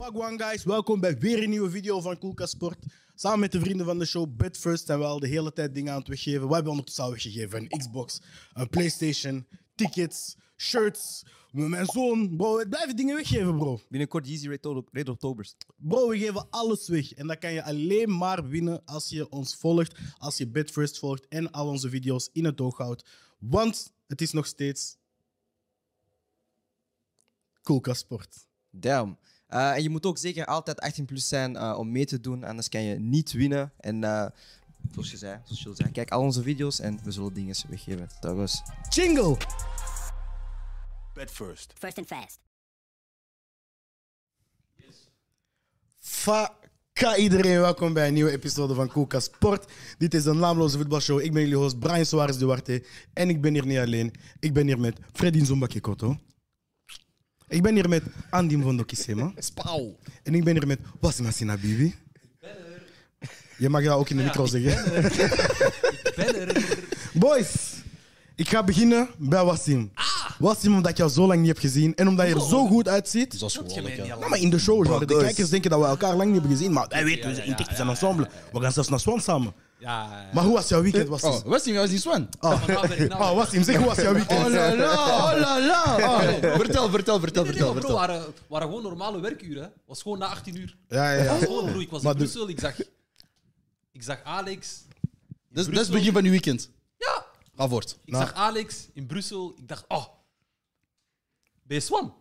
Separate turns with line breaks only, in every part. Pagwan guys, welkom bij weer een nieuwe video van Koelkast Sport. Samen met de vrienden van de show Bitfirst zijn we al de hele tijd dingen aan het weggeven. We hebben ondertussen al weggegeven een Xbox, een Playstation, tickets, shirts. Mijn zoon, bro, we blijven dingen weggeven, bro.
Binnenkort Yeezy Red, Oct- Red Octobers.
Bro, we geven alles weg. En dat kan je alleen maar winnen als je ons volgt, als je Bitfirst volgt en al onze video's in het oog houdt. Want het is nog steeds Koelkast Sport.
Damn. Eh, en je moet ook zeker altijd 18 plus zijn eh, om mee te doen, anders kan je niet winnen. En eh, zoals je zei, zoals je zei, kijk al onze video's en we zullen dingen weggeven. Dat was.
Jingle!
Bed first.
First and fast.
Faka iedereen, welkom bij een nieuwe episode van Koelkast Sport. Dit is een naamloze voetbalshow. Ik ben jullie host Brian Soares Duarte. En ik ben hier niet alleen. Ik ben hier met Freddy Nzombakikoto. Ik ben hier met Andy Mvondo Kisema.
Spauw.
En ik ben hier met Wasima Sinabibi. Je mag dat ook in de micro zeggen. Boys, ik ga beginnen bij Wasim. Wasim, omdat ik jou zo lang niet heb gezien en omdat je er zo goed uitziet.
Dat is gewoonlijk, ja.
Ja, maar in de show, genre, de kijkers denken dat we elkaar lang niet hebben gezien. Maar wij weten, we zijn inticht, we zijn ensemble. We gaan zelfs naar Swan samen.
Ja,
Maar hoe was jouw weekend, Wassim?
Oh,
Oh,
was die, was die Swan?
oh Wassim, zeg hoe was jouw weekend?
Oh la la, oh la la. Oh, vertel, vertel, vertel,
Oh.
vertel.
bro,
vertel.
waren, waren gewoon normale werkuren. hè. Was gewoon na 18 uur.
Ja, ja, ja.
Gewoon, bro, ik was
Maar dus-
in
de-
Brussel, ik zag, ik zag Alex.
Dat is- dat is het begin van uw weekend.
Ja,
Ga voort.
Nou.
ik zag Alex in Brussel. Ik dacht, oh, ben je Swan?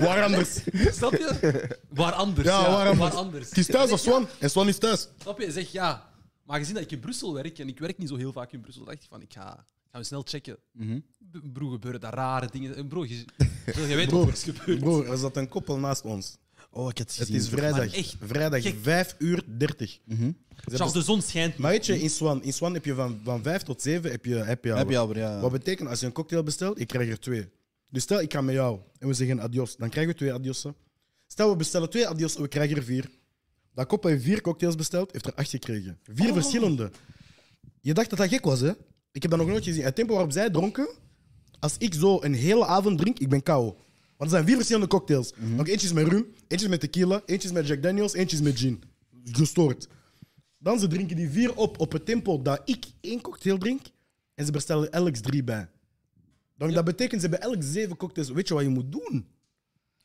Waar anders?
Snap je? Waar anders?
Ja,
Ja,
waar anders.
anders?
Het is thuis of Swan? En Swan is thuis.
Snap je? Zeg ja. Maar gezien dat ik in Brussel werk en ik werk niet zo heel vaak in Brussel, dacht ik van ik ga, ik ga me snel checken.
Mhm.
B- Bro, gebeuren daar rare dingen. En Bro, je, bro, je weet wat er is gebeurd.
Broer, er zat een koppel naast ons.
Oh, ik had
Het is vrijdag.
Maar echt,
Vrijdag,
gek.
5 uur 30.
Mhm.
Charles, de zon schijnt.
Maar weet je, in Swan, in Swan heb je van, van 5 tot 7 heb je happy hour.
Happy hour, ja.
Wat betekent als je een cocktail bestelt, ik krijg er twee. Dus stel ik ga met jou en we zeggen adios, dan krijgen we twee adiossen. Stel we bestellen twee adios en we krijgen er vier. Dat koppel heeft vier cocktails besteld, heeft er acht gekregen. Vier verschillende. Je dacht dat dat gek was, hè? Ik heb dat nog nooit gezien. Het tempo waarop zij dronken, als ik zo een hele avond drink, ik ben kou. Want er zijn vier verschillende cocktails.
Mhm.
Nog eentje is met rum, eentje is met tequila, eentje is met Jack Daniels, eentje is met gin. Gestoord. Dan ze drinken die vier op op het tempo dat ik één cocktail drink. En ze bestellen elk drie bij. Dan dat betekent ze bij elk zeven cocktails. Weet je wat je moet doen?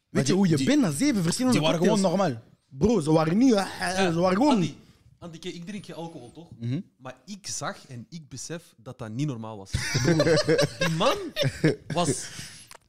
Weet je
die-
hoe je
die-
bent na zeven verschillende
Die waren
cocktails?
gewoon normaal.
Bro, ze waren niet... eh, eh,
Ja,
ze waren gewoon... Mhm.
Andy, Andy, kijk, ik drink geen alcohol, toch? Maar ik zag en ik besef dat dat niet normaal was. Die man was...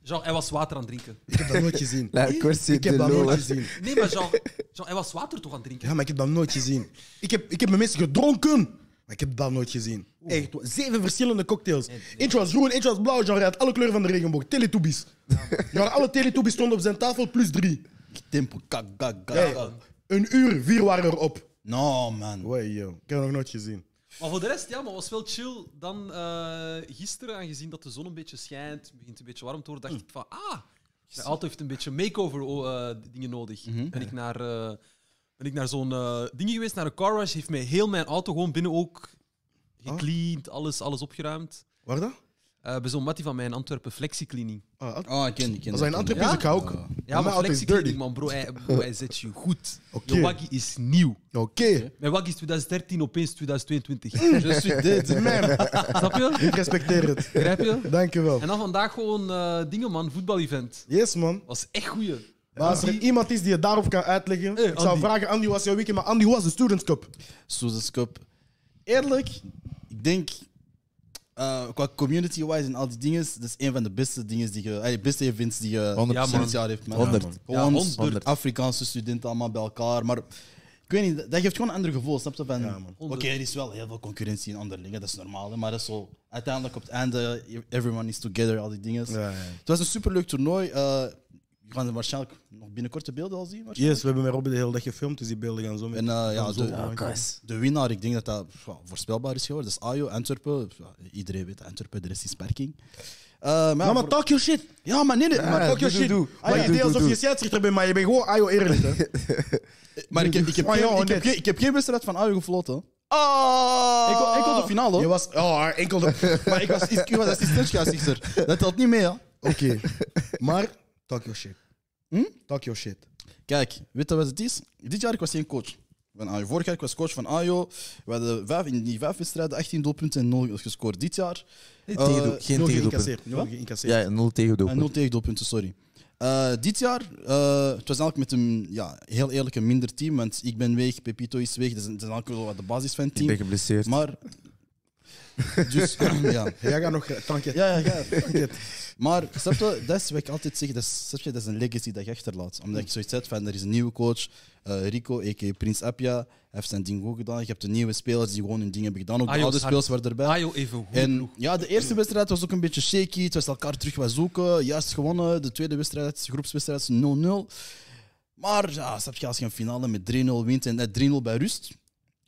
Jean, hij was water aan het drinken.
Ik heb dat nooit gezien.
Laat kort
Ik heb
zitten,
dat nooit
lol.
gezien.
Nee, maar Jean, Jean hij was water toch aan het drinken?
Ja, maar ik heb dat nooit gezien. Ik heb, ik heb mijn mensen gedronken, maar ik heb dat nooit gezien. Echt, zeven verschillende cocktails. Eentje was groen, eentje was blauw, genre hij had alle kleuren van de regenboog. Teletubbies. Ja, alle Teletubbies stonden op zijn tafel, plus drie.
Tempo, kak, kak,
Hey,
kak.
een uur, vier waren erop.
No, man.
Wee, yo. Ik heb dat nog nooit gezien.
Maar voor de rest, ja, maar was wel chill. Dan eh, gisteren, aangezien dat de zon een beetje schijnt, het begint een beetje warm te worden,
Hm.
dacht ik van, ah, mijn auto heeft een beetje makeover oh, eh, dingen nodig.
Mhm.
Ben ik naar, eh, ben ik naar zo'n eh ding geweest, naar een car wash, heeft mij heel mijn auto gewoon binnen ook gecleaned,
Oh.
alles, alles opgeruimd.
Waar dat?
Eh, bij zo'n mattie van mij in Antwerpen, flexicleaning.
Ah, dat
Oh, ik ken, ik ken.
dat zijn
ik ken.
Antwerpen, dus ik ga ook.
Ja, maar
auto is
flexicleaning,
dirty.
man, bro. Hij, bro, hij zet je goed.
Oké.
Je waggie is nieuw.
Oké,
Mijn waggie is 2013, opeens 2022.
Je suis dead.
man.
Snap je?
Ik respecteer het.
Begrijp je?
Dankjewel.
En dan vandaag gewoon eh, dingen, man. Voetbal-event.
Yes, man.
Was echt goeie.
Maar als er iemand is die je daarop kan uitleggen,
Hey,
ik zou
Eh, Andy.
vragen, Andy, hoe was jouw weekend? Maar Andy, hoe was de Students Cup?
Susan's Cup. Eerlijk, ik denk eh, qua community-wise en al die dingen, dat is een van de beste dingen die je, eh, de beste events die je
100%.
sinds dit jaar heeft. Man.
100.
Ja,
Gewoon
100.
Afrikaanse studenten allemaal bij elkaar. Maar ik weet niet, dat geeft gewoon een ander gevoel. Snap je? Van, Oké,
100.
er is wel heel veel concurrentie in andere dingen, dat is normaal. hè, Maar dat is zo, uiteindelijk op het einde, everyone is together, al die dingen.
Ja, ja.
Het was een superleuk toernooi. eh we gaan waarschijnlijk nog binnenkort de beelden al zien. waarschijnlijk.
Yes, we hebben met Robin de hele dag gefilmd, dus die beelden gaan zo mee.
En eh, ja,
zo,
de,
ja,
de winnaar, ik denk dat dat ja, voorspelbaar is geworden. Dat is Ajo, Antwerpen. Ja, iedereen weet Antwerpen, de rest is parking. Eh, maar, ja,
maar
voor-
talk your shit.
ja, maar nee, nee, maar,
Maar
fuck
talk
your
your
shit.
shit.
doe.
Maar
Ah,
je
ja,
deed
doe,
alsof
doe.
je scheidsrechter bent, maar je bent gewoon Ajo eerlijk. hè.
Maar ik heb, ik heb,
Ah, ja,
geen, ik
net.
heb, geen, ik heb geen wedstrijd van Ajo gefloten. Oh! Ik kon- ik kon de finale
Je
hoor.
was... Oh, enkel de...
Maar ik was, ik was assistent Dat telt niet mee, hè?
Oké. Maar, talk your shit.
Hm?
Talk your shit.
Kijk, weet je wat het is? Dit jaar ik was geen coach van AJO. Vorig jaar ik was coach van AJO. We hadden vijf, in die vijf wedstrijden 18 doelpunten en 0 gescoord. Dit jaar Eh,
Tegendoel- geen
Nul
tegendoelpunt.
geïncasseerd. Nul geïncasseerd.
Ja, ja, nul
en 0
tegendoelpunt.
tegendoelpunten, sorry. Eh, dit jaar, eh, het was eigenlijk met een ja, heel eerlijk een minder team. Want ik ben weg, Pepito is weg. Dat is, dat is eigenlijk wel wat de basis van het
Ik
team.
ben geblesseerd.
Maar. Dus, ja.
Jij gaat nog eh, tanken.
Ja, ja, ja. Maar snap je, dat is wat ik altijd zeg, dat is, snap je, dat is een legacy dat je achterlaat. Omdat ik zoiets heb van, er is een nieuwe coach, eh, Rico, a.k.a. Prins Appia, hij heeft zijn ding ook gedaan. Je hebt de nieuwe spelers die gewoon hun ding hebben gedaan. Ook
Ah,
de
joh,
oude
het
spelers waren erbij.
Ajo even goed.
En ja, de eerste wedstrijd was ook een beetje shaky. Het was elkaar terug wat zoeken. Juist gewonnen. De tweede wedstrijd, groepswedstrijd, 0-0. Maar ja, snap je, als je een finale met 3-0 wint en net 3-0 bij rust.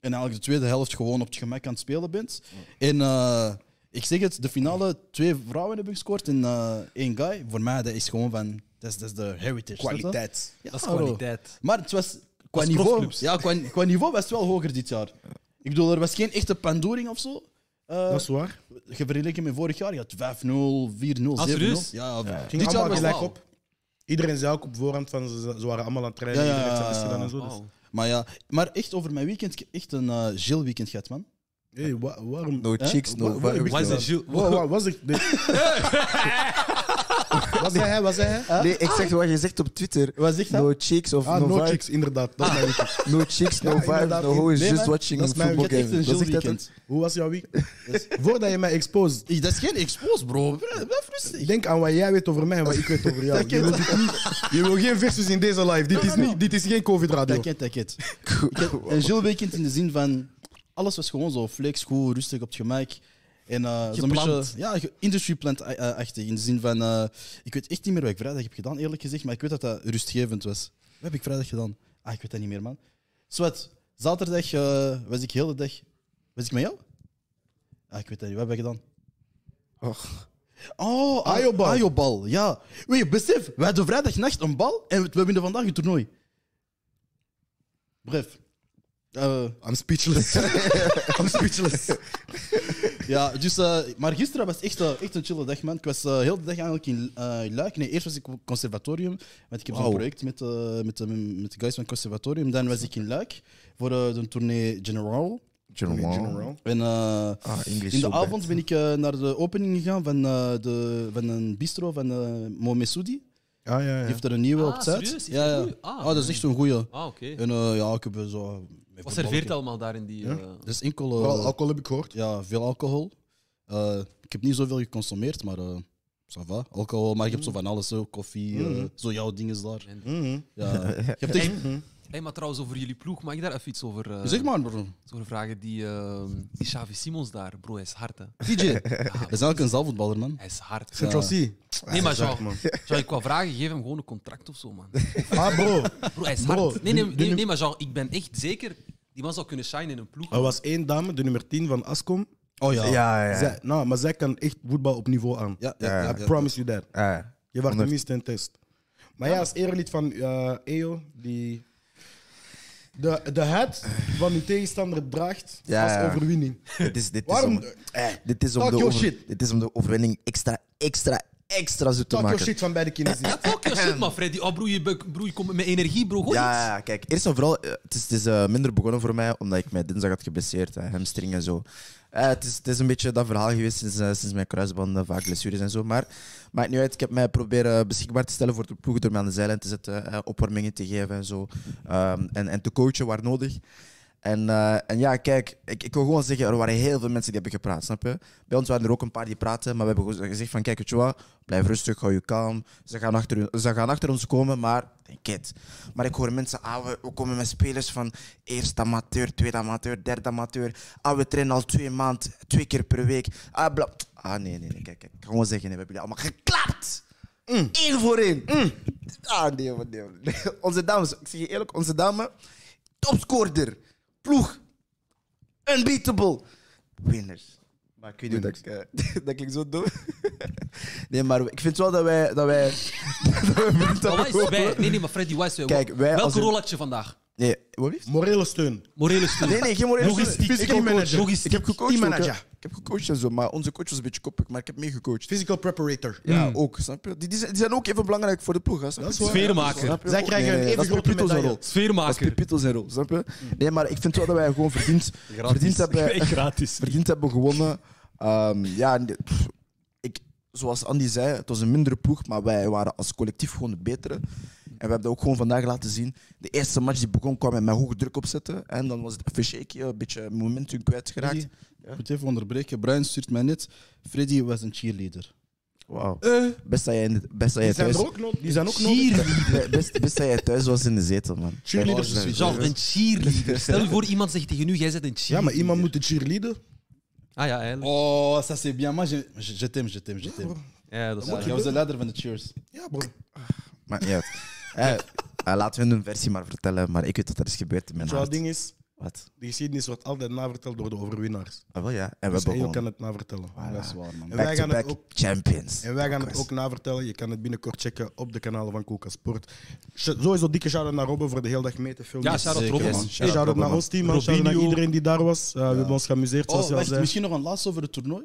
En eigenlijk de tweede helft gewoon op het gemak aan het spelen bent. En eh, ik zeg het, de finale, twee vrouwen hebben gescoord en eh, één guy. Voor mij, dat is gewoon van... Dat is, dat is de heritage. snap je?
Kwaliteit.
Ja,
dat is
bro.
kwaliteit.
Maar het was qua
Als
niveau,
profclubs.
ja, qua, qua niveau was het wel hoger dit jaar. Ik bedoel, er was geen echte pandoering of zo. Eh,
Dat is waar.
Gevergeleken met vorig jaar, je had 5-0, 4-0, 7-0.
Ah, serieus?
Ja, ja.
Ging
Dit jaar
allemaal
was
gelijk
Wauw.
op. Iedereen zei ook op voorhand van ze, ze waren allemaal aan het trainen.
Ja, ja,
iedereen heeft
ja,
zijn best gedaan en zo. Dus.
Wauw.
Maar ja, maar echt over mijn weekend, ik heb echt een eh Gilles weekend gehad, man.
Hey, wa- waarom?
No
Hè?
chicks, no
Wa- wa-
vibes,
Waar is
no-
de Gilles?
Wa- wa- was ik. Nee. Wat zei hij? Wat zei hij?
Nee, ik zeg wat je zegt op Twitter.
Wat zegt dat?
No chicks of
Ah,
no,
no
vibes.
chicks, inderdaad. Dat zei ik.
No chicks, no
Ja,
vibes,
inderdaad.
no hoe is
Nee,
just
maar
watching
dat is mijn-
football
Ik had echt
game.
een
Dat
Gilles
zegt dat
weekend.
Hoe was jouw week? Dus Voordat je mij exposed,
Ik- Dat is geen expose, bro. Blijf rustig.
denk aan wat jij weet over mij en wat ik weet over jou. Je wil, dit niet- je wil geen versus in deze live. Dit is, niet, dit is geen COVID-radio.
Takket, takket. Ik had Een Gilles weekend in de zin van, alles was gewoon zo flex, goed, rustig op het gemak. En eh, zo'n
Gepland.
beetje, ja, ge- industry plant eh, eh, achtig. In de zin van, eh, ik weet echt niet meer wat ik vrijdag heb gedaan, eerlijk gezegd, maar ik weet dat dat rustgevend was. Wat heb ik vrijdag gedaan? Ah, ik weet dat niet meer, man. Zwat, zaterdag eh, was ik heel de dag. Was ik met jou? Ah, ik weet dat niet. Wat heb ik gedaan? Oh,
Ajobal.
Ajobal, ja. Weet, besef, wij hadden vrijdagnacht een bal en we winnen vandaag een toernooi. Bref. Eh,
I'm speechless. I'm speechless.
ja, dus, eh, maar gisteren was echt, eh, echt een chille dag, man. Ik was eh, heel de dag eigenlijk in eh, Luik. Nee, eerst was ik op conservatorium, want ik heb zo'n
Wauw.
project met, eh, met, de- met de guys van het conservatorium. Dan was ik in Luik voor eh, de tournee General.
General.
En eh,
Ah, English
in de
so bad.
avond ben ik eh, naar de opening gegaan van, eh, de, van een bistro van eh Momesoudi.
Ja, ja,
Die
ja.
heeft er een nieuwe
Ah,
op het zuid.
serieus? Is
Ja,
dat
ja.
goed? Ah,
Ah, dat is echt een goeie.
Ah, oké.
En eh, ja, ik heb er zo.
Wat serveert allemaal daar in die...
Ja.
eh,
Dus enkel. eh,
Vooral alcohol heb ik gehoord.
ja, veel alcohol. Eh, ik heb niet zoveel geconsumeerd, maar. eh ça va. Alcohol, maar je hebt zo van alles, zo, koffie, eh,
Mhm.
zo jouw dingen daar.
Mhm.
Ja. je hebt echt, Dus
Hey, maar trouwens, over jullie ploeg, mag ik daar even iets over, eh,
zeg maar, bro.
over vragen? Die, ehm die Xavi Simons daar, bro, hij is hard, hè.
DJ. Dat is eigenlijk een zaalvoetballer, man.
Hij is hard.
Central
Ja.
C.
Nee, maar
Zak,
Jean,
man.
Jean, ik wou vragen, geef hem gewoon een contract of zo, man.
Ah, bro.
Bro, hij is
Bro,
hard. Nee, nee,
die-
nee,
die-
nee, maar Jean, ik ben echt zeker... Die man zou kunnen shine in een ploeg.
Er was één dame, de nummer 10 van Ascom.
Oh ja.
Ja, ja, ja.
Zij, nou, maar zij kan echt voetbal op niveau aan.
Ja, ja, ja,
I
ja, ja.
promise you that.
Ah,
Je wacht
Honderd-
tenminste een test. Maar ja, als erelid van eh EO, die de, de hat van uw tegenstander draagt
Ja,
als
ja.
overwinning.
dit is, dit is
Waarom?
om, eh, dit is om
Talk
de
your
over-
shit.
Dit is om de overwinning extra, extra, extra zoet te
Talk your
maken. Eh,
shit van beide kinderen. zien.
Fuck your shit, man, Freddy. Oh, broer, je, be- broer, je komt met energie, bro. Gooi
Ja,
iets.
ja, ja, kijk, eerst en vooral, eh, het is, het is eh, minder begonnen voor mij omdat ik mij dinsdag had geblesseerd, hè, hamstring en zo. Eh, het, is, het is een beetje dat verhaal geweest sinds, eh, sinds mijn kruisbanden, vaak blessures en zo. Maar maakt niet uit, ik heb mij proberen beschikbaar te stellen voor de ploeg door mij aan de zijlijn te zetten, eh, opwarmingen te geven en zo. Ehm, en, en te coachen waar nodig. En, eh, en ja, kijk, ik, ik wil gewoon zeggen, er waren heel veel mensen die hebben gepraat, snap je? Bij ons waren er ook een paar die praten, maar we hebben gewoon gezegd van, kijk, weet je wat, blijf rustig, hou je kalm. Ze gaan achter, hun- ze gaan achter ons komen, maar denk het. Maar ik hoor mensen, ah, we, we komen met spelers van eerste amateur, tweede amateur, derde amateur. Ah, we trainen al twee maanden, twee keer per week. Ah, bla. Ah, nee, nee, nee, kijk, kijk, ik ga gewoon zeggen, nee, we hebben jullie allemaal geklapt. Eén voor één. Ah, nee, man, nee, man. Onze dames, ik zeg je eerlijk, onze dame, topscoorder, ploeg, unbeatable, winners. Maar ik weet niet dat ik, eh, dat ik zo doe. nee, maar ik vind wel dat wij... Dat wij, dat wij
Maar wat is wij? Nee, nee, maar Freddy, wat is wij?
Kijk, wij
Welke
als een-
rol had je vandaag?
Nee, wat lief?
Morele steun.
Morele steun.
Nee, nee, geen morele
Logistiek,
steun. Ik heb
teammanager.
gecoacht.
Logistiek,
Ik heb gecoacht. ook,
teammanager.
ja. Ik heb gecoacht en zo, maar onze coach was een beetje koppig, maar ik heb meegecoacht.
Physical preparator.
Ja, ook, snap je? Die, die zijn, die zijn ook even belangrijk voor de ploeg, hè, snap je?
Dat is waar.
Sfeermaker.
Snap je?
Zij krijgen
Nee,
een
nee,
even
dat is
grote
Pepito zijn
medaille.
rol. Dat is
Sfeermaker.
Pepito zijn rol, snap je?
Mm.
Nee, maar ik vind wel dat wij gewoon verdiend, verdiend hebben...
Gratis.
verdiend hebben gewonnen. Ehm, ja, en de- pff, ik, zoals Andy zei, het was een mindere ploeg, maar wij waren als collectief gewoon de betere. En we hebben dat ook gewoon vandaag laten zien. De eerste match die begon kwam met mijn hoge druk opzetten. En dan was het even shaky, een beetje momentum kwijtgeraakt.
Freddy, Ik moet even onderbreken. Brian stuurt mij net. Freddy was een cheerleader.
Wauw.
Eh,
Best dat jij, in de- best dat jij
die, zijn
thuis...
er ook nood- die zijn ook nodig.
Be- Best, best dat jij thuis was in de zetel, man.
Cheerleaders.
Echt, echt.
Jean, een cheerleader. Stel je voor, iemand zegt tegen u, jij bent een cheerleader.
Ja, maar iemand moet de cheerleader.
Ah ja, eigenlijk.
Oh, ça c'est bien. Moi, je, je, je t'aime, je t'aime, je t'aime.
Oh,
Ja, dat is
Ja,
waar.
Jij was de leider van de cheers.
Ja, bro.
Maar niet uit. Eh, eh, laten we hun versie maar vertellen, maar ik weet dat er is gebeurd in mijn
Zo'n
hart.
ding is,
Wat?
de geschiedenis wordt altijd naverteld door de overwinnaars.
Ah, wel ja. En we
Dus
hebben
en je kan
gewonnen.
het navertellen.
Dat is waar, man.
En wij
Back to
gaan het
back
ook...
champions.
En wij gaan het
Kokkers.
ook navertellen. Je kan het binnenkort checken op de kanalen van Coca Sport. Sh- Sowieso dikke shout-out naar Robben voor de hele dag mee te filmen.
Ja, shout-out
Zeker,
Robben.
man.
Hey,
Hey,
shout-out naar ons team, man. shout-out naar
Robinho.
iedereen die daar was. Eh, We hebben ons geamuseerd, zoals
Oh,
je al
wacht,
zei.
misschien nog een laatste over het toernooi.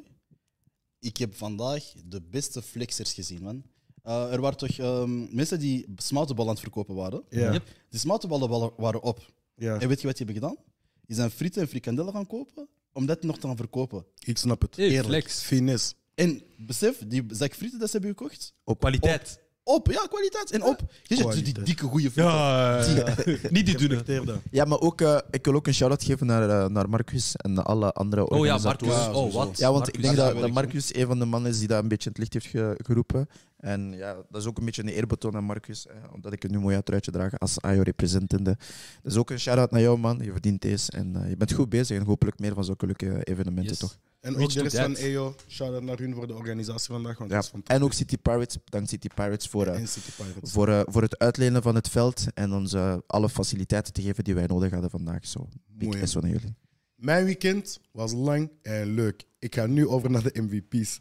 Ik heb vandaag de beste flexers gezien, man. Eh, er waren toch ehm, mensen die smoutebal aan het verkopen waren.
Ja.
Yep.
Die smoutenballen wa- waren op.
Ja,
En weet je wat die hebben gedaan? Die zijn frieten en frikandellen gaan kopen om dat nog te gaan verkopen.
ik snap het.
Hey,
Eerlijk.
flex.
Finesse.
En besef, die zak frieten dat ze hebben gekocht,
Kwaliteit.
op. Ja, kwaliteit. En op. Je ziet zo die
Kwaliteit.
dikke goede frieten.
Ja, Oh. niet die dunne.
Respecteer dat.
Ja, maar ook, eh, ik wil ook een shout-out geven naar, eh, naar Marcus en alle andere
Oh ja,
organisatoren.
Marcus. Oh, wat?
Ja, want ik
Marcus.
denk
Ja,
dat, dat
werkt,
Marcus een van de mannen is die dat een beetje in het licht heeft ge- geroepen. En ja, dat is ook een beetje een eerbetoon aan Marcus, eh, omdat ik een nu mooi uit truitje draag als AIO-representende. Dus ook een shout-out naar jou, man. Je verdient deze en eh, je bent goed bezig en hopelijk meer van zulke leuke eh, evenementen,
Yes. Oh,
toch?
En
Reach
ook de
to
rest
that.
van EO. Shout-out naar hun voor de organisatie vandaag, want
Ja.
dat is fantastisch.
En ook City Pirates. Bedankt City Pirates voor, eh,
En City Pirates.
voor, eh, voor het uitlenen van het veld en ons eh, alle faciliteiten te geven die wij nodig hadden vandaag. Zo, big
Mooi, hè?
S van jullie.
Mijn weekend was lang en leuk. Ik ga nu over naar de MVP's.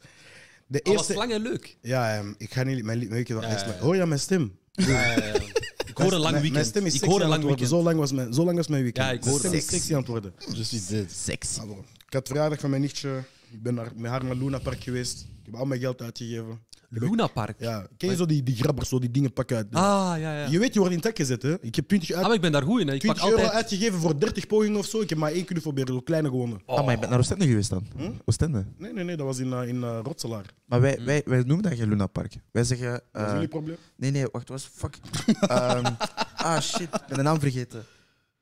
De
Oh, was
eerste...
lang en leuk.
Ja, ehm, ik ga niet... Mijn, li- mijn weekend was
Ja,
echt
ja,
lang.
ja.
Hoor je aan mijn stem?
Ik hoor een lang
Mijn- Mijn
weekend.
stem is
Ik
sexy
hoor een
aan
lang
het worden.
weekend.
Zo lang was mijn, zo lang was mijn weekend.
Ja, ik
Mijn
hoor
stem
dat.
is sexy aan het worden.
Dus die dit.
Sexy.
Ah, bro. Ik had verjaardag van mijn nichtje. Ik ben naar, met haar naar Luna Park geweest. Ik heb al mijn geld uitgegeven.
Luna Park.
Ja, ken je zo die, die grabbers, zo die dingen pakken uit? de-
Ah, ja, ja.
Je weet, je wordt in tak gezet, hè? Ik heb 20,
Ah,
uit,
maar ik ben daar goed in. hè. Ik pak
20 euro
altijd...
uitgegeven voor 30 pogingen of zo. Ik heb maar één kunnen proberen, zo kleine gewonnen.
Oh.
Ah, maar je bent naar Oostende geweest dan?
Hm?
Oostende?
Nee, nee, nee, dat was in, eh, in eh, Rotselaar.
Maar wij, wij, wij noemen dat geen Luna Park. Wij zeggen.
Dat is
eh,
jullie probleem.
nee, nee, wacht, was fuck. Ehm, ah shit, ik ben de naam vergeten.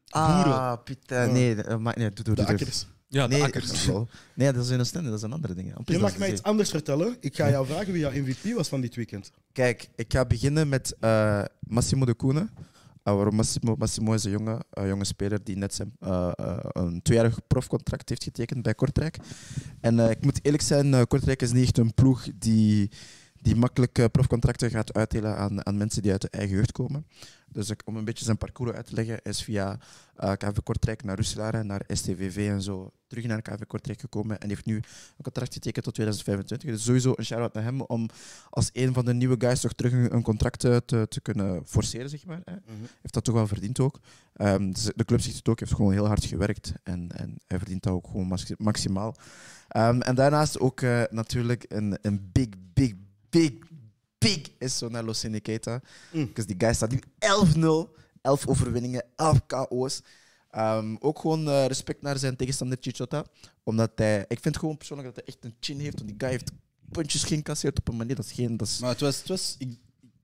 Ah,
Boeren.
Pita, nee, eh, maar nee, doe, doe,
De
doe, doe.
akkers.
Ja, de
Nee,
akkers.
wel. nee, dat is in Oostende, dat zijn andere dingen. Amper
Je
is dat
mag mij
de
iets
zee.
anders vertellen. Ik ga jou vragen wie jouw MVP was van dit weekend.
Kijk, ik ga beginnen met eh, Massimo de Koene. Ah, waarom Massimo, Massimo is een jonge, eh, jonge speler die net zijn, eh, eh, een tweejarig profcontract heeft getekend bij Kortrijk. En eh, ik moet eerlijk zijn, eh, Kortrijk is niet echt een ploeg die, die makkelijk eh, profcontracten gaat uitdelen aan, aan mensen die uit de eigen jeugd komen. Dus ik- om een beetje zijn parcours uit te leggen, is via eh, KV Kortrijk naar Russelaren, naar STVV en zo terug naar KV Kortrijk gekomen en heeft nu een contract getekend tot 2025. Dus sowieso een shout-out naar hem om als een van de nieuwe guys toch terug een, een contract eh, te, te kunnen forceren, zeg maar. Hè. Heeft dat toch wel verdiend ook. Ehm, dus de club ziet het ook, heeft gewoon heel hard gewerkt en, en hij verdient dat ook gewoon max- maximaal. Ehm, en daarnaast ook eh, natuurlijk een, een big, big, big, big is zo naar Los Sineketa.
Mm.
Dus die guy staat nu 11-0, 11 overwinningen, 11 KO's. Ehm, ook gewoon eh, respect naar zijn tegenstander Chichota. Omdat hij, ik vind gewoon persoonlijk dat hij echt een chin heeft. Want die guy heeft puntjes geïncasseerd op een manier dat is geen. Dat is,
Maar het was, het was, ik,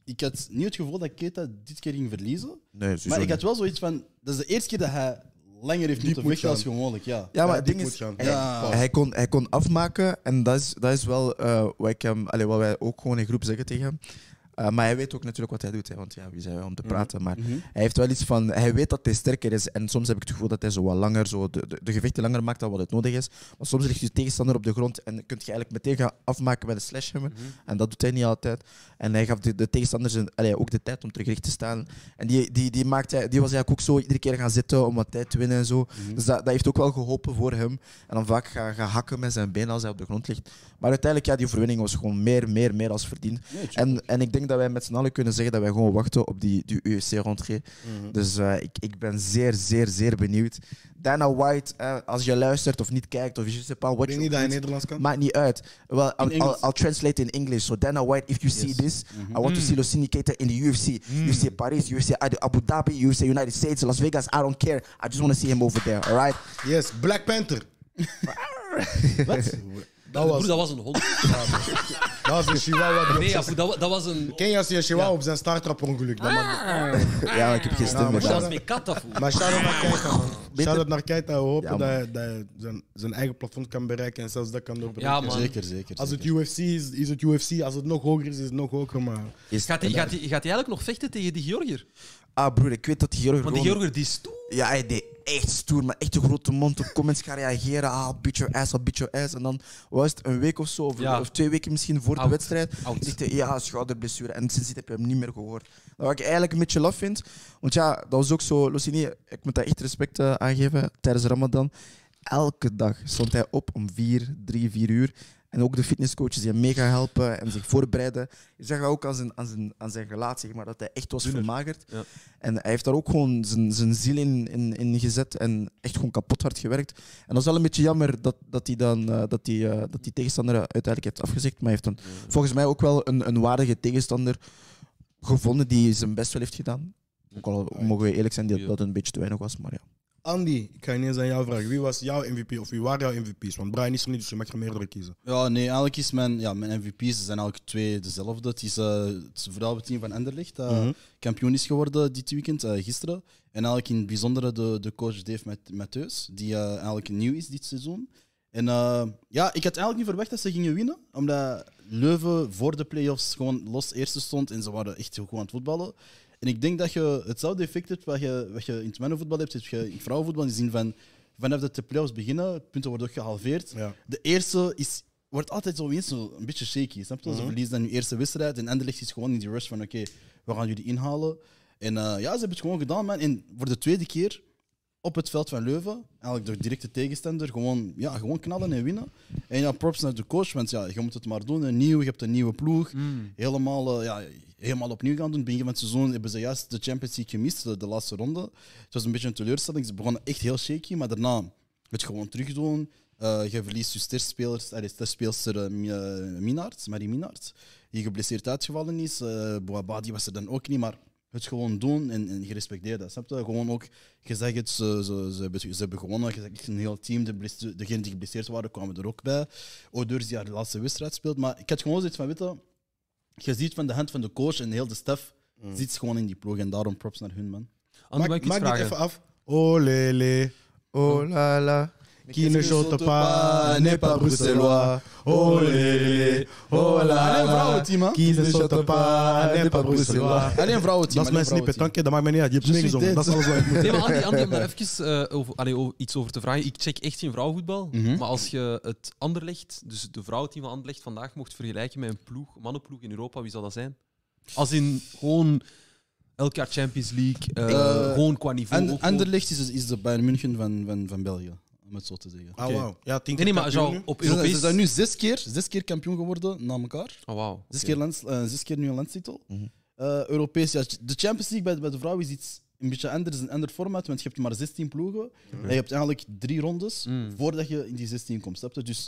ik had niet het gevoel dat Keta dit keer ging verliezen.
nee, sowieso
Maar ik
niet.
had wel zoiets van, dat is de eerste keer dat hij langer heeft moeten
moet
vechten als
gaan.
gewoonlijk. Ja.
Ja, maar
Ja,
het
die
ding is,
moet gaan.
hij,
Ja.
hij kon, hij kon afmaken en dat is, dat is wel eh, wat, ik hem, allee, wat wij ook gewoon in groep zeggen tegen hem. Eh, maar hij weet ook natuurlijk wat hij doet, hè, want ja, wie zijn wij om te
Mhm.
praten. Maar hij heeft wel iets van, hij weet dat hij sterker is en soms heb ik het gevoel dat hij zo wat langer, zo de, de, de gevechten langer maakt dan wat het nodig is. Maar soms ligt je tegenstander op de grond en kun je eigenlijk meteen gaan afmaken met een slashhammer.
Mhm.
En dat doet hij niet altijd. En hij gaf de, de tegenstanders een- allee, ook de tijd om terug te staan. En die, die, die, maakte, die was eigenlijk ook zo iedere keer gaan zitten om wat tijd te winnen en zo.
Mhm.
Dus dat, dat heeft ook wel geholpen voor hem. En dan vaak gaan, gaan hakken met zijn benen als hij op de grond ligt. Maar uiteindelijk, ja, die overwinning was gewoon meer, meer, meer als verdiend.
Nee, tuurlijk.
en, en ik denk denk dat wij met z'n allen kunnen zeggen dat wij gewoon wachten op die, die UFC-rentree.
Mhm.
Dus eh, ik, ik ben zeer, zeer, zeer benieuwd. Dana White, eh, als je luistert of niet kijkt of je zit pas
Ik
wat
denk
je
niet
ook
dat hij
doet,
Nederlands kan.
Maakt niet uit. Well, I'll, I'll,
Engels.
I'll translate in English. So Dana White, if you see this, I want to see Los Indicator in the UFC. UFC Paris, UFC Abu Abu Dhabi, UFC United States, Las Vegas. I don't care. I just want to see him over there. All right.
Yes, Black Panther. Wat? Dat was,
Broer, dat was een hond.
dat was een chihuahua. die op
Nee,
zijn-
Apu, dat, wa- dat was een...
Ken je als je een chihuahua op zijn staart trapt per ongeluk? Dat maakt-
ja, ik heb geen stem
maar
meer.
Broer,
dat-
dat was mijn kat, Apu.
Maar shout-out naar Keita, man. Shout-out naar Keita. We hopen
Ja,
dat hij, dat hij zijn, zijn eigen plafond kan bereiken en zelfs dat kan doorbreken.
Ja, man.
Zeker, zeker.
Als het
zeker.
UFC is, is het UFC. Als het nog hoger is, is het nog hoger. Maar
Is-
Gaat hij gaat die- gaat die eigenlijk nog vechten tegen die Georgier?
Ah, broer, ik weet dat Georg
Want die
gewoon-
Georgier, die is toe.
Ja, hij deed echt stoer, maar echt een grote mond op comments gaan reageren. Ah, beat your ass, ah, beat your ass. En dan was het een week of zo, of,
Ja.
of twee weken misschien voor de
Oud.
wedstrijd.
Oud.
zegt hij, ja, schouderblessure. En sindsdien heb je hem niet meer gehoord. Wat ik eigenlijk een beetje laf vind, want ja, dat was ook zo, Lucini, ik moet daar echt respect eh, aan geven tijdens Ramadan. Elke dag stond hij op om vier, drie, vier uur. En ook de fitnesscoaches die hem mega helpen en zich voorbereiden. Je zag ook aan zijn, aan zijn, aan zijn gelaat zeg maar, dat hij echt was vermagerd.
Ja.
En hij heeft daar ook gewoon zijn, zijn ziel in, in, in gezet en echt gewoon kapot hard gewerkt. En dat is wel een beetje jammer dat, dat hij dan eh, dat hij, eh, dat die tegenstander uiteindelijk heeft afgezegd. Maar hij heeft dan volgens mij ook wel een, een waardige tegenstander gevonden die zijn best wel heeft gedaan. Ook al mogen we eerlijk zijn dat dat een beetje te weinig was, maar ja.
Andy, ik ga ineens aan jou vragen. Wie was jouw MVP of wie waren jouw MVP's? Want Brian is er niet, dus je mag er meerdere kiezen.
Ja, nee, eigenlijk is mijn, ja, mijn MVP's ze zijn eigenlijk twee dezelfde. Het is eh, het vrouwenteam van Enderlicht, dat kampioen is geworden dit weekend, eh, gisteren. En eigenlijk in het bijzondere de, de coach Dave Mat- Mattheus, die eh, eigenlijk nieuw is dit seizoen. En eh, ja, ik had eigenlijk niet verwacht dat ze gingen winnen, omdat Leuven voor de play-offs gewoon los eerste stond en ze waren echt heel goed aan het voetballen. En ik denk dat je hetzelfde effect hebt wat je, wat je in het mannenvoetbal hebt, heb je in het vrouwenvoetbal. In de zin van, vanaf dat de play-offs beginnen, punten worden ook gehalveerd.
Ja.
De eerste is, wordt altijd zo eens zo een beetje shaky. Snap je? Ze verliezen dan hun eerste wedstrijd. En Anderlecht is gewoon in die rush van: oké, we gaan jullie inhalen. En eh, ja, ze hebben het gewoon gedaan, man. En voor de tweede keer op het veld van Leuven, eigenlijk door directe tegenstander, gewoon, ja, gewoon knallen en winnen. En ja, props naar de coach, want ja, je moet het maar doen. Een nieuw, je hebt een nieuwe ploeg. Helemaal, eh, ja, helemaal opnieuw gaan doen. Begin van het seizoen hebben ze juist de Champions League gemist, de, de laatste ronde. Het was een beetje een teleurstelling. Ze begonnen echt heel shaky, maar daarna het gewoon terug doen. Eh, je verliest je sterspelers, allee, sterspeelster eh, Mi- eh, Minaert, Marie Minaert, die geblesseerd uitgevallen is. Eh Boaba, die was er dan ook niet, maar het gewoon doen en, en je respecteert dat. Snap je? Gewoon ook, je zegt het, ze, ze, ze, hebben, ze hebben gewonnen. Je zegt echt een heel team, de, blesse- degenen die geblesseerd waren, kwamen er ook bij. Odeurs die haar laatste wedstrijd speelt. Maar ik had gewoon zoiets van, weet je, je ziet van de hand van de coach en heel de staf, ziet ze gewoon in die ploeg. En daarom props naar hun, man.
Andy, mag ik
maak maak
iets
dit
vragen?
even af. Oh, lele.
Oh la la.
Kine pas, n'est pas bruxellois. Oh, lele. Oh, la
Alleen
la.
vrouwenteam, hè?
Kine pas, n'est pas bruxellois.
Alleen vrouwenteam.
Dat is mijn
alleen
snippet,
vrouwenteam.
dank je. Dat maakt mij niet uit. Je hebt
Je
meegezongen.
ziet
Dat
dit.
is alles wat ik moet.
Nee, maar Andy, Andy om daar even eh, over, allee, over- iets over te vragen. Ik check echt geen vrouwenvoetbal.
Mhm.
Maar als je het Anderlecht, dus de vrouwenteam van Anderlecht, vandaag mocht vergelijken met een ploeg, mannenploeg in Europa, wie zou dat zijn? Als in gewoon elk jaar Champions League, eh,
Eh,
gewoon qua niveau.
Ander-
ook gewoon-
Anderlecht is, is de Bayern München van, van, van België, om het zo te zeggen.
Ah, wauw. Ja, tien
Nee, nee, maar
keer kampioen
zo
nu.
op
Ze zijn,
Europees...
ze zijn nu zes keer, zes keer kampioen geworden na elkaar.
Oh, wauw.
Zes,
Oké.
keer, lands, eh, zes keer nu een landstitel. Eh, Europees, ja, de Champions League bij, bij de vrouwen is iets een beetje anders, een ander format, want je hebt maar 16 ploegen. En je hebt eigenlijk drie rondes voordat je in die 16 komt. Snap je? Dus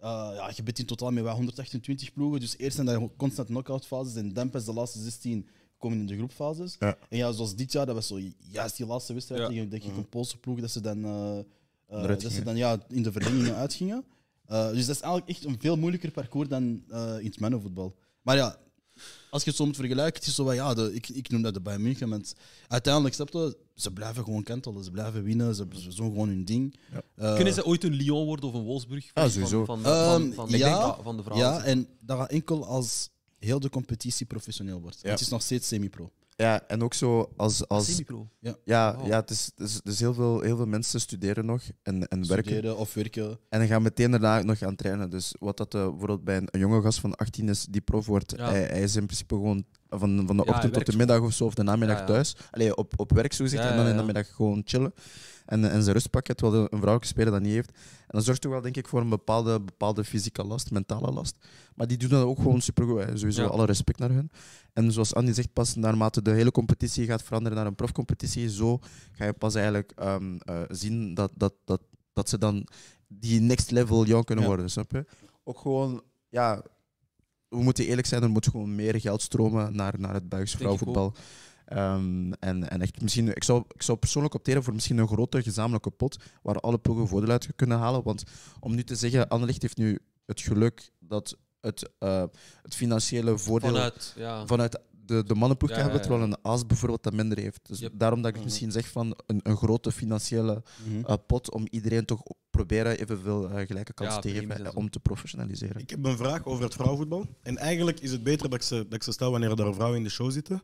eh, ja, je bent in totaal met wel 128 ploegen. Dus eerst zijn dat constant knock-out fases en dan pas de laatste 16 komen in de groepfases. En ja, zoals dit jaar, dat was zo juist die laatste wedstrijd
Ja.
tegen denk ik, een Poolse ploeg, dat ze dan, eh, eh,
Eruit
dat ze
gingen.
dan ja, in de verlengingen uitgingen. Eh, dus dat is eigenlijk echt een veel moeilijker parcours dan eh, in het mannenvoetbal. Maar ja, als je het zo moet vergelijken, het is zo van, ja, de, ik, ik noem dat de Bayern München, want uiteindelijk, snap je, ze blijven gewoon kantelen, ze blijven winnen, ze, ze doen gewoon hun ding. Eh,
Kunnen ze ooit een Lyon worden of een Wolfsburg? Van,
Ah, sowieso.
Van, van, van,
Ehm,
van-
ja,
ik denk dat van de vrouwen.
Ja, en dat gaat enkel als heel de competitie professioneel wordt. Het is nog steeds semi-pro.
Ja, en ook zo als. als
Semi-pro.
ja,
Wow.
ja, het is, dus, dus heel, veel, heel veel mensen studeren nog en, en werken.
Studeren of werken.
En dan gaan meteen daarna ook nog gaan trainen. Dus wat dat eh, bijvoorbeeld bij een, een jonge gast van 18 is die prof wordt,
Ja.
hij, hij is in principe gewoon van, van de
Ja,
ochtend tot
werk-
de middag of zo, of de namiddag
Ja, ja.
thuis. Allee, op, op werk zo gezegd,
Ja,
en dan
ja,
in de
ja.
middag gewoon chillen. En, en zijn rust pakken, terwijl een vrouwelijke speler dat niet heeft. En dat zorgt toch wel, denk ik, voor een bepaalde, bepaalde fysieke last, mentale last. Maar die doen dat ook gewoon supergoed. hè. Sowieso
Ja.
alle respect naar hun. En zoals Andy zegt, pas naarmate de hele competitie gaat veranderen naar een profcompetitie, zo ga je pas eigenlijk ehm, eh, zien dat, dat, dat, dat ze dan die next level jou kunnen
Ja.
worden, snap je? Ook gewoon, ja, we moeten eerlijk zijn, er moet gewoon meer geld stromen naar, naar het Belgisch
Denk ik ook.
vrouwenvoetbal. Ehm, en, en echt misschien, ik zou, ik zou persoonlijk opteren voor misschien een grote gezamenlijke pot waar alle ploegen voordeel uit kunnen halen. Want om nu te zeggen, Anderlecht heeft nu het geluk dat het, eh, het financiële voordeel
Vanuit, ja.
vanuit de, de mannenploeg
Ja,
kan
ja,
hebben,
ja.
terwijl een aas bijvoorbeeld dat minder heeft. Dus
Yep.
daarom dat ik misschien zeg van een, een grote financiële
Mhm.
eh, pot om iedereen toch op- proberen evenveel eh, gelijke kansen
Ja,
te geven
premies en
eh,
zo.
om te professionaliseren.
Ik heb een vraag over het vrouwenvoetbal. En eigenlijk is het beter dat ik ze, dat ik ze stel wanneer er vrouwen in de show zitten.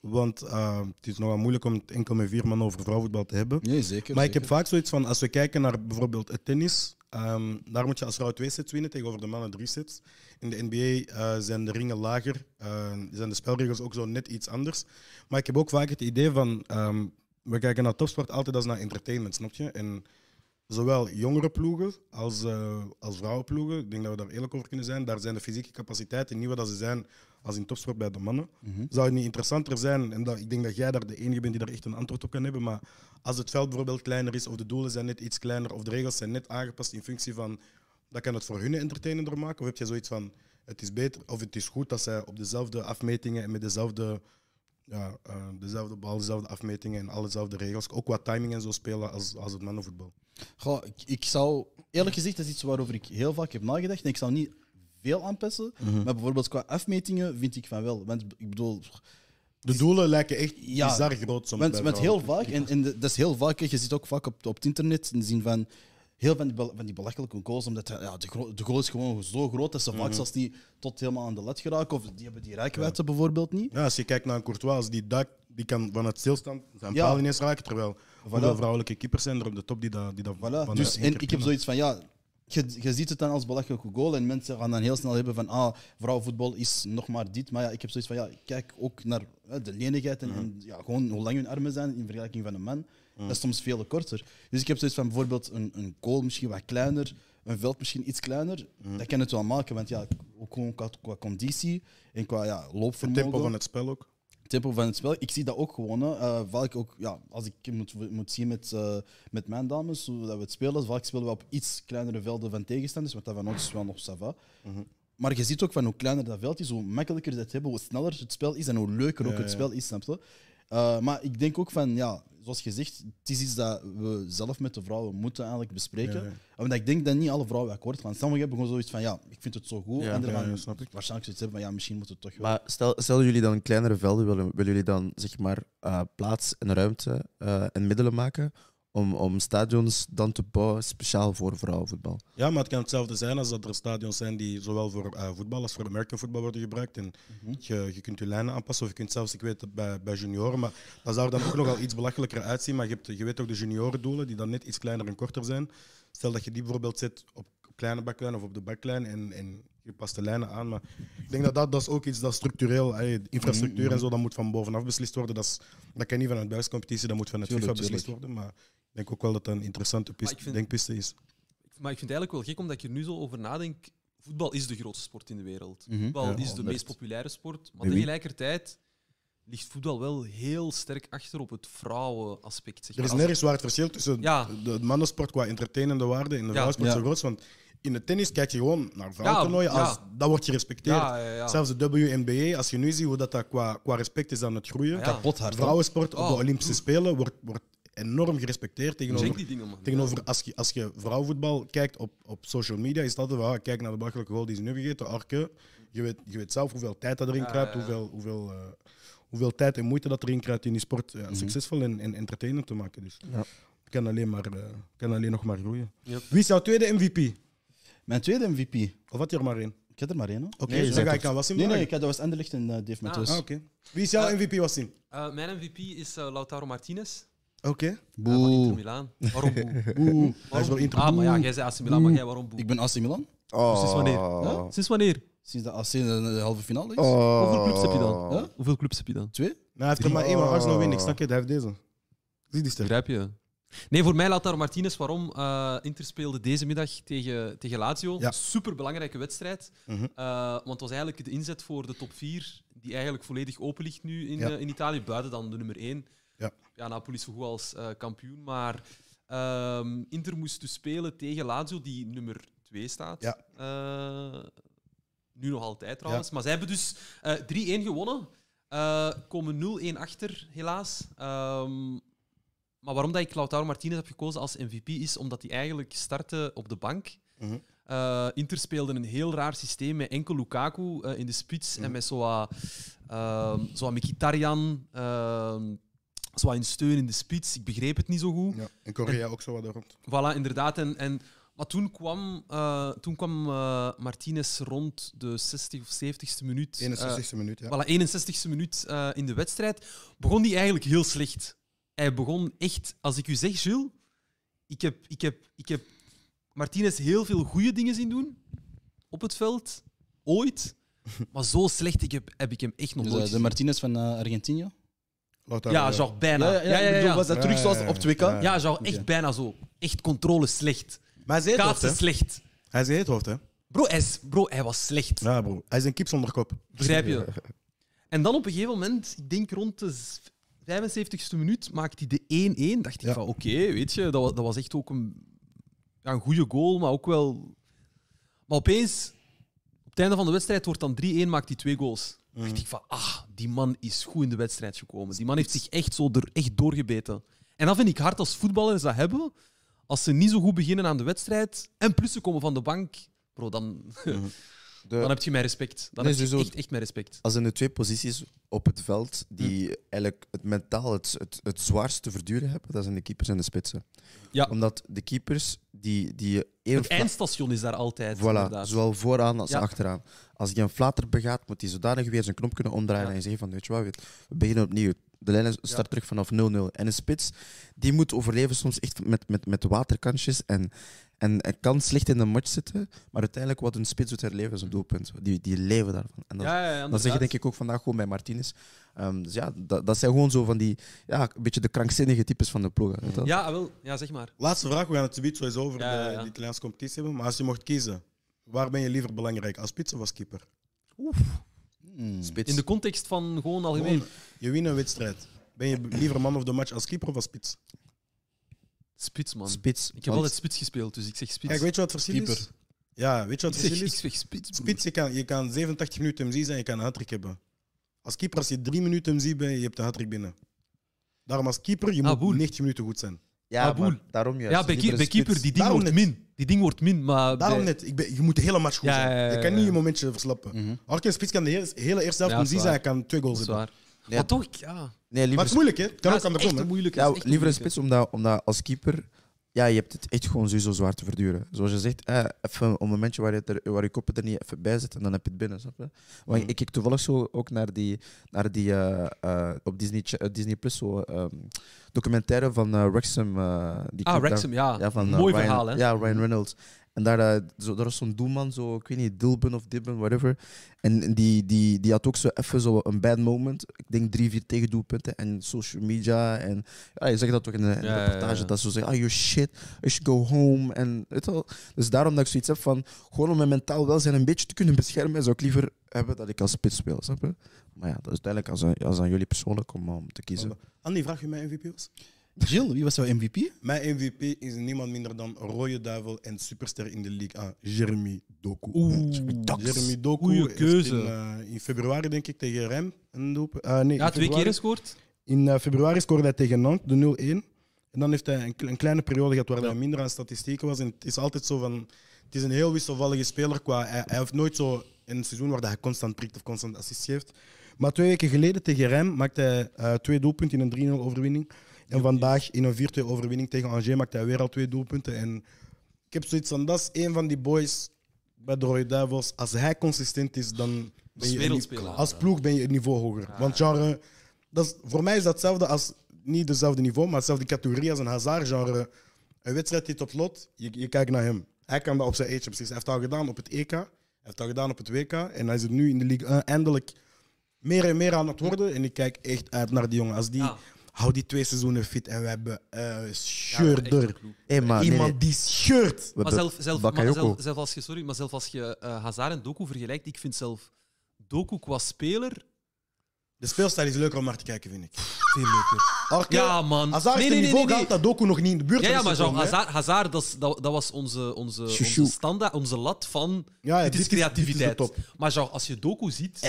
Want eh, het is nogal moeilijk om het enkel met vier mannen over vrouwenvoetbal te hebben.
Nee, zeker.
Maar ik heb vaak zoiets van, als we kijken naar bijvoorbeeld het tennis, ehm, daar moet je als vrouw twee sets winnen tegenover de mannen drie sets. In de NBA eh, zijn de ringen lager, eh, zijn de spelregels ook zo net iets anders. Maar ik heb ook vaak het idee van, ehm, we kijken naar topsport altijd als naar entertainment, snap je? En zowel jongere ploegen als, eh, als vrouwenploegen, ik denk dat we daar eerlijk over kunnen zijn, daar zijn de fysieke capaciteiten niet wat dat ze zijn als in topsport bij de mannen. Zou het niet interessanter zijn, en dat, ik denk dat jij daar de enige bent die daar echt een antwoord op kan hebben, maar als het veld bijvoorbeeld kleiner is, of de doelen zijn net iets kleiner, of de regels zijn net aangepast in functie van, dat kan het voor hun entertainender maken? Of heb je zoiets van, het is beter, of het is goed dat zij op dezelfde afmetingen en met dezelfde, ja, eh, dezelfde bal, dezelfde afmetingen en alle dezelfde regels, ook wat timing en zo spelen als, als het mannenvoetbal?
Goh, ik, ik zou, eerlijk gezegd, dat is iets waarover ik heel vaak heb nagedacht. En ik zou niet veel aanpassen. Maar bijvoorbeeld qua afmetingen vind ik van wel. Want ik bedoel,
De doelen lijken echt
Ja,
bizar groot soms.
want,
bij
want heel
vrouwen.
vaak, en, en dat is heel vaak, hè, je ziet ook vaak op, op het internet in de zin van heel van die, bel- van die belachelijke goals, omdat ja, de, gro- de goal is gewoon zo groot dat ze vaak zelfs niet tot helemaal aan de lat geraken. Of die hebben die rijkwijde bijvoorbeeld niet.
Ja, als je kijkt naar een Courtois, als die duikt, die kan van het stilstand zijn
Ja.
paal ineens raken, terwijl hoeveel vrouwelijke keepers zijn er op de top die dat... Die dat
Voilà.
van
Dus,
de-
en ik heb zoiets van, ja, je, je ziet het dan als belachelijke goal en mensen gaan dan heel snel hebben van, ah, vrouwenvoetbal is nog maar dit. Maar ja, ik heb zoiets van, ja, kijk ook naar hè, de lenigheid en, en, ja, gewoon hoe lang hun armen zijn in vergelijking van een man. Dat is soms veel korter. Dus ik heb zoiets van, bijvoorbeeld een, een goal misschien wat kleiner, een veld misschien iets kleiner. Dat kan het wel maken, want ja, ook gewoon qua, qua conditie en qua ja,
Het
loopvermogen
tempo van het spel ook.
tempo van het spel. Ik zie dat ook gewoon. Hè. Eh, vaak ook, ja, als ik moet, moet zien met, eh, met mijn dames, hoe dat we het spelen, vaak spelen we op iets kleinere velden van tegenstanders, want dat van ons is wel nog ça va.
Mhm.
Maar je ziet ook van hoe kleiner dat veld is, hoe makkelijker dat hebben, hoe sneller het spel is en hoe leuker ook
Ja,
het
ja.
spel is, snap je? Eh, maar ik denk ook van, ja, zoals gezegd, het is iets dat we zelf met de vrouwen moeten eigenlijk bespreken.
Ja, ja.
Omdat ik denk dat niet alle vrouwen akkoord gaan. Sommigen hebben gewoon zoiets van, ja, ik vind het zo goed.
Ja,
Anderen
ja,
gaan
ja, snap ik.
waarschijnlijk zoiets hebben van, ja, misschien moeten we het toch wel.
Maar stel, stel jullie dan kleinere velden willen, willen jullie dan zeg maar eh, plaats en ruimte eh, en middelen maken om, om stadions dan te bouwen speciaal voor vrouwenvoetbal?
Ja, maar het kan hetzelfde zijn als dat er stadions zijn die zowel voor eh, voetbal als voor American voetbal worden gebruikt. En je, je kunt je lijnen aanpassen of je kunt zelfs, ik weet het bij, bij junioren, maar dat zou er dan ook nogal iets belachelijker uitzien. Maar je, hebt, je weet ook de juniorendoelen die dan net iets kleiner en korter zijn. Stel dat je die bijvoorbeeld zet op kleine baklijn of op de baklijn en, en je past de lijnen aan. Maar ik denk dat dat, dat is ook iets dat structureel, hey, de infrastructuur en zo, dat moet van bovenaf beslist worden. Dat, is, dat kan niet vanuit buitencompetitie, dat moet vanuit FIFA
Tuurlijk,
beslist
tuurlijk.
worden. Maar ik denk ook wel dat dat een interessante piste,
ik vind-
denkpiste is.
Maar ik vind het eigenlijk wel gek, omdat ik er nu zo over nadenk. Voetbal is de grootste sport in de wereld.
Mhm.
Voetbal
Ja,
is de
honderd.
meest populaire sport. Maar
Oui.
tegelijkertijd ligt voetbal wel heel sterk achter op het vrouwenaspect.
Er
Zeg maar.
is
Als-
nergens waar het verschil tussen
Ja.
de de mannensport qua entertainende waarde en de
Ja.
vrouwensport
Ja.
zo groot is. Want in de tennis kijk je gewoon naar vrouwentoernooien.
ja.
als Dat wordt gerespecteerd.
Ja, ja, ja.
Zelfs de WNBA, als je nu ziet hoe dat, dat qua, qua respect is aan het groeien.
Ja.
Kapot hard. hè.
Vrouwensport op de
Oh.
Olympische Spelen wordt, wordt enorm gerespecteerd
Check
tegenover...
die dingen, man.
Tegenover als je, als je vrouwenvoetbal kijkt op, op social media, is dat wel. Kijk naar de belachelijke goal die ze nu hebben gegeten, Arke. Je weet, je weet zelf hoeveel tijd dat erin
Ja,
kruipt,
ja, ja.
Hoeveel, hoeveel, eh, hoeveel tijd en moeite dat erin kruipt in die sport eh, succesvol en, en entertainend te maken. Dus
Ja.
het kan alleen, maar, eh, het kan alleen nog maar groeien.
Yep.
Wie is jouw tweede MVP?
Mijn tweede MVP.
Of had je er maar één?
Ik heb er maar één. Hè?
Oké, dus
Nee, je
dan
zei
ga
het.
ik aan Wassim
Nee, nee,
vragen.
ik had, dat was Anderlecht en eh, Dave Matthews.
Ah, oké. Wie is jouw MVP, Wassim?
Eh, mijn MVP is eh, Lautaro Martinez
Oké.
eh, van Inter Milaan. Waarom boe?
Oeh, hij is wel
Waarom boe?
Inter.
Ah, maar ja, jij zei AC Milan, maar jij waarom boe?
Ik ben AC Milan.
Oh,
Sinds wanneer? Sinds wanneer?
Sinds de AC de, de halve finale is.
Oh, Ah.
Hoeveel clubs heb je dan?
Huh?
Hoeveel clubs heb je dan?
Twee?
Nee, Nou, hij heeft er maar één, maar Arsenal
Oh.
wint niks. Snap je? Hij heeft deze. Zie die ster.
Begrijp je? Nee, voor mij laat daar Martinez waarom. eh Inter speelde deze middag tegen, tegen Lazio.
Ja.
Superbelangrijke wedstrijd.
Mhm.
Eh, want het was eigenlijk de inzet voor de top 4, die eigenlijk volledig open ligt nu in,
Ja.
eh, in Italië, buiten dan de nummer 1.
Ja.
ja, Napoli is zo goed als eh, kampioen, maar ehm, Inter moest dus spelen tegen Lazio, die nummer 2 staat.
Ja.
Eh, nu nog altijd trouwens. Maar zij hebben dus eh, 3-1 gewonnen. Eh, komen 0-1 achter, helaas. Ehm, maar waarom dat ik Lautaro Martinez heb gekozen als MVP is omdat hij eigenlijk startte op de bank.
Mhm.
Eh, Inter speelde een heel raar systeem met enkel Lukaku eh, in de spits en met zo'n wat, ehm, zo wat Mkhitaryan, ehm, zo wat in steun in de spits. Ik begreep het niet zo goed.
Ja. En Korea ook zo wat daar rond.
Voilà, inderdaad. En, en, maar toen kwam, eh, toen kwam eh, Martinez rond de 60 of 70ste minuut. eh,
61e minuut, ja.
Voilà, 61ste minuut eh, in de wedstrijd. Begon die eigenlijk heel slecht. Hij begon echt, als ik u zeg, Gilles, ik heb, ik heb, ik heb Martinez heel veel goede dingen zien doen op het veld, ooit. Maar zo slecht ik heb, heb ik hem echt nog
Dus,
nooit
eh, de
gezien.
Martinez van eh, Argentinië.
Lautaro,
Ja, genre bijna. Ja, ja, ja,
ik
ja,
bedoel, was dat
Ja,
terug
ja,
zoals
ja,
op 2K?
ja.
Ja, genre echt
Oké.
bijna zo. Echt controle slecht.
Maar hij zei het hoofd,
Kaatsen
hè?
slecht.
Hij zei het hoofd, hè?
Bro hij, is- bro, hij was slecht.
Ja, bro. Hij is een kip zonder kop.
Begrijp je? En dan op een gegeven moment, ik denk rond de z- 75ste minuut, maakt hij de 1-1. Dacht ik
Ja.
van, oké, weet je, dat was, dat was echt ook een, ja, een goede goal, maar ook wel... Maar opeens, op het einde van de wedstrijd wordt dan 3-1, maakt hij twee goals. Dacht ik van, ah, die man is goed in de wedstrijd gekomen. Die man heeft zich echt, zo er, echt doorgebeten. En dat vind ik hard als voetballers dat hebben. Als ze niet zo goed beginnen aan de wedstrijd en plus ze komen van de bank, bro, dan, dan heb je mijn respect. Dan
Eh, Nee,
heb je
sowieso.
echt, echt mijn respect.
als in de twee posities op het veld die
Hm.
eigenlijk het mentaal het, het, het zwaarst te verduren hebben, dat zijn de keepers en de spitsen.
Ja.
Omdat de keepers die, die één
Het eindstation is daar altijd.
Voilà,
inderdaad.
zowel vooraan als
Ja.
achteraan. Als die een flater begaat, moet hij zodanig weer zijn knop kunnen omdraaien
Ja.
en zeggen van, weet je wat, weet- we beginnen opnieuw. De lijn start terug vanaf 0-0. En een spits, die moet overleven soms echt met, met, met waterkantjes en, en, en kan slecht in de match zitten. Maar uiteindelijk, wat een spits doet herleven, is een doelpunt. Die, die leven daarvan. En dat,
Ja, ja,
dat zeg je denk ik ook vandaag gewoon bij Martinez. Ehm, dus ja, dat, dat zijn gewoon zo van die, ja, een beetje de krankzinnige types van de ploeg. weet je wel.
Ja, ah, wel. Ja, zeg maar.
Laatste vraag. We gaan het zoiets sowieso over
Ja,
de,
ja, ja.
de Italiaanse competitie hebben. Maar als je mocht kiezen, waar ben je liever belangrijk? Als spits of als keeper?
Spits.
Hmm.
In de context van gewoon algemeen.
Gewoon, je wint een wedstrijd. Ben je liever man of the match als keeper of als spits?
Spits, man.
Spits.
Ik heb
Want-
altijd spits gespeeld, dus ik zeg spits.
Kijk, weet je wat het verschil is?
Keeper.
Ja, weet je
ik,
wat het
zeg,
verschil
ik
is?
zeg spits. broer.
Spits, je kan, je kan 87 minuten hem zien en je kan een hat hebben. Als keeper, als je drie minuten hem ziet, ben je, je hebt een hat binnen. Daarom als keeper, je moet
Ah, boel.
90 minuten goed zijn.
Ja,
Aboul.
maar daarom juist.
Ah, Ja, bij,
Liever
keep-
een
bij keeper,
spits.
die ding
Daarom
wordt
net.
min. Die ding wordt min, maar...
Daarom
bij-
net, ik ben, je moet de hele match goed
Ja,
zijn.
ja, ja,
Je kan
ja.
niet je momentje verslappen.
Mhm.
Als je een spits kan de hele, hele eerste helft
Ja,
hem
is
zien
waar.
zijn, hij kan twee goals
Dat is
hebben.
waar.
Ja.
Maar toch, ja.
Nee, liever
Maar het is moeilijk, hè? Het kan
Ja,
ook
dat is
andersom.
echt
hè.
moeilijk.
Ja, liever een spits, omdat, omdat als keeper... Ja, je hebt het echt gewoon sowieso zwaar te verduren. Zoals je zegt, eh, even een momentje waar je, het er, waar je koppen er niet even bij zit en dan heb je het binnen, snap je? Want
Mm.
ik kijk toevallig zo ook naar die... Naar die eh, eh, op Disney, Ch- eh, Disney Plus zo... ehm, documentaire van eh Wrexham. eh, die
Ah,
club daar.
Wrexham, ja.
Ja, van, eh,
Mooi
Ryan-
verhaal, hè?
Ja, Ryan Reynolds. En daar, eh, zo, daar was zo'n doelman, zo, ik weet niet, Dilben of Dibben, whatever. En en die, die, die had ook zo even zo een bad moment. Ik denk drie, vier tegendoelpunten en social media. En ja, je zegt dat toch in de, in de
Ja, ja,
reportage,
ja.
dat ze zo zeggen, ah, you shit, I should go home. En, weet je wel. Dus daarom dat ik zoiets heb van, gewoon om mijn mentaal welzijn een beetje te kunnen beschermen, zou ik liever hebben dat ik als spits speel, snap je? Maar ja, dat is duidelijk als aan, als aan jullie persoonlijk om, eh, om te kiezen.
Oh,
Andy, vraag je mij MVP was?
Jill, wie was jouw MVP?
Mijn MVP is niemand minder dan Rode Duivel en superster in de league, ah, Jeremy Doku.
Oeh.
Jeremy Doku
Goeie
heeft
keuze.
In, eh, in februari, denk ik, tegen Rem. Een doelpunt- ah, nee,
Ja,
in
twee
februari.
keer gescoord.
In eh, februari scoorde hij tegen Nantes, de 0-1. En dan heeft hij een, kle- een kleine periode gehad waar hij minder aan statistieken was. En het is altijd zo van... Het is een heel wisselvallige speler. Qua, hij, hij heeft nooit zo een seizoen waar hij constant prikt of constant assist geeft. Maar twee weken geleden tegen Rem maakte hij eh, twee doelpunten in een 3-0 overwinning. En vandaag in een 4-2 overwinning tegen Angers maakte hij weer al twee doelpunten. En ik heb zoiets van, dat is een van die boys bij de Rode Duivels. Als hij consistent is, dan
Dat is
ben je een
wereldspeler.
ni- als ploeg ben je een niveau hoger. Want genre, dat is, voor mij is dat hetzelfde als, niet hetzelfde niveau, maar hetzelfde categorie als een hazard. Genre, een wedstrijd die tot lot, je, je kijkt naar hem. Hij kan dat op zijn eentje precies. Hij heeft het al gedaan op het EK. Hij heeft dat gedaan op het WK en hij is er nu in de league eh, eindelijk meer en meer aan het worden. En ik kijk echt uit naar die jongen. Als die,
Ja.
hou die twee seizoenen fit en we hebben eh
Ja, dat is echt een
scheurder.
ploeg.
Hey, maar, Ah, nee,
Iemand
nee.
die scheurt.
We
Maar
hebben
zelf, zelf, maar
Bakayoko.
zelf, zelf als je, sorry, maar zelf als je eh, Hazard en Doku vergelijkt, ik vind zelf Doku qua speler
De speelstijl is leuker om naar te kijken, vind ik. Veel leuker. Arke,
Ja, man.
Hazard heeft een niveau gehad dat Doku nog niet in de buurt
Ja, ja,
is
maar Jean,
gekomen, hè.
Hazard, Hazard dat, is- dat, dat was onze, onze,
Chouchou.
onze standaard, onze lat van.
Ja, ja,
dit is
dit is- Eh,
creativiteit.
dit is de
maar Jean, als je Doku ziet.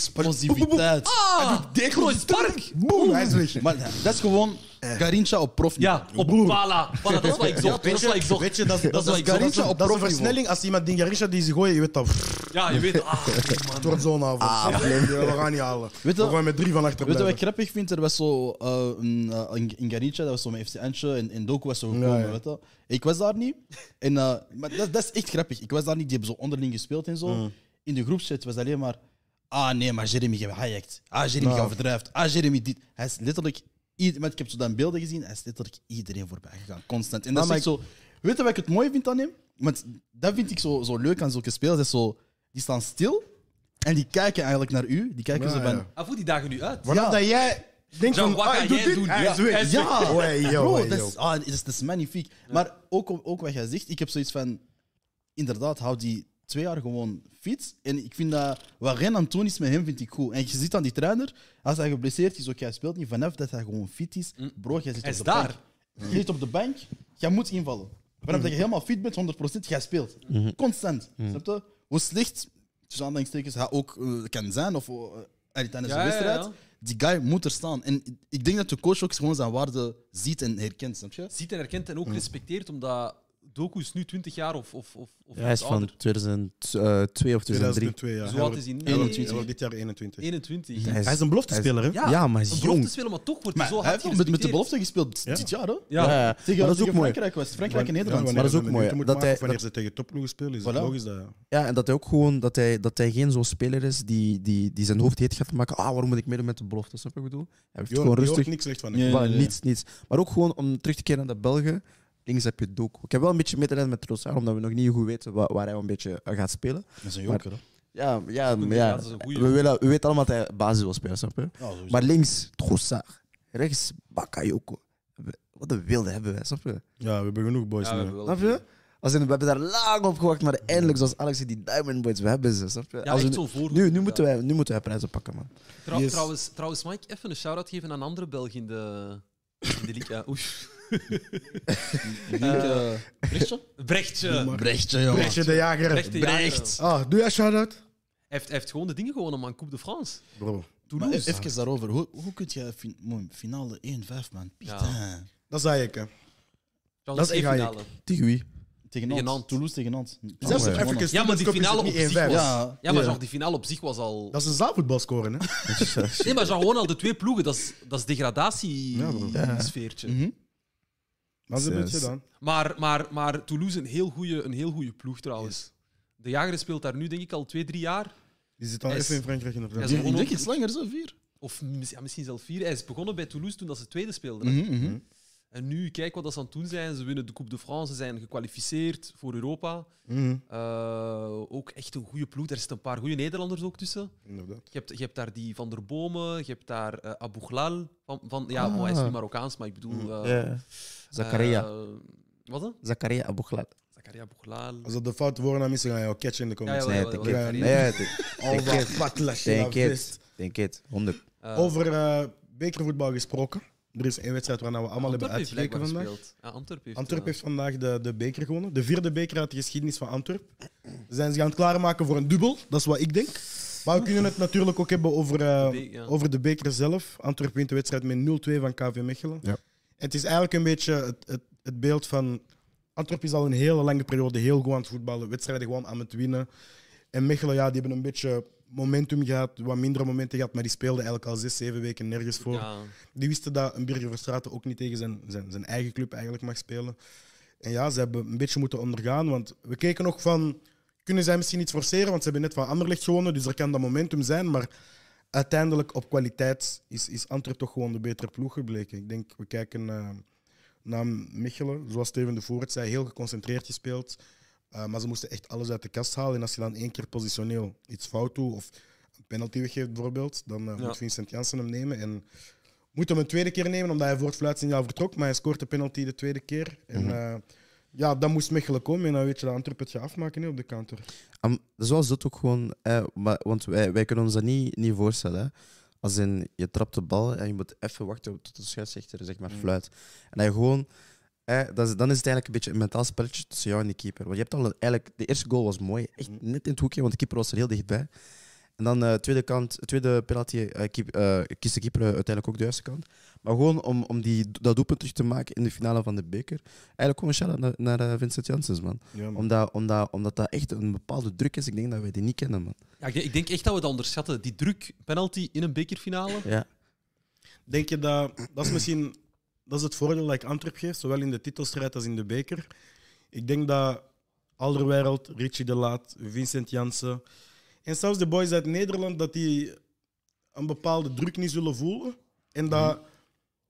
Explosiviteit.
ah, Groot Spark!
Boom, hij is weg.
Maar dat is gewoon Garincha op profniveau.
Ja, op Pala. Voilà, dat is wat ik zocht. dat is wat ik zocht.
Weet je, dat, is- dat,
wat
is
ik zocht.
Garincha op
Dat is een
versnelling. Als iemand denkt, Garincha die ze gooien, je weet dat. pff,
Ja, je weet. Ah, man.
Het wordt zo'n avond. Ja, we gaan niet halen.
Weet je-
we gaan met drie van achter
Weet je
blijven.
wat ik grappig vind? Er was zo eh, een, eh, in, in Garincha, dat was zo mijn FC Antje, en, en Doku was zo gekomen.
Ja, ja.
Weet je? Ik was daar niet. En, eh, maar dat, dat is echt grappig. Ik was daar niet, die hebben zo onderling gespeeld en zo. In de groepschat was alleen maar... Ah nee, maar Jeremy gehijkt. Ah, Jeremy
Nou.
overdrijft. Ah, Jeremy dit. Hij is letterlijk... Ieder, maar ik heb zo dan beelden gezien, hij is letterlijk iedereen voorbij gegaan. Constant. En dat
Maar
is echt zo... Weet je wat ik het mooi vind aan hem? Want dat vind ik zo, zo leuk aan zulke spelers. Dat is zo, die staan stil en die kijken eigenlijk naar u. Die kijken
Ja,
zo van...
ja.
Hij voelt die dagen nu uit.
Vanaf dat jij denkt
Jean,
van,
wat
ah,
ga
ik doe
jij
dit,
doen?
Hij is
Ja,
weg.
hij is
Ja, Oei, yo,
Bro,
oei,
dat
yo.
is, ah, dat is, dat is magnifiek. Maar ook, ook wat jij zegt, ik heb zoiets van... Inderdaad, hou die twee jaar gewoon fit. En ik vind dat... Wat Ren aan het doen is met hem, vind ik goed. En je ziet aan die trainer, als hij geblesseerd is, ook jij speelt niet. Vanaf dat hij gewoon fit is, bro, jij zit
Mm. Hij
op
is
de
daar. Mm.
bank. Je zit op de bank, jij moet invallen. Vanaf dat je helemaal fit bent, 100%, jij speelt. Constant. Snap je? Hoe slecht, tussen aanhalingstekens, hij ook eh, kan zijn, of eh, tijdens de
Ja, ja,
wedstrijd...
ja.
Die guy moet er staan. En ik denk dat de coach ook gewoon zijn waarde ziet en herkent, snap je?
Ziet en herkent en ook
Hm.
respecteert, omdat Doku is nu 20 jaar of. of, of, of
Hij is
iets ouder.
van 2002 of 2003.
2002, ja.
Zo oud is hij nu?
Hij wordt- hij
21.
wordt dit jaar 21.
21.
Hij is-
Hij is een beloftespeler, hè?
Ja,
Ja, maar hij
Een
is
belofte
jong.
spelen, maar toch wordt hij
Maar
zo
hij
hard
heeft met, met de
gerespecteerd.
belofte gespeeld dit jaar, hoor.
Ja.
Ja, ja. maar dat
Tegen,
is ook
tegen
mooi.
Frankrijk was het, Frankrijk en
Ja,
Nederland.
wanneer
Maar dat is
ze
ook
minuten
mooi,
moeten
dat
maken
hij-
of wanneer ze tegen topploegen spelen, is het
Voilà.
logisch dat...
Ja, en dat hij ook gewoon dat hij, dat hij geen zo'n speler is die, die, die zijn hoofd heet gaat maken. Ah, waarom moet ik meedoen met de belofte? Snap je wat ik bedoel? Hij heeft
Je
gewoon
hoort- je
rustig.
hoort niks slecht van
Nee.
hem.
Voilà, Niets, niets. Maar ook gewoon om terug te keren naar de Belgen. Links heb je Doku. Ik heb wel een beetje medelijden met Trossard, omdat we nog niet goed weten wa- waar, hij een beetje eh, gaat spelen.
Dat is een joker, hè.
Ja, ja, maar
ja,
ja.
dat is een goeie.
We, willen, we weten allemaal dat hij basis wil spelen, snap je?
Ja, sowieso.
Maar links Trossard, rechts Bakayoko. We- Wat een wilde hebben wij, snap je?
Ja, we hebben genoeg boys
Ja, we
nu.
hebben wel-
Snap je? Als in, we hebben daar lang op gewacht, maar eindelijk, zoals Alex zei, die Diamond Boys, we hebben ze, snap je?
Ja,
Als we
echt
nu-
zo'n voorhoede.
nu, nu, moeten
Ja.
wij, nu moeten wij prijzen pakken, man.
Trou-
Yes.
trouwens, trouwens, mag ik even een shout-out geven aan andere Belgen in de, in de liga? Oei.
Ik denk, eh, Brechtje?
Brechtje.
Brechtje,
Brechtje de Jager.
Brechtje. Brecht.
Ah, doe jij shout-out?
Hij heeft, hij heeft gewoon de dingen gewonnen, man. Coupe de France.
Bro,
Maar
Toulouse.
even daarover. Hoe, hoe kun je fin- mooi, finale 1-5, man? Putain.
dat zei ik, hè.
Dat
dat is echt
finale.
Tegen wie?
Tegen
Tegen
Nantes.
Nantes.
Toulouse tegen Nantes.
Zelfs de
Gewonnen.
African
Ja,
Students
maar die
Cup is
finale
het
op
niet
zich
1-5.
was...
Ja.
Ja,
Ja.
maar
Ja.
Jean, die finale op zich was al...
Dat is een zaalvoetbal scoren, hè.
Nee, maar Jean, gewoon al de twee ploegen. Dat is, dat is
Ja, bro.
degradatie-sfeertje.
Dat is een
Yes.
beetje dan.
maar, maar, maar Toulouse, een heel goeie- een heel goede ploeg trouwens. De Jager speelt daar nu, denk ik, al twee, drie jaar.
Die zit al
Hij is-
even in Frankrijk in de
hij
vraag.
is
Ik denk iets langer, zo vier.
Of mis- ja, misschien zelfs vier. Hij is begonnen bij Toulouse toen dat ze tweede speelden.
Mhm,
En nu, kijk wat dat ze aan het doen zijn. Ze winnen de Coupe de France, ze zijn gekwalificeerd voor Europa.
Mhm,
Eh, ook echt een goede ploeg. Er zitten een paar goede Nederlanders ook tussen.
Inderdaad.
Je hebt, je hebt daar die Van der Bomen, je hebt daar eh Abu Ghlal. Van, van, ja, maar hij is niet Marokkaans, maar ik bedoel... eh,
Ah. Mhm. Ja. Zakaria.
eh, wat dan?
Zakaria Abu Ghlal.
Zakaria Abu Ghlal.
Als dat de foute woorden aan missen, ga je al catchen in de
Ja,
comments.
Oh, ja,
Nee,
wel,
denk
wel, wel.
het. Nee, denk-
Al
denk
dat
het.
vaklasje
Denk
dat
het.
vist.
Denk het. 100.
Eh,
nou Over eh, bekervoetbal gesproken. Er is één wedstrijd waar we allemaal
Antwerp
hebben
heeft
uitgekeken
blijkbaar
vandaag.
gespeeld. Ja, Antwerp heeft,
Antwerp
eh,
heeft vandaag de, de beker gewonnen. De vierde beker uit de geschiedenis van Antwerp. Ze zijn zich aan het klaarmaken voor een dubbel. Dat is wat ik denk. Maar we kunnen het natuurlijk ook hebben over, eh,
De be- ja.
over de beker zelf. Antwerp wint de wedstrijd met 0-2 van KV Mechelen.
Ja.
Het is eigenlijk een beetje het, het, het beeld van... Antwerp is al een hele lange periode heel goed aan het voetballen. Wedstrijden gewoon aan het winnen. En Mechelen, ja, die hebben een beetje momentum gehad. Wat mindere momenten gehad. Maar die speelden eigenlijk al zes, zeven weken nergens voor.
ja.
Die wisten dat een Birger Verstraeten ook niet tegen zijn, zijn, zijn eigen club eigenlijk mag spelen. En ja, ze hebben een beetje moeten ondergaan. Want we keken nog van, kunnen zij misschien iets forceren? Want ze hebben net van Anderlecht gewonnen, dus er kan dat momentum zijn. Maar uiteindelijk op kwaliteit is, is Antwerp toch gewoon de betere ploeg gebleken. Ik denk, we kijken eh, naar Mechelen, zoals Steven de Voort zei, heel geconcentreerd gespeeld. Eh, maar ze moesten echt alles uit de kast halen. En als je dan één keer positioneel iets fout doet of een penalty weggeeft bijvoorbeeld, dan eh,
Ja.
moet Vincent Janssen hem nemen. En moet hem een tweede keer nemen, omdat hij voor het fluitsignaal vertrok. Maar hij scoort de penalty de tweede keer. En eh, ja, dan moest Mechelen komen. En dan weet je dat Antwerp het gaat afmaken hè, op de counter.
Am- zoals dat ook gewoon, eh, maar, want wij, wij kunnen ons dat niet, niet voorstellen. Hè. Als in, je trapt de bal en je moet even wachten tot de scheidsrechter zeg maar, fluit. En dat je gewoon, eh, dat is, dan is het eigenlijk een beetje een mentaal spelletje tussen jou en die keeper. Want je hebt al een- eigenlijk, de eerste goal was mooi, echt net in het hoekje, want de keeper was er heel dichtbij. En dan de tweede, kant, tweede penalty eh, keep- eh, kiest de keeper eh, uiteindelijk ook de juiste kant. Maar gewoon om, om die, dat doelpunt terug te maken in de finale van de beker. Eigenlijk gewoon een shout-out naar, naar eh, Vincent Janssens, man
Ja, man.
omdat, omdat, omdat dat echt een bepaalde druk is. Ik denk dat wij die niet kennen, man.
Ja, ik, denk, ik denk echt dat we dat onderschatten. Die druk, penalty in een bekerfinale.
Ja.
Denk je dat dat is misschien dat is het voordeel dat ik Antwerp geef, zowel in de titelstrijd als in de beker? Ik denk dat Alderwereld, Richie de Laat, Vincent Jansen en zelfs de boys uit Nederland dat die een bepaalde druk niet zullen voelen en dat
Mhm.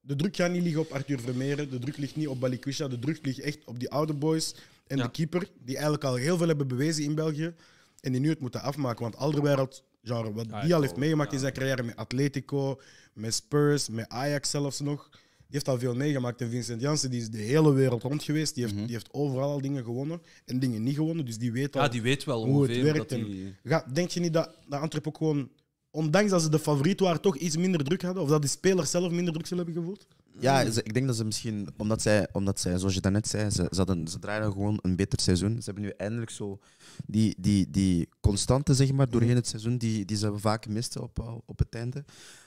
de druk gaat niet liggen op Arthur Vermeeren, de druk ligt niet op Balikwisha, de druk ligt echt op die oude boys en
Ja.
de keeper die eigenlijk al heel veel hebben bewezen in België en die nu het moeten afmaken, want Alderwereld genre wat
Ja,
die al
ik
heeft
ook,
meegemaakt
ja.
in zijn carrière met Atletico, met Spurs, met Ajax zelfs nog. Die heeft al veel meegemaakt. En Vincent Janssen die is de hele wereld rond geweest. Die heeft,
Mhm.
die heeft overal al dingen gewonnen en dingen niet gewonnen. Dus die weet al
Ja, die weet wel
hoe het
ongeveer
werkt.
dat die...
En ga- denk je niet dat, dat Antwerp ook gewoon, ondanks dat ze de favoriet waren, toch iets minder druk hadden? Of dat die spelers zelf minder druk zullen hebben gevoeld?
Ja, ze- ik denk dat ze misschien, omdat zij, omdat zij zoals je daarnet zei, ze, ze, hadden, ze draaiden gewoon een beter seizoen. Ze hebben nu eindelijk zo die, die, die constante, zeg maar, doorheen het seizoen, die, die ze vaak misten op, eh, op het einde.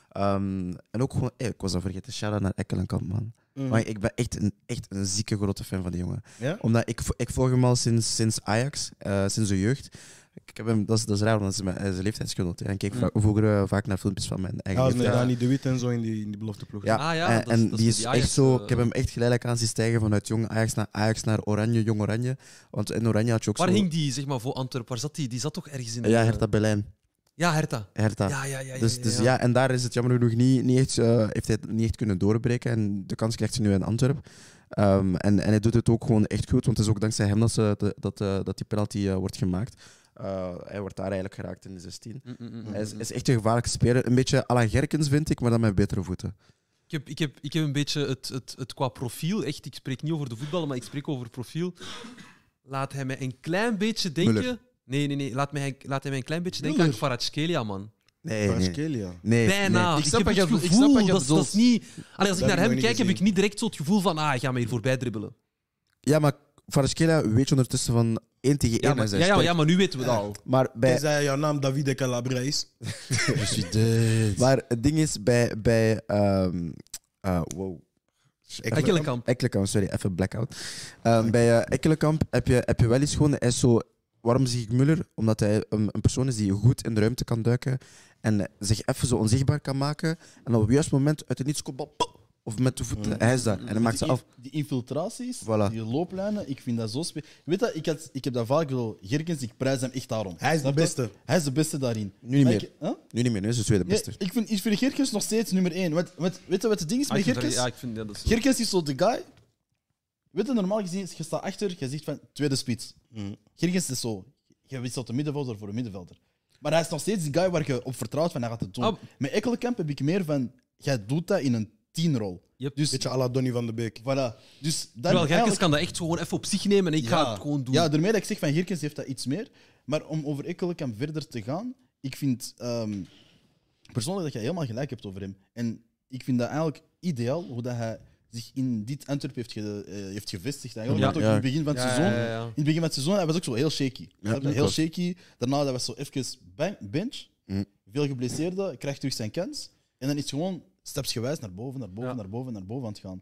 Ehm, en ook gewoon, eh, ik was al vergeten, shout-out naar Ekkelenkamp, man. Maar ik ben echt een, echt een zieke grote fan van die jongen.
Ja?
Omdat ik, vo- ik volg hem al sinds, sinds Ajax, eh, sinds de jeugd. Ik heb hem, dat, is, dat is raar, want hij is mijn- hij is een leeftijdsgenoot. hè. En ik keek va- vroeger eh, vaak naar filmpjes van mijn eigen
Ja, als met
leeftijd.
Dani de Wit en zo in die, in die belofteploeg.
Ja,
Ah ja,
en,
dat is-
en
dat is
die
met
is
die
echt
Ajax,
zo.
eh.
Ik heb hem echt geleidelijk aan zien stijgen vanuit jong Ajax naar Ajax naar Oranje, jong Oranje. Want in Oranje had je ook
Waar
zo.
hing die, zeg maar, voor Antwerp? Waar zat die? Die zat toch ergens in...
Ja,
eh,
Hertha Berlijn.
Ja, Hertha.
Hertha.
Ja, ja, ja. ja,
dus,
ja,
dus
ja.
ja, en daar is het jammer genoeg niet, niet echt, eh, heeft hij het niet echt kunnen doorbreken. En de kans krijgt hij nu in Antwerpen. Ehm, en, en hij doet het ook gewoon echt goed, want het is ook dankzij hem dat, ze, de- dat, eh, dat die penalty eh, wordt gemaakt. Eh, hij wordt daar eigenlijk geraakt in de 16.
Mm, mm, mm.
Hij is, is echt een gevaarlijke speler. Een beetje à la Gerkens, vind ik, maar dan met betere voeten.
Ik heb, ik, heb, ik heb een beetje het, het, het qua profiel, echt, ik spreek niet over de voetballen, maar ik spreek over profiel. Laat hij mij een klein beetje denken...
Muller.
Nee, nee, nee. Laat, mij, laat hij mij een klein beetje denken aan Kvaratskhelia, man.
Nee, nee.
Kvaratskhelia.
nee,
Bijna.
nee.
nou, Ik,
Ik snap
heb
wat
het
je- ik snap
gevoel,
wat je
dat, is- dat is
bedoelt.
niet... Allee, als ik
Dat heb
naar
ik nog
hem
niet
kijk, heb ik
gezien.
niet direct zo het gevoel van ah, ga me hier voorbij dribbelen.
Ja, maar Kvaratskhelia weet je ondertussen van 1 tegen 1
Ja, maar,
en
ja,
zijn
ja,
sterk.
ja, maar nu weten we dat al.
Maar, bij,
Tenzij jouw naam Davide Calabria is.
maar het ding is, bij... bij ehm, eh, wow.
Ekkelenkamp.
Ekkelenkamp, sorry, even blackout. Ehm, bij eh, Ekkelenkamp heb je, heb je wel eens gewoon... Hij is zo, waarom zie ik Muller? Omdat hij een, een persoon is die goed in de ruimte kan duiken en eh, zich even zo onzichtbaar kan maken. En op het juiste moment uit het niets komt... bal, pop, Of met de
Mm.
voeten, hij is daar. En hij maakt ze
Dus die,
af.
in- die infiltraties,
Voilà.
die looplijnen, ik vind dat zo spe- Weet dat, ik, had, ik heb dat vaak wel. Gerkens, ik prijs hem echt daarom.
Hij is de
Snap je?
beste.
Hij is de beste daarin.
Nu niet
Maar
meer.
ik- huh?
Nu niet meer, nu is de tweede
Nee,
beste.
ik, vind, ik vind Gerkens nog steeds nummer één. Weet, weet, weet je wat het ding is
Ah,
met
ik vind dat-
Gerkens?
Ja, ik vind ja, dat is...
Gerkens is zo de guy. Weet je, normaal gezien, je staat achter, je zegt van tweede spits.
Mm.
Gerkens is zo. Je wisselt de middenvelder voor een middenvelder. Maar hij is nog steeds die guy waar je op vertrouwt van hij gaat het doen.
Ah.
Met Ekkelenkamp heb ik meer van, jij doet dat in een tienrol.
Yep.
Dus,
Beetje à la Donny van de Beek.
voilà. Dus dan
Terwijl Gerkens
eigenlijk-
kan dat echt gewoon even op zich nemen en ik ga het gewoon doen.
Ja, daarmee dat ik zeg van Gerkens heeft dat iets meer. Maar om over Ekkelenkamp verder te gaan, ik vind ehm, persoonlijk dat je helemaal gelijk hebt over hem. En ik vind dat eigenlijk ideaal hoe dat hij zich in dit Antwerp heeft, ge- eh, heeft gevestigd. Eigenlijk.
Ja.
Want ook
Ja.
in het begin van het
Ja,
seizoen.
ja, ja, ja.
In het begin van het seizoen hij was ook zo heel shaky. Snap je?
dat
heel
klopt.
shaky. Daarna dat was zo even ben- bench.
Mm.
Veel geblesseerden, krijgt terug zijn kans. En dan is het gewoon stapsgewijs naar boven, naar boven,
Ja.
naar boven, naar boven aan het gaan.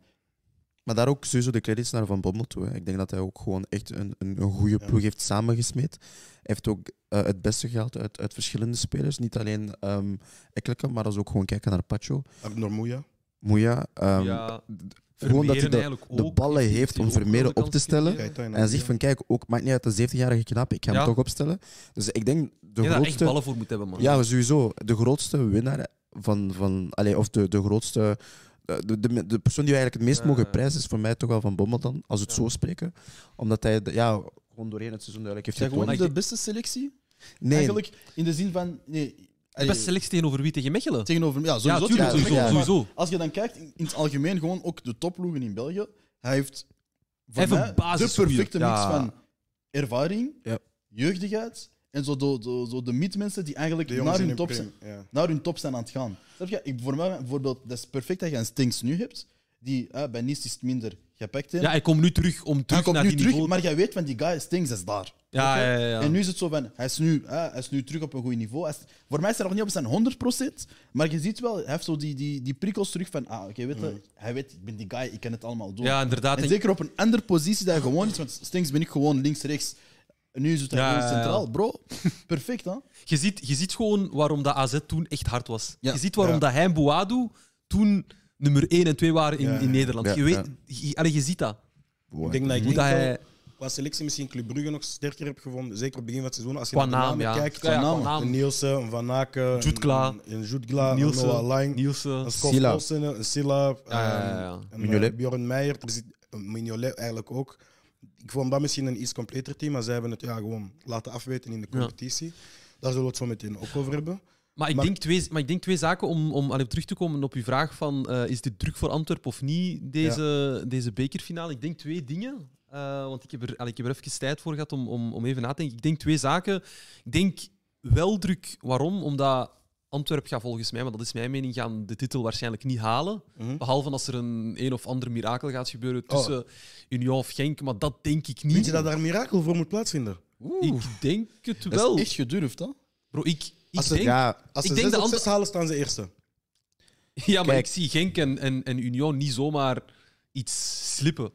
Maar daar ook sowieso de credits naar Van Bommel toe. hè. Ik denk dat hij ook gewoon echt een, een, een goede
Ja.
ploeg heeft samengesmeed. Hij heeft ook eh, het beste gehaald uit, uit verschillende spelers. Niet alleen ehm Ekkelenkamp, maar als we ook gewoon kijken naar Pacho.
Abner Moeja.
Moeja. ehm,
Ja,
gewoon dat hij
Vermeeren
de-
eigenlijk
de
ook.
ballen
Die
heeft om
ook
Vermeeren
grote
op te
kansen
stellen.
creëert.
Gaeta en
En zegt van, kijk, ook, maakt niet uit, een 17-jarige knap, ik ga hem
Ja.
toch opstellen. Dus ik denk de
Je hebt daar echt
grootste...
ballen voor moet hebben, man.
Ja, sowieso. De grootste winnaar van... van allee, of de, de grootste... De, de, de persoon die we eigenlijk het meest
Ja.
mogen prijzen is voor mij toch wel Van Bommel dan, als we het
Ja.
zo spreken. Omdat hij de- ja, gewoon gewoon doorheen het seizoen duidelijk
Zijn
heeft
gewoon
getoond.
de beste selectie?
Nee,
Eigenlijk in de zin van. Nee, allee,
Best selectie tegenover wie? Tegen Mechelen?
tegenover. Ja,
ja,
sowieso.
natuurlijk.
tuurlijk,
Sowieso.
ja.
sowieso.
Als je dan kijkt, in in het algemeen gewoon ook de topploegen in België. Hij heeft voor
Even
mij
basis
de perfecte mix
Ja.
van ervaring,
Ja.
jeugdigheid en zo de, de, zo de midmensen die eigenlijk
De
naar
jongens in
hun,
hun
top
prim,
zijn,
ja.
naar hun top zijn aan het gaan. Snap je? Ik, voor mij bijvoorbeeld, dat is perfect dat je een Stinks nu hebt. Die eh, bij Nice is het minder gepakt.
Ja, hij komt nu terug om
hij
terug
komt
naar
nu
die
terug,
niveau.
maar jij weet van die guy, Stinks is daar.
Ja,
Oké?
ja, ja, ja.
En nu is het zo van, hij is nu, hè, hij is nu terug op een goed niveau. Hij is- voor mij is hij nog niet op zijn 100%, maar je ziet wel, hij heeft zo die, die, die prikkels terug van, ah, oké, weet je, hij weet, ik ben die guy, ik kan het allemaal doen.
Mm. Ja, inderdaad.
en
En-
zeker op een andere positie dat hij gewoon is, want Stinks ben ik gewoon links, rechts. En nu is het
Ja,
gewoon
ja, ja.
centraal, bro. Perfect, hè?
Je ziet, je ziet gewoon waarom dat AZ toen echt hard was.
Ja.
Je ziet waarom
Ja.
dat hij en Boadu toen nummer 1 en 2 waren in,
Ja, ja.
in Nederland.
Ja,
je, weet, je, allee, je ziet dat.
Ik denk dat ik
Hoe dat
enkel
hij...
qua selectie misschien Club Brugge nog sterker heb gevonden. Zeker op het begin van het seizoen. Als je
Qua
naar de
naam,
namen
ja.
kijkt.
Ja, ja,
van
qua
namen.
naam.
Een Nielsen, een Van Aken, een-
Jutgla.
een, een Jutgla, een
Nielsen.
Noah Lang,
Nielsen.
een Scott
Silla.
Olsen, een Silla,
ja, ja,
ehm,
ja.
een
Mignolet.
eh, Bjorn Meijer, er zit- een Mignolet eigenlijk ook. Ik vond dat misschien een iets completer team, maar zij hebben het ja, gewoon laten afweten in de
Ja.
competitie. Daar zullen we het zo meteen ook over hebben.
Maar ik,
Maar-
denk twee, maar ik denk twee zaken om, om allee, terug te komen op uw vraag van eh, is dit druk voor Antwerpen of niet, deze, deze bekerfinale? Ik denk twee dingen, eh, want ik heb, er, allee, ik heb er even tijd voor gehad om, om, om even na te denken. Ik denk twee zaken. Ik denk wel druk. Waarom? Omdat Antwerpen gaat volgens mij, maar dat is mijn mening, gaan de titel waarschijnlijk niet halen.
Mhm.
Behalve als er een een of ander mirakel gaat gebeuren tussen Union of Genk, maar dat denk ik niet.
Vind je dat daar een mirakel voor moet plaatsvinden?
Ik denk het
Dat is
wel.
echt gedurfd, hè?
Bro, ik, ik
als ze-
denk...
ja,
Als
Ik
ze
denk
zes
de
op
ander-
zes halen, staan ze eerste.
Ja, maar
Kijk.
ik zie Genk en, en, en Union niet zomaar iets slippen.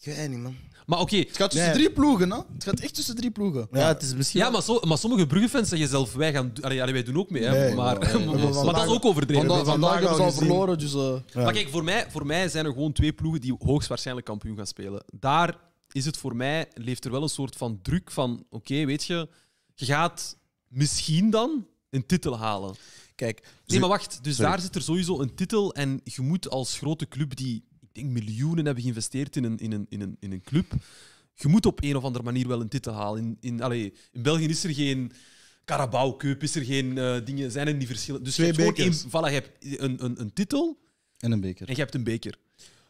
Ik weet niet, man.
Maar oké,
Het gaat tussen
Nee.
drie ploegen, hè? Het gaat echt tussen drie ploegen.
ja, het is misschien.
ja, maar, zo, maar sommige Bruggenfans zeggen zelf, wij, gaan, do- allee, allee, wij doen ook mee. Hè,
Nee,
maar,
nee, nee, nee.
maar, dat is ook overdreven.
Vandaag,
hebben vandaag
vandaag hebben ze
al
al
gezien.
verloren, dus... eh,
Ja.
Maar kijk, voor mij, voor mij zijn er gewoon twee ploegen die hoogstwaarschijnlijk kampioen gaan spelen. Daar is het voor mij, leeft er wel een soort van druk van, oké, weet je, je gaat misschien dan een titel halen.
Kijk,
Nee,
zo-
maar wacht. Dus
Sorry.
daar zit er sowieso een titel. En je moet als grote club die, ik denk, miljoenen hebben geïnvesteerd in een, in een, in een, in een club. Je moet op een of andere manier wel een titel halen. In, in, allee, in België is er geen Carabao Cup, is er geen eh, dingen, zijn er niet verschillen. Dus
Twee
je hebt gewoon
bekers.
één, voilà, je hebt een, een, een titel
En een beker.
en je hebt een beker.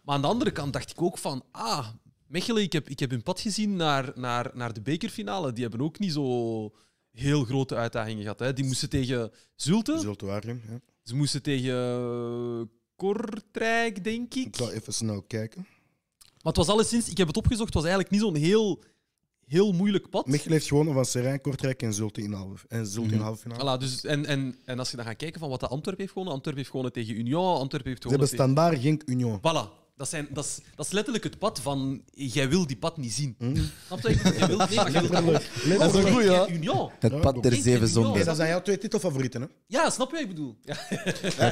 Maar aan de andere kant dacht ik ook van, ah, Mechelen, ik heb, ik heb hun pad gezien naar, naar, naar de bekerfinale. Die hebben ook niet zo heel grote uitdagingen gehad. Hè. Die moesten tegen Zulte.
Zult u waar, ja.
Ze moesten tegen eh, Kortrijk, denk ik.
Ik zal even snel kijken.
Maar het was alleszins, ik heb het opgezocht, het was eigenlijk niet zo'n heel, heel moeilijk pad.
Michel heeft gewonnen van Serijn, Kortrijk en Zulte in halve, en Zulte in halve finale.
Voilà, dus, en, en, en als je dan gaat kijken van wat de Antwerp heeft gewonnen, Antwerp heeft gewonnen tegen Union, Antwerp heeft
Ze
gewonnen
hebben
tegen...
standaard Genk Union.
Voilà. Dat, zijn, dat, is, dat is letterlijk het pad van... Jij wil die pad niet zien. Snap je? Jij wil, nee, maar jij wil dat ook.
Hm. Dat
Jij-
zijn
jij Union.
het pad der
Kijk,
zeven
kijk,
zonden.
joh.
jouw twee titelfavorieten, hè?
Ja, snap je wat ik bedoel? Ja,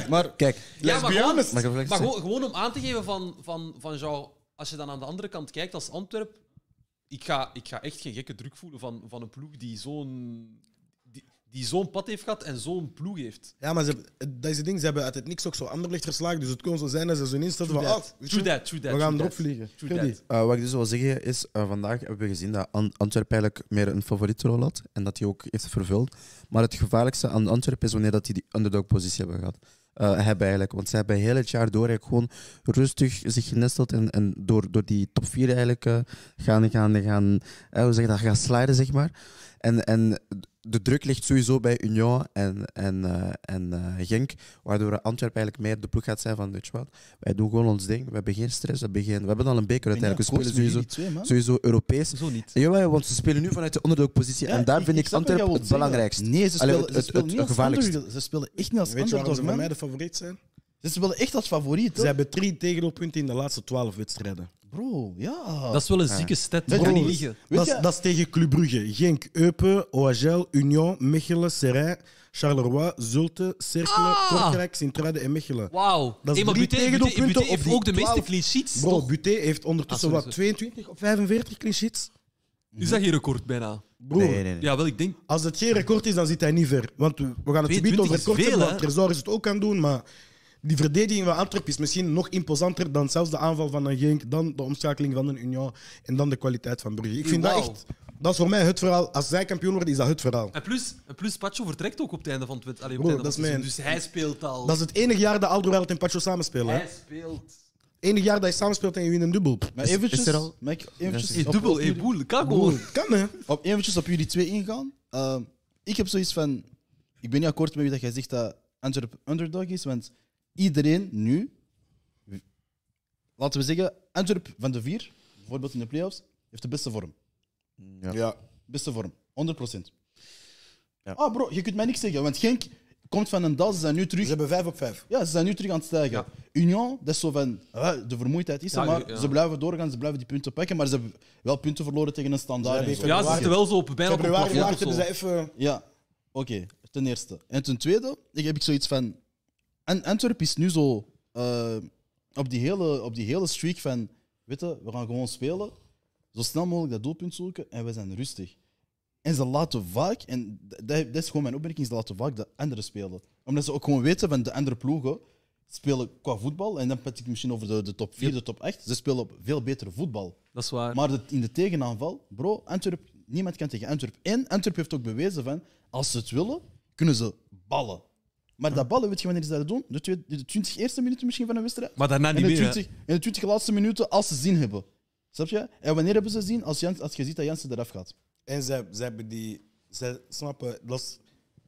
Maar kijk,
ja maar, gewoon,
Mag ik even zeggen?
maar gewoon, gewoon om aan te geven van, van, van jou, als je dan aan de andere kant kijkt als Antwerp, ik ga, ik ga echt geen gekke druk voelen van, van een ploeg die zo'n die, die zo'n pad heeft gehad en zo'n ploeg heeft.
Ja, maar ze hebben- dat is het ding. Ze hebben uit het niks ook zo anderlicht verslagen. Dus het kon zo zijn dat ze zo instelden van...
True
Oh,
that, true that, true that.
we gaan
true
erop
that.
vliegen.
True
Freddy.
that.
Eh, wat ik dus wil zeggen is, eh, vandaag hebben we gezien dat An- Antwerpen eigenlijk meer een favoriete rol had en dat hij ook heeft vervuld. Maar het gevaarlijkste aan Antwerpen is wanneer dat die die underdog-positie hebben gehad. Eh, hebben eigenlijk, want ze hebben heel het jaar door eigenlijk gewoon rustig zich genesteld en, en door, door die top 4 eigenlijk eh, gaan, gaan, gaan, eh, hoe zeg je dat, gaan sliden, zeg maar. En, en de druk ligt sowieso bij Union en, en, eh, en eh, Genk, waardoor Antwerpen eigenlijk meer de ploeg gaat zijn van, weet je wat, wij doen gewoon ons ding, we hebben geen stress, we hebben, geen, we hebben al een beker uiteindelijk, we spelen sowieso sowieso Europees.
Zo niet.
Jawel, want ze spelen nu vanuit de underdog-positie. en daar vind ik, Antwerpen het belangrijkste.
Nee, ze
Allee, het-
spelen, ze
het-
spelen
het
niet als
gevaarlijkste.
underdog. Ze spelen echt niet als
Weet je waarom
underdog,
ze voor mij
man.
de favoriet zijn?
Ze spelen echt als favoriet,
Ze
hè?
hebben drie tegendoelpunten in de laatste twaalf wedstrijden.
Bro, ja.
Dat is wel een zieke stat, dat
Weet
kan
je-
niet liggen.
Weet
Dat is,
je-
dat is tegen Club Brugge, Genk, Eupen, OHL, Union, Mechelen, Serijn, Charleroi, Zulte, Cercle,
Ah!
Kortrijk, Sint-Truiden en Mechelen.
Wauw.
Dat is
Hey, maar
drie
Buté- Buté-
tegendoelpunten
Buté
op
heeft
die
ook de meeste
12.
clean sheets,
Bro,
toch?
Buté heeft ondertussen
Ah, sorry,
wat 22 of 45 clean sheets.
Is dat geen record bijna?
Broer,
Ja, wel, ik denk...
als het geen record is, dan zit hij niet ver. Want we we gaan het gebied
22
over
is
het kort
veel,
hebben,
hè?
want Trezor is het ook aan doen, maar die verdediging van Antwerpen is misschien nog imposanter dan zelfs de aanval van een Genk, dan de omschakeling van een Union en dan de kwaliteit van Brugge. Ik vind dat
Wauw.
echt... Dat is voor mij het verhaal. Als zij kampioen worden, is dat het verhaal.
En plus, en plus Pacho vertrekt ook op het einde van het, wed- allee, op
Bro,
het,
dat
einde van
is
het
mijn-
seizoen. Dus hij speelt al.
Dat is het enige jaar dat Alderweireld en Pacho samenspelen. hè.
Hij speelt.
Enig jaar dat je samenspeelt en je wint een dubbel.
Maar eventjes,
is er al-
mag ik eventjes
Hey,
op-
dubbel,
op
hey,
jullie-
boel. Kan gewoon.
Kan, hè?
op, eventjes op jullie twee ingaan. Ehm, ik heb zoiets van. Ik ben niet akkoord met wie dat jij zegt dat Antwerp underdog is, want iedereen nu, laten we zeggen, Antwerp van de vier, bijvoorbeeld in de playoffs, heeft de beste vorm.
Ja.
Beste vorm, 100%.
Ja.
Ah, bro, je kunt mij niks zeggen, want Genk komt van een dal, ze zijn nu terug.
Ze hebben vijf op vijf.
Ja, ze zijn nu terug aan het stijgen.
Ja.
Union, dat is zo van. ah, de vermoeidheid is er,
Ja,
maar
ja, ja.
ze blijven doorgaan, ze blijven die punten pakken, maar ze hebben wel punten verloren tegen een standaard.
Ze
en
hebben
zo.
Ja, ze zitten wel zo op bijna op een
Februari,
plafond.
maart
of zo.
hebben ze even...
Ja, oké, ten eerste. En ten tweede ik heb ik zoiets van. En Antwerpen is nu zo eh, op, die hele, op die hele streak van. Weet je, we gaan gewoon spelen. Zo snel mogelijk dat doelpunt zoeken en we zijn rustig. En ze laten vaak, en d- dat, dat is gewoon mijn opmerking, ze laten vaak de anderen spelen. Omdat ze ook gewoon weten van de andere ploegen spelen qua voetbal. En dan praat ik misschien over de, de top 4, de top 8. Ze spelen op veel betere voetbal.
Dat is waar.
Maar het- in de tegenaanval, bro, Antwerp, niemand kan tegen Antwerp. En Antwerp heeft ook bewezen van, als ze het willen, kunnen ze ballen. Maar dat ballen, weet je wanneer ze dat doen? De, twee, de 20 eerste minuten misschien van een wedstrijd.
Maar daarna
En
niet
de,
meer. hè.
20, en de 20 laatste minuten als ze zin hebben. Snap je? En wanneer hebben ze zin? Als, Jans, als je ziet dat Jansen eraf gaat.
En zij, zij hebben die. Zij snappen. Dat is-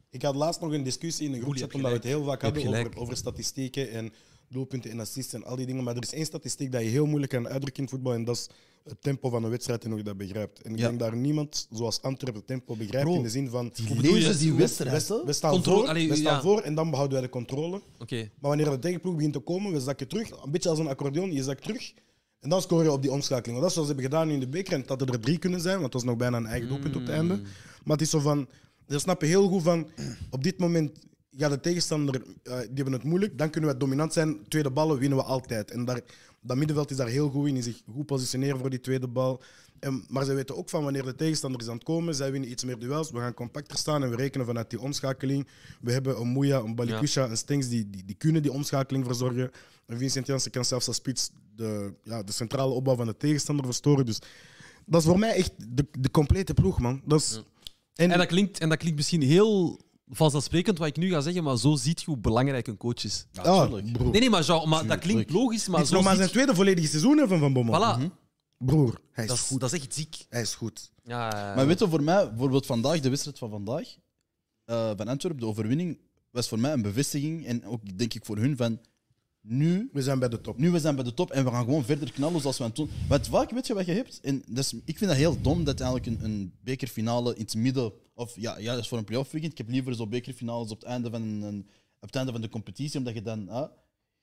ik had laatst nog een discussie in een groep
Oei, je
chat,
hebt
omdat we het heel vaak hadden
Je hebt
over,
gelijk.
over statistieken en doelpunten en assists en al die dingen. Maar er is één statistiek dat je heel moeilijk kan uitdrukken in voetbal. En dat is het tempo van een wedstrijd en hoe je dat begrijpt. En ik
Ja.
denk daar niemand zoals Antwerpen het tempo begrijpt.
Bro,
in de zin van.
bedoel je?
Lezen die
We,
wedstrijden?
we staan,
Controle,
voor,
allee,
we staan
ja.
voor en dan behouden wij de controle.
Oké.
Maar wanneer de tegenploeg begint te komen, we zakken terug. Een beetje als een accordeon, je zakt terug. En dan scoor je op die omschakeling. Want dat is wat ze hebben gedaan in de beker. En dat hadden er drie kunnen zijn, want het was nog bijna een eigen doelpunt op het einde. Maar het is zo van... Ze snappen heel goed van... Op dit moment gaat de tegenstander... eh, die hebben het moeilijk. Dan kunnen we dominant zijn. Tweede ballen winnen we altijd. En daar, dat middenveld is daar heel goed in. Is zich goed positioneren voor die tweede bal. En, maar ze weten ook van wanneer de tegenstander is aan het komen. Zij winnen iets meer duels. We gaan compacter staan en we rekenen vanuit die omschakeling. We hebben een Moeja, een Balikusha en Stengs die, die, die kunnen die omschakeling verzorgen. En Vincent Janssen kan zelfs als spits de, ja, de centrale opbouw van de tegenstander verstoren. Dus dat is voor mij echt de, de complete ploeg, man. Dat is, en,
En dat, klinkt, en dat klinkt misschien heel vanzelfsprekend wat ik nu ga zeggen, maar zo ziet je hoe belangrijk een coach is.
ah,
Natuurlijk.
broer.
Nee, nee, maar, Jean, maar dat klinkt logisch, maar
Dit is
zo
nog maar
ziet
zijn tweede volledige seizoen hè, van Van Bommel.
Voilà,
Broer, hij is,
dat, Mhm. is,
goed.
dat is echt ziek.
Hij is goed.
Ja, ja, ja.
Maar weet je, voor mij, bijvoorbeeld vandaag, de wedstrijd van vandaag, eh, van Antwerpen, de overwinning, was voor mij een bevestiging. En ook, denk ik, voor hun van, nu
We zijn bij de top.
Nu we zijn bij de top en we gaan gewoon verder knallen zoals we aan het doen. Want vaak weet je wat je hebt. En dat is- ik vind dat heel dom dat eigenlijk een, een bekerfinale in het midden. Of ja, ja, dat is voor een playoff weekend. Ik heb liever zo'n bekerfinales op het einde van, een- een, op het einde van de competitie. Omdat je dan. ah,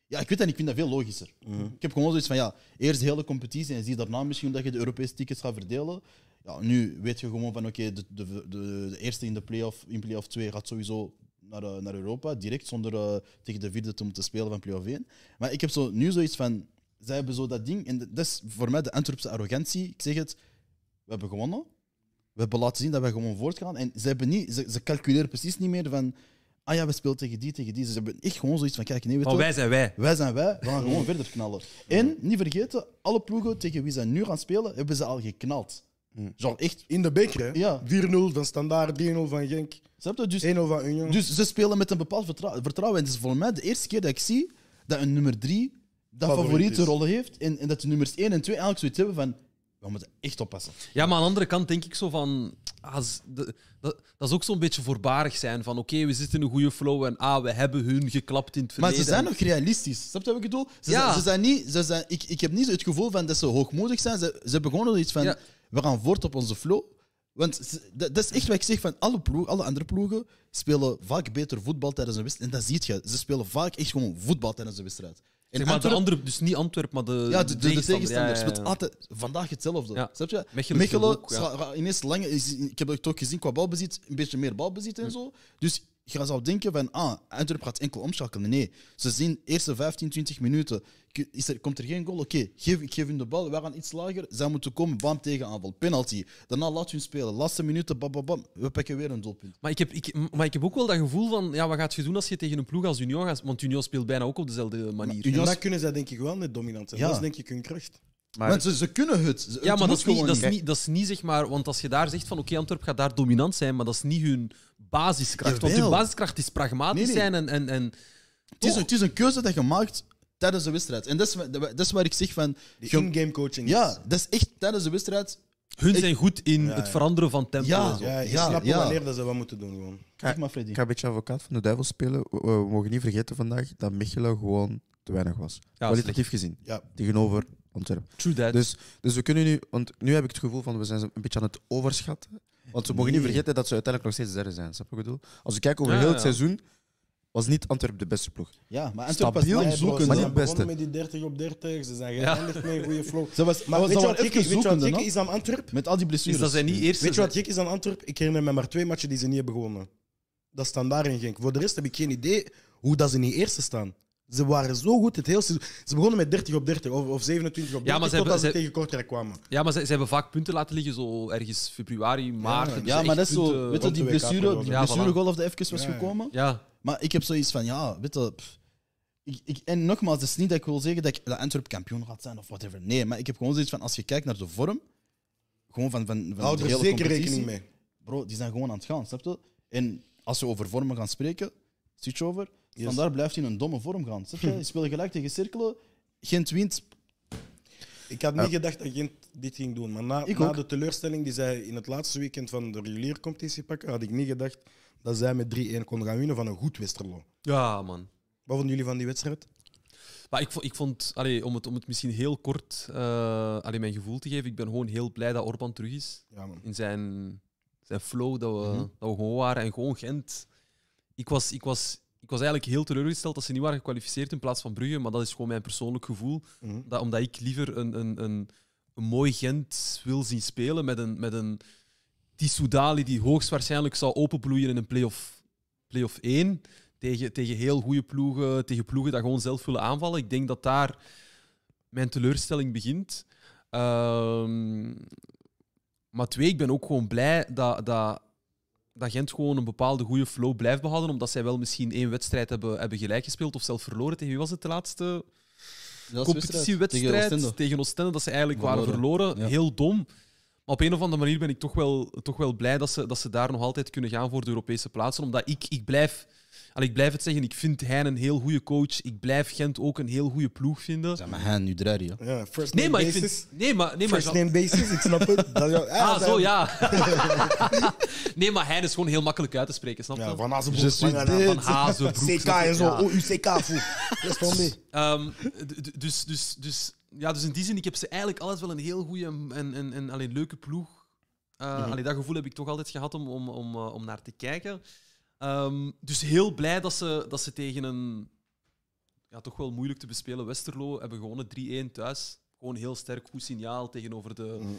ja, ik weet dat, niet, ik vind dat veel logischer. Ik heb gewoon zoiets van ja, eerst de hele competitie en zie daarna misschien dat je de Europese tickets gaat verdelen. Ja, nu weet je gewoon van oké, de, de, de, de eerste in de play-off, in play-off 2 gaat sowieso naar, eh, naar Europa, direct zonder eh, tegen de vierde te moeten spelen van play-off 1. Maar ik heb zo, nu zoiets van, zij hebben zo dat ding, en dat is voor mij de Antwerpse arrogantie. Ik zeg het, we hebben gewonnen, we hebben laten zien dat we gewoon voortgaan. En ze, hebben niet, ze, ze calculeren precies niet meer van, ah ja, we spelen tegen die, tegen die. Ze hebben echt gewoon zoiets van, kijk, nee, weet je
Van
wat?
wij zijn wij.
Wij zijn wij, we gaan gewoon verder knallen. En niet vergeten, alle ploegen tegen wie ze nu gaan spelen, hebben ze al geknald. Genre echt.
In de beker, hè?
Ja.
4-0 van Standaard, 3-0 van Genk, 1-0
Snap je? Dus,
van Union.
dus ze spelen met een bepaald vertra- vertrouwen. En het is voor mij de eerste keer dat ik zie dat een nummer drie dat
Favoriet
favoriete
is.
rol heeft. En, en dat de nummers 1 en 2 eigenlijk zoiets hebben van. We moeten echt oppassen.
Ja, maar aan de andere kant denk ik zo van. ah, z- de- dat, dat is ook zo'n beetje voorbarig zijn. Van oké, we zitten in een goede flow en ah, we hebben hun geklapt in het
Maar
verleden.
ze zijn nog realistisch. Snap je wat ik bedoel? Ze,
Ja.
zijn, ze zijn niet, ze zijn, ik, ik heb niet het gevoel van dat ze hoogmoedig zijn. Ze, ze hebben gewoon zoiets van:
Ja.
we gaan voort op onze flow. Want ze- dat, dat is echt wat ik zeg van alle, ploeg, alle andere ploegen spelen vaak beter voetbal tijdens een wedstrijd. En dat zie je. Ze spelen vaak echt gewoon voetbal tijdens een wedstrijd. En
Zeg maar de
Antwerp-
andere, dus niet Antwerpen, maar de,
ja, de, de, de tegenstander
ja, ja, ja.
speelt altijd vandaag hetzelfde.
Ja.
Snap je?
Mechelen speelt ook, ja. Hm.
scha- ga ineens langer. is- Ik heb het ook gezien qua balbezit, een beetje meer balbezit en zo. Dus je zou denken van, ah, Antwerp gaat enkel omschakelen. Nee, ze zien eerste 15, 20 minuten, K- is er, komt er geen goal? Oké, geef, ik geef hun de bal, wij gaan iets lager. Zij moeten komen, bam, tegenaanval, penalty. Daarna laat hun spelen, laatste minuten, bam, bam, bam, we pakken weer een doelpunt.
Maar ik, heb, ik, maar ik heb ook wel dat gevoel van, ja, wat gaat je doen als je tegen een ploeg als Union gaat? Want Union speelt bijna ook op dezelfde manier.
En
Union-
dan kunnen zij denk ik wel net dominant zijn.
Ja.
Dat is denk ik hun kracht.
Maar-
Want ze, ze kunnen het. Ze- het
ja,
moet
maar dat is, niet,
gewoon
dat, is niet, dat is niet zeg maar, want als je daar zegt van oké, Antwerp gaat daar dominant zijn, maar dat is niet hun basiskracht. Want hun
Jawel.
basiskracht is pragmatisch
Nee, nee.
zijn en, en, en
Het is, een- het is een keuze dat je maakt tijdens de wedstrijd. En dat is, wa- dat is waar ik zeg van...
Die
je-
in-game coaching.
ja, dat is echt tijdens de wedstrijd.
hun
Ik-
zijn goed in
Ja,
het
ja.
veranderen van tempo.
Ja.
en zo.
Ja, je
Ja,
snapt
ja.
wanneer dat ze wat moeten doen gewoon.
Zeg maar, Freddy.
Ik ga een beetje advocaat van de duivel spelen. We, we mogen niet vergeten vandaag dat Mechelen gewoon te weinig was.
Ja,
Kwalitatief gezien.
Ja.
Tegenover Antwerpen.
True that.
Dus, dus we kunnen nu... Want nu heb ik het gevoel van we zijn ze een beetje aan het overschatten. Want we mogen niet
Nee.
vergeten dat ze uiteindelijk nog steeds derde zijn. Snap je wat ik bedoel? Als we kijken over
Ja,
heel
ja,
het
ja.
seizoen, was niet Antwerpen de beste ploeg.
Ja, maar Antwerp was
Stabiel,
lang
Bro,
zoeken.
Ze
maar
zijn
niet beste.
begonnen met die 30 op 30. Ze zijn geëindigd met een goede flow.
Ze was,
Maar weet
maar ze
je
waren
wat gek
even
is- weet je wat
zoekende,
gek
no?
is aan Antwerp?
Met al die blessures.
Dus dat zijn niet eerste.
Weet je wat
zijn.
gek is aan Antwerp? Ik herinner me maar twee matchen die ze niet hebben gewonnen. Dat staan daarin ging. Voor de rest heb ik geen idee hoe dat ze niet eerste staan. Ze waren zo goed het hele seizoen. Ze begonnen met 30 op 30 of, of 27 op 30
Ja, maar ze
totdat ze,
hebben- ze-
tegen Kortrijk kwamen.
Ja, maar ze, ze hebben vaak punten laten liggen, zo ergens februari, maart. hebben ze
Ja, maar
echt
dat is zo.
punten-
Weet je,
eh, op
die
de WK
blessure,
verloren.
die
Ja, voilà.
blessuregolf die even was
Ja, ja.
gekomen.
Ja,
Maar ik heb zoiets van, ja, weet je... pff, ik, ik, en nogmaals, het is niet dat ik wil zeggen dat, ik, dat Antwerp kampioen gaat zijn of whatever. Nee, maar ik heb gewoon zoiets van, als je kijkt naar de vorm, gewoon van, van, van
Houd
de
er
hele
zeker
competitie,
rekening mee.
Bro, die zijn gewoon aan het gaan, snap je? En als we over vormen gaan spreken, switch over,
Yes.
dan daar blijft hij in een domme vorm gaan, snap je? Je speelt gelijk tegen cirkelen, Gent wint,
Ik had niet gedacht dat Gent dit ging doen. Maar na,
Ik
na
ook.
de teleurstelling die zij in het laatste weekend van de reguliere competitie pakken, had ik niet gedacht dat zij met 3-1 konden gaan winnen van een goed Westerlo.
ja, man.
Wat vonden jullie van die wedstrijd?
Maar ik vond, ik vond allee, om, het, om het misschien heel kort eh, allee, mijn gevoel te geven, ik ben gewoon heel blij dat Orban terug is.
Ja, man.
In zijn, zijn flow, dat we, dat we gewoon waren en gewoon Gent. Ik was, ik, was, ik was eigenlijk heel teleurgesteld dat ze niet waren gekwalificeerd in plaats van Brugge, maar dat is gewoon mijn persoonlijk gevoel.
Mhm.
Dat, omdat ik liever een, een, een, een mooi Gent wil zien spelen met een, met een Tissoudali die hoogstwaarschijnlijk zal openbloeien in een play-off, play-off 1. Tegen, tegen heel goede ploegen, tegen ploegen dat gewoon zelf willen aanvallen. Ik denk dat daar mijn teleurstelling begint. Ehm, maar twee, ik ben ook gewoon blij dat, dat, dat Gent gewoon een bepaalde goede flow blijft behouden. Omdat zij wel misschien één wedstrijd hebben, hebben gelijk gespeeld of zelf verloren. Tegen wie was het de laatste?
dat is
competitiewedstrijd tegen Oostende. dat ze eigenlijk waren
Verloren.
verloren.
Ja.
Heel dom. Maar op een of andere manier ben ik toch wel, toch wel blij dat ze, dat ze daar nog altijd kunnen gaan voor de Europese plaatsen. Omdat ik, ik blijf... al, ik blijf het zeggen, ik vind Hein een heel goede coach. Ik blijf Gent ook een heel goede ploeg vinden.
Zeg maar, hen nu drie, ja.
Ja, first
Nee,
name
maar
basis.
ik vind... Nee, maar... Nee, maar
First name basis, ik snap het. Dat, ja,
ah,
zij-
zo, ja. nee, maar Hein is gewoon heel makkelijk uit te spreken, snap je?
Ja,
van,
van Azenbroek. Van, ja, van
Hazenbroek.
CK
snap je?
en zo.
Ja.
Oh, UCK voer. Dat is van mee.
Ehm, d- d- dus, dus, dus, ja, dus in die zin, ik heb ze eigenlijk altijd wel een heel goede en, en, en alleen leuke ploeg. Eh,
Mhm.
allee, dat gevoel heb ik toch altijd gehad om, om, om, eh, om naar te kijken. Ehm, dus heel blij dat ze, dat ze tegen een ja, toch wel moeilijk te bespelen Westerlo hebben gewonnen. 3-1 thuis. Gewoon heel sterk, goed signaal tegenover de
Mhm.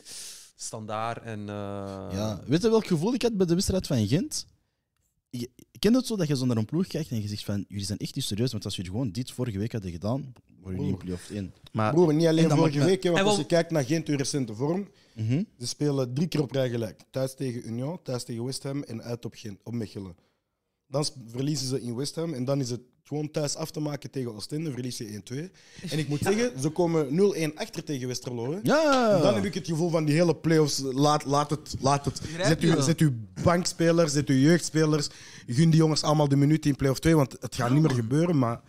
standaard. En, eh,
Ja, weet je welk gevoel ik had bij de wedstrijd van Gent? Je- Ik ken het zo dat je zo naar een ploeg kijkt en je zegt van, jullie zijn echt niet serieus, want als jullie gewoon dit vorige week hadden gedaan, worden jullie niet in play-off 1.
Maar
Broer, niet alleen
En dan
vorige
maakt-
week, hè, want
En wel-
als je kijkt naar Gent hun recente vorm,
Mhm.
ze spelen drie keer op rij gelijk. Thuis tegen Union, thuis tegen West Ham en uit op, Gent, op Mechelen. Dan sp- verliezen ze in West Ham en dan is het gewoon thuis af te maken tegen Oostende, verlies je 1-2. En ik moet zeggen, ze komen 0-1 achter tegen Westerlo. hè.
Ja!
En Dan heb ik het gevoel van die hele play-offs. Laat, laat het. Laat het.
Begrijp
Zet,
je
uw,
wel?
zet uw bankspelers, zet uw jeugdspelers. Gun die jongens allemaal de minuten in play-off 2, want het gaat niet meer gebeuren. Maar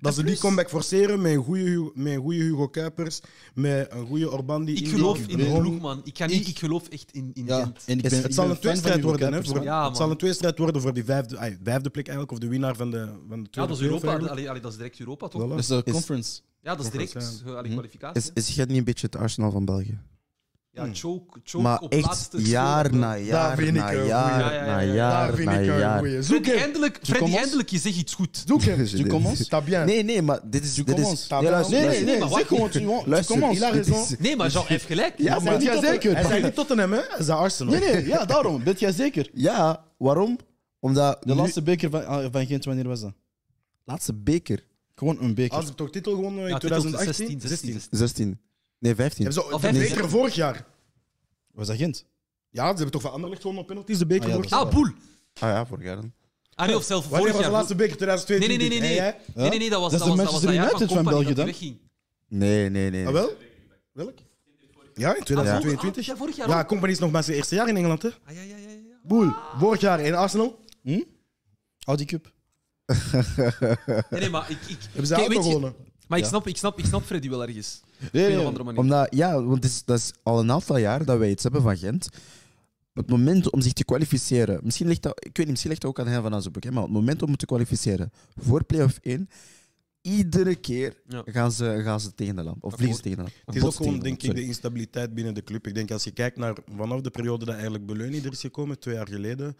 dat ze die
plus-
comeback forceren met een goede, Hu- met een goede Hugo Kuipers, met een goede Orban die
Ik
die-
geloof in de
Brom-
ploeg, man. Ik, ga niet, ik geloof echt in, in
ja,
Gent.
en ik ben,
het zal een tweestrijd worden, hè? voor-
Voor...
Ja,
het zal
man.
een tweestrijd worden voor die vijfde, ah, vijfde plek eigenlijk, of de winnaar van de, van de tweede
Ja, dat is
play-off
Europa.
eigenlijk.
Allee, allee, dat is direct Europa, toch?
Voilà.
Dat is de conference.
Ja, dat is
Conference,
direct.
ja.
eh, allee, kwalificatie.
is, is Gent niet een beetje het Arsenal van België?
Ja, choke, choke
maar
op
echt
laatste
jaar
seconde.
na jaar
vind ik
na
een goeie.
jaar
Ja, ja, ja,
na
ja.
Daar
jaar
vind
na
ik een
jaar.
goeie. Zoek
Freddy,
hem.
eindelijk, Freddy,
comments?
eindelijk, je zegt iets goed.
Zoek hem.
Dus dit-
Tu commences?
Está bien.
Nee, nee, maar dit is... Dit
commences?
is nee, luister,
Nee, nee,
luister.
nee,
maar
zeg gewoon, tu tu
Luister,
commences.
Il a
dit
raison.
is-
Nee, maar Jean heeft gelijk.
Ja,
Bent
maar...
jij
niet
zeker?
Tottenham.
Hij zei niet Tottenham, hè? Hij zei Arsenal.
Nee, nee, ja, daarom. Ben jij zeker?
Ja, waarom? Omdat
De laatste beker van, ah, van Gent, wanneer was dat?
laatste beker.
Gewoon een beker.
Als ze toch titel gewonnen in
Ja, titel
2018?
16.
16.
16. Nee, 15.
Hebben ze
Of
de
vijftien.
beker vorig jaar?
Was dat Gent?
Ja, ze hebben toch van Anderlecht gewonnen op penalties, de beker
Ah, ja,
vorig
dat
jaar?
is
Ah, boel.
Ah ja, vorig jaar dan.
Ah, nee, of zelf
Wanneer
vorig
was
jaar.
de laatste beker? 2022?
Nee, nee, nee, nee,
Hey,
nee.
hey.
Nee, nee, nee, dat was
Dat is
was,
de
dat was
Manchester
dat jaar
United van
Company dat
België
die wegging.
Nee, nee, nee.
Ah, wel? Welk? Ja, in 2022.
Ah, ja, vorig jaar
Ja,
ook.
Company is nog maar zijn eerste jaar in Engeland, hè?
Ah, ja, ja, ja, ja.
Boel. Vorig jaar in Arsenal.
Audi Cup.
Nee, nee, maar ik... ik
Hebben ze
Kijk,
ook
weet
nog
je-
gewonnen?
Maar ik snap, ik snap, ik snap Freddy wel ergens.
Nee,
Op een of andere manier.
Omdat, ja, want het is, dat is al een aantal jaar dat wij iets hebben van Gent. Het moment om zich te kwalificeren, misschien ligt dat, ik weet niet, misschien ligt dat ook aan Hein van Azenbroek, hè, maar het moment om te kwalificeren voor play-off 1, iedere keer
Ja.
gaan, ze, gaan ze tegen de lamp. Of vliegen ze tegen de lamp.
Het is ook gewoon, denk ik, de instabiliteit binnen de club. Ik denk als je kijkt naar vanaf de periode dat eigenlijk Beleuni er is gekomen, twee jaar geleden.